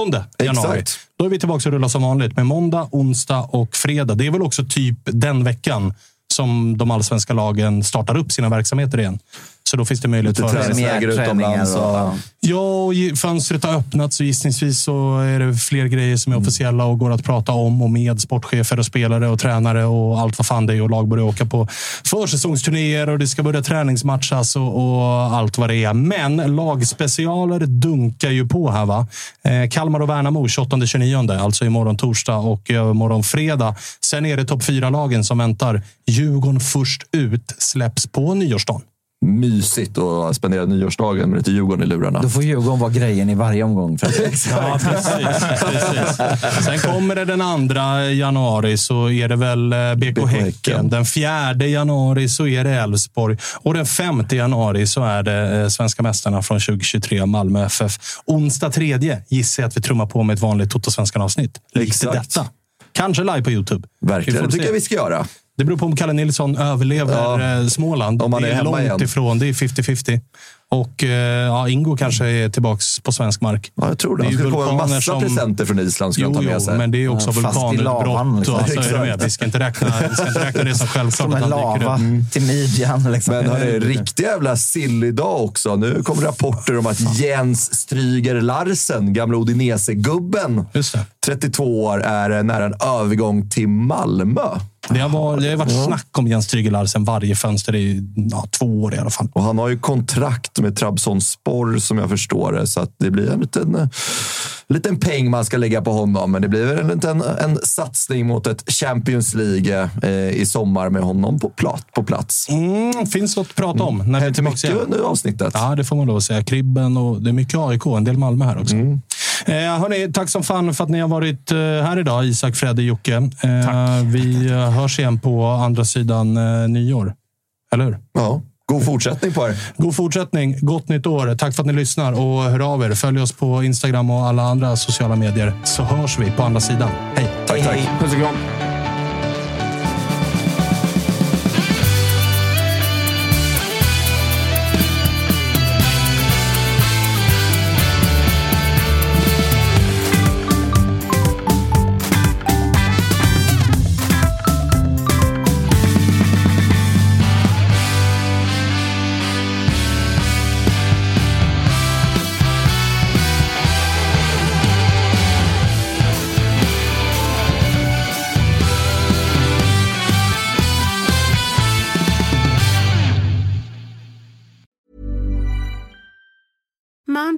januari.
Exakt.
Då är vi tillbaka och rullar som vanligt med måndag, onsdag och fredag. Det är väl också typ den veckan som de allsvenska lagen startar upp sina verksamheter igen. Så då finns det möjlighet
Lite
för...
träningsläger utomlands.
och-
Och,
Ja, och ge- fönstret har öppnats och gissningsvis så är det fler grejer som är officiella och går att prata om och med sportchefer och spelare och tränare och allt vad fan det är och lag börjar åka på försäsongsturnéer och det ska börja träningsmatchas och, och allt vad det är. Men lagspecialer dunkar ju på här va. Eh, Kalmar och Värnamo 28-29, alltså imorgon torsdag och eh, imorgon fredag. Sen är det topp fyra lagen som väntar. Djurgården först ut släpps på nyårsdagen.
mysigt att spendera nyårsdagen med lite Djurgården i lurarna.
Då får Djurgården vara grejen i varje omgång.
Ja, precis, precis. Sen kommer det den andra januari så är det väl eh, BK Häcken. Den fjärde januari så är det Elfsborg och den femte januari så är det eh, svenska mästarna från 2023, Malmö FF. Onsdag tredje gissar jag att vi trummar på med ett vanligt Totosvenskan-avsnitt. Likt
Exakt.
detta. Kanske live på Youtube. Vi
Verkligen.
får
Det tycker
se.
jag vi ska göra.
Det beror på om Kalle Nilsson överlever
Ja.
eh, Småland.
Om han
det
är
är
hemma
långt
igen.
ifrån. Det är 50-50. Och eh, ja, Ingo kanske är tillbaka på svensk mark.
Ja, jag tror det.
Det är
Det
ju
skulle komma en
vulkaner
massa
som-
presenter från Island skulle
Jo,
han ta
jo,
med sig.
men det är också
Ja, fast i lavan,
vulkanutbrott.
liksom.
och allt, så är det med.
Exakt.
Vi ska inte räkna, vi ska inte räkna det som självklart
Som
att
en
han Mm. dyker
lava
upp.
till midjan. Liksom.
Men hörni, riktig jävla sill-idag också. Nu kommer rapporter om att Jens Stryger Larsen, gamla Odinese-gubben,
Just det.
32 år, är nära en övergång till Malmö.
Det har varit, det har varit snack om Jens Tryggelaar sen varje fönster i ja, två år i alla fall.
Och han har ju kontrakt med Trabzonspor som jag förstår det, så att det blir en liten, eh, liten peng man ska lägga på honom. Men det blir väl en liten en satsning mot ett Champions League eh, i sommar med honom på, plat, på plats.
Mm, finns något att prata om. När Hänt mycket
under avsnittet.
Ja, det får man lov att säga. Kribben och det är mycket AIK, en del Malmö här också. Eh, hörni, tack som fan för att ni har varit eh, här idag, Isak, Fredde, Jocke. Eh, Vi eh, hörs igen på andra sidan eh, nyår. Eller hur?
Ja. God fortsättning på er.
God fortsättning. Gott nytt år. Tack för att ni lyssnar och hör av er. Följ oss på Instagram och alla andra sociala medier så hörs vi på andra sidan. Hej!
Tack, tack.
Puss och kram.
Mom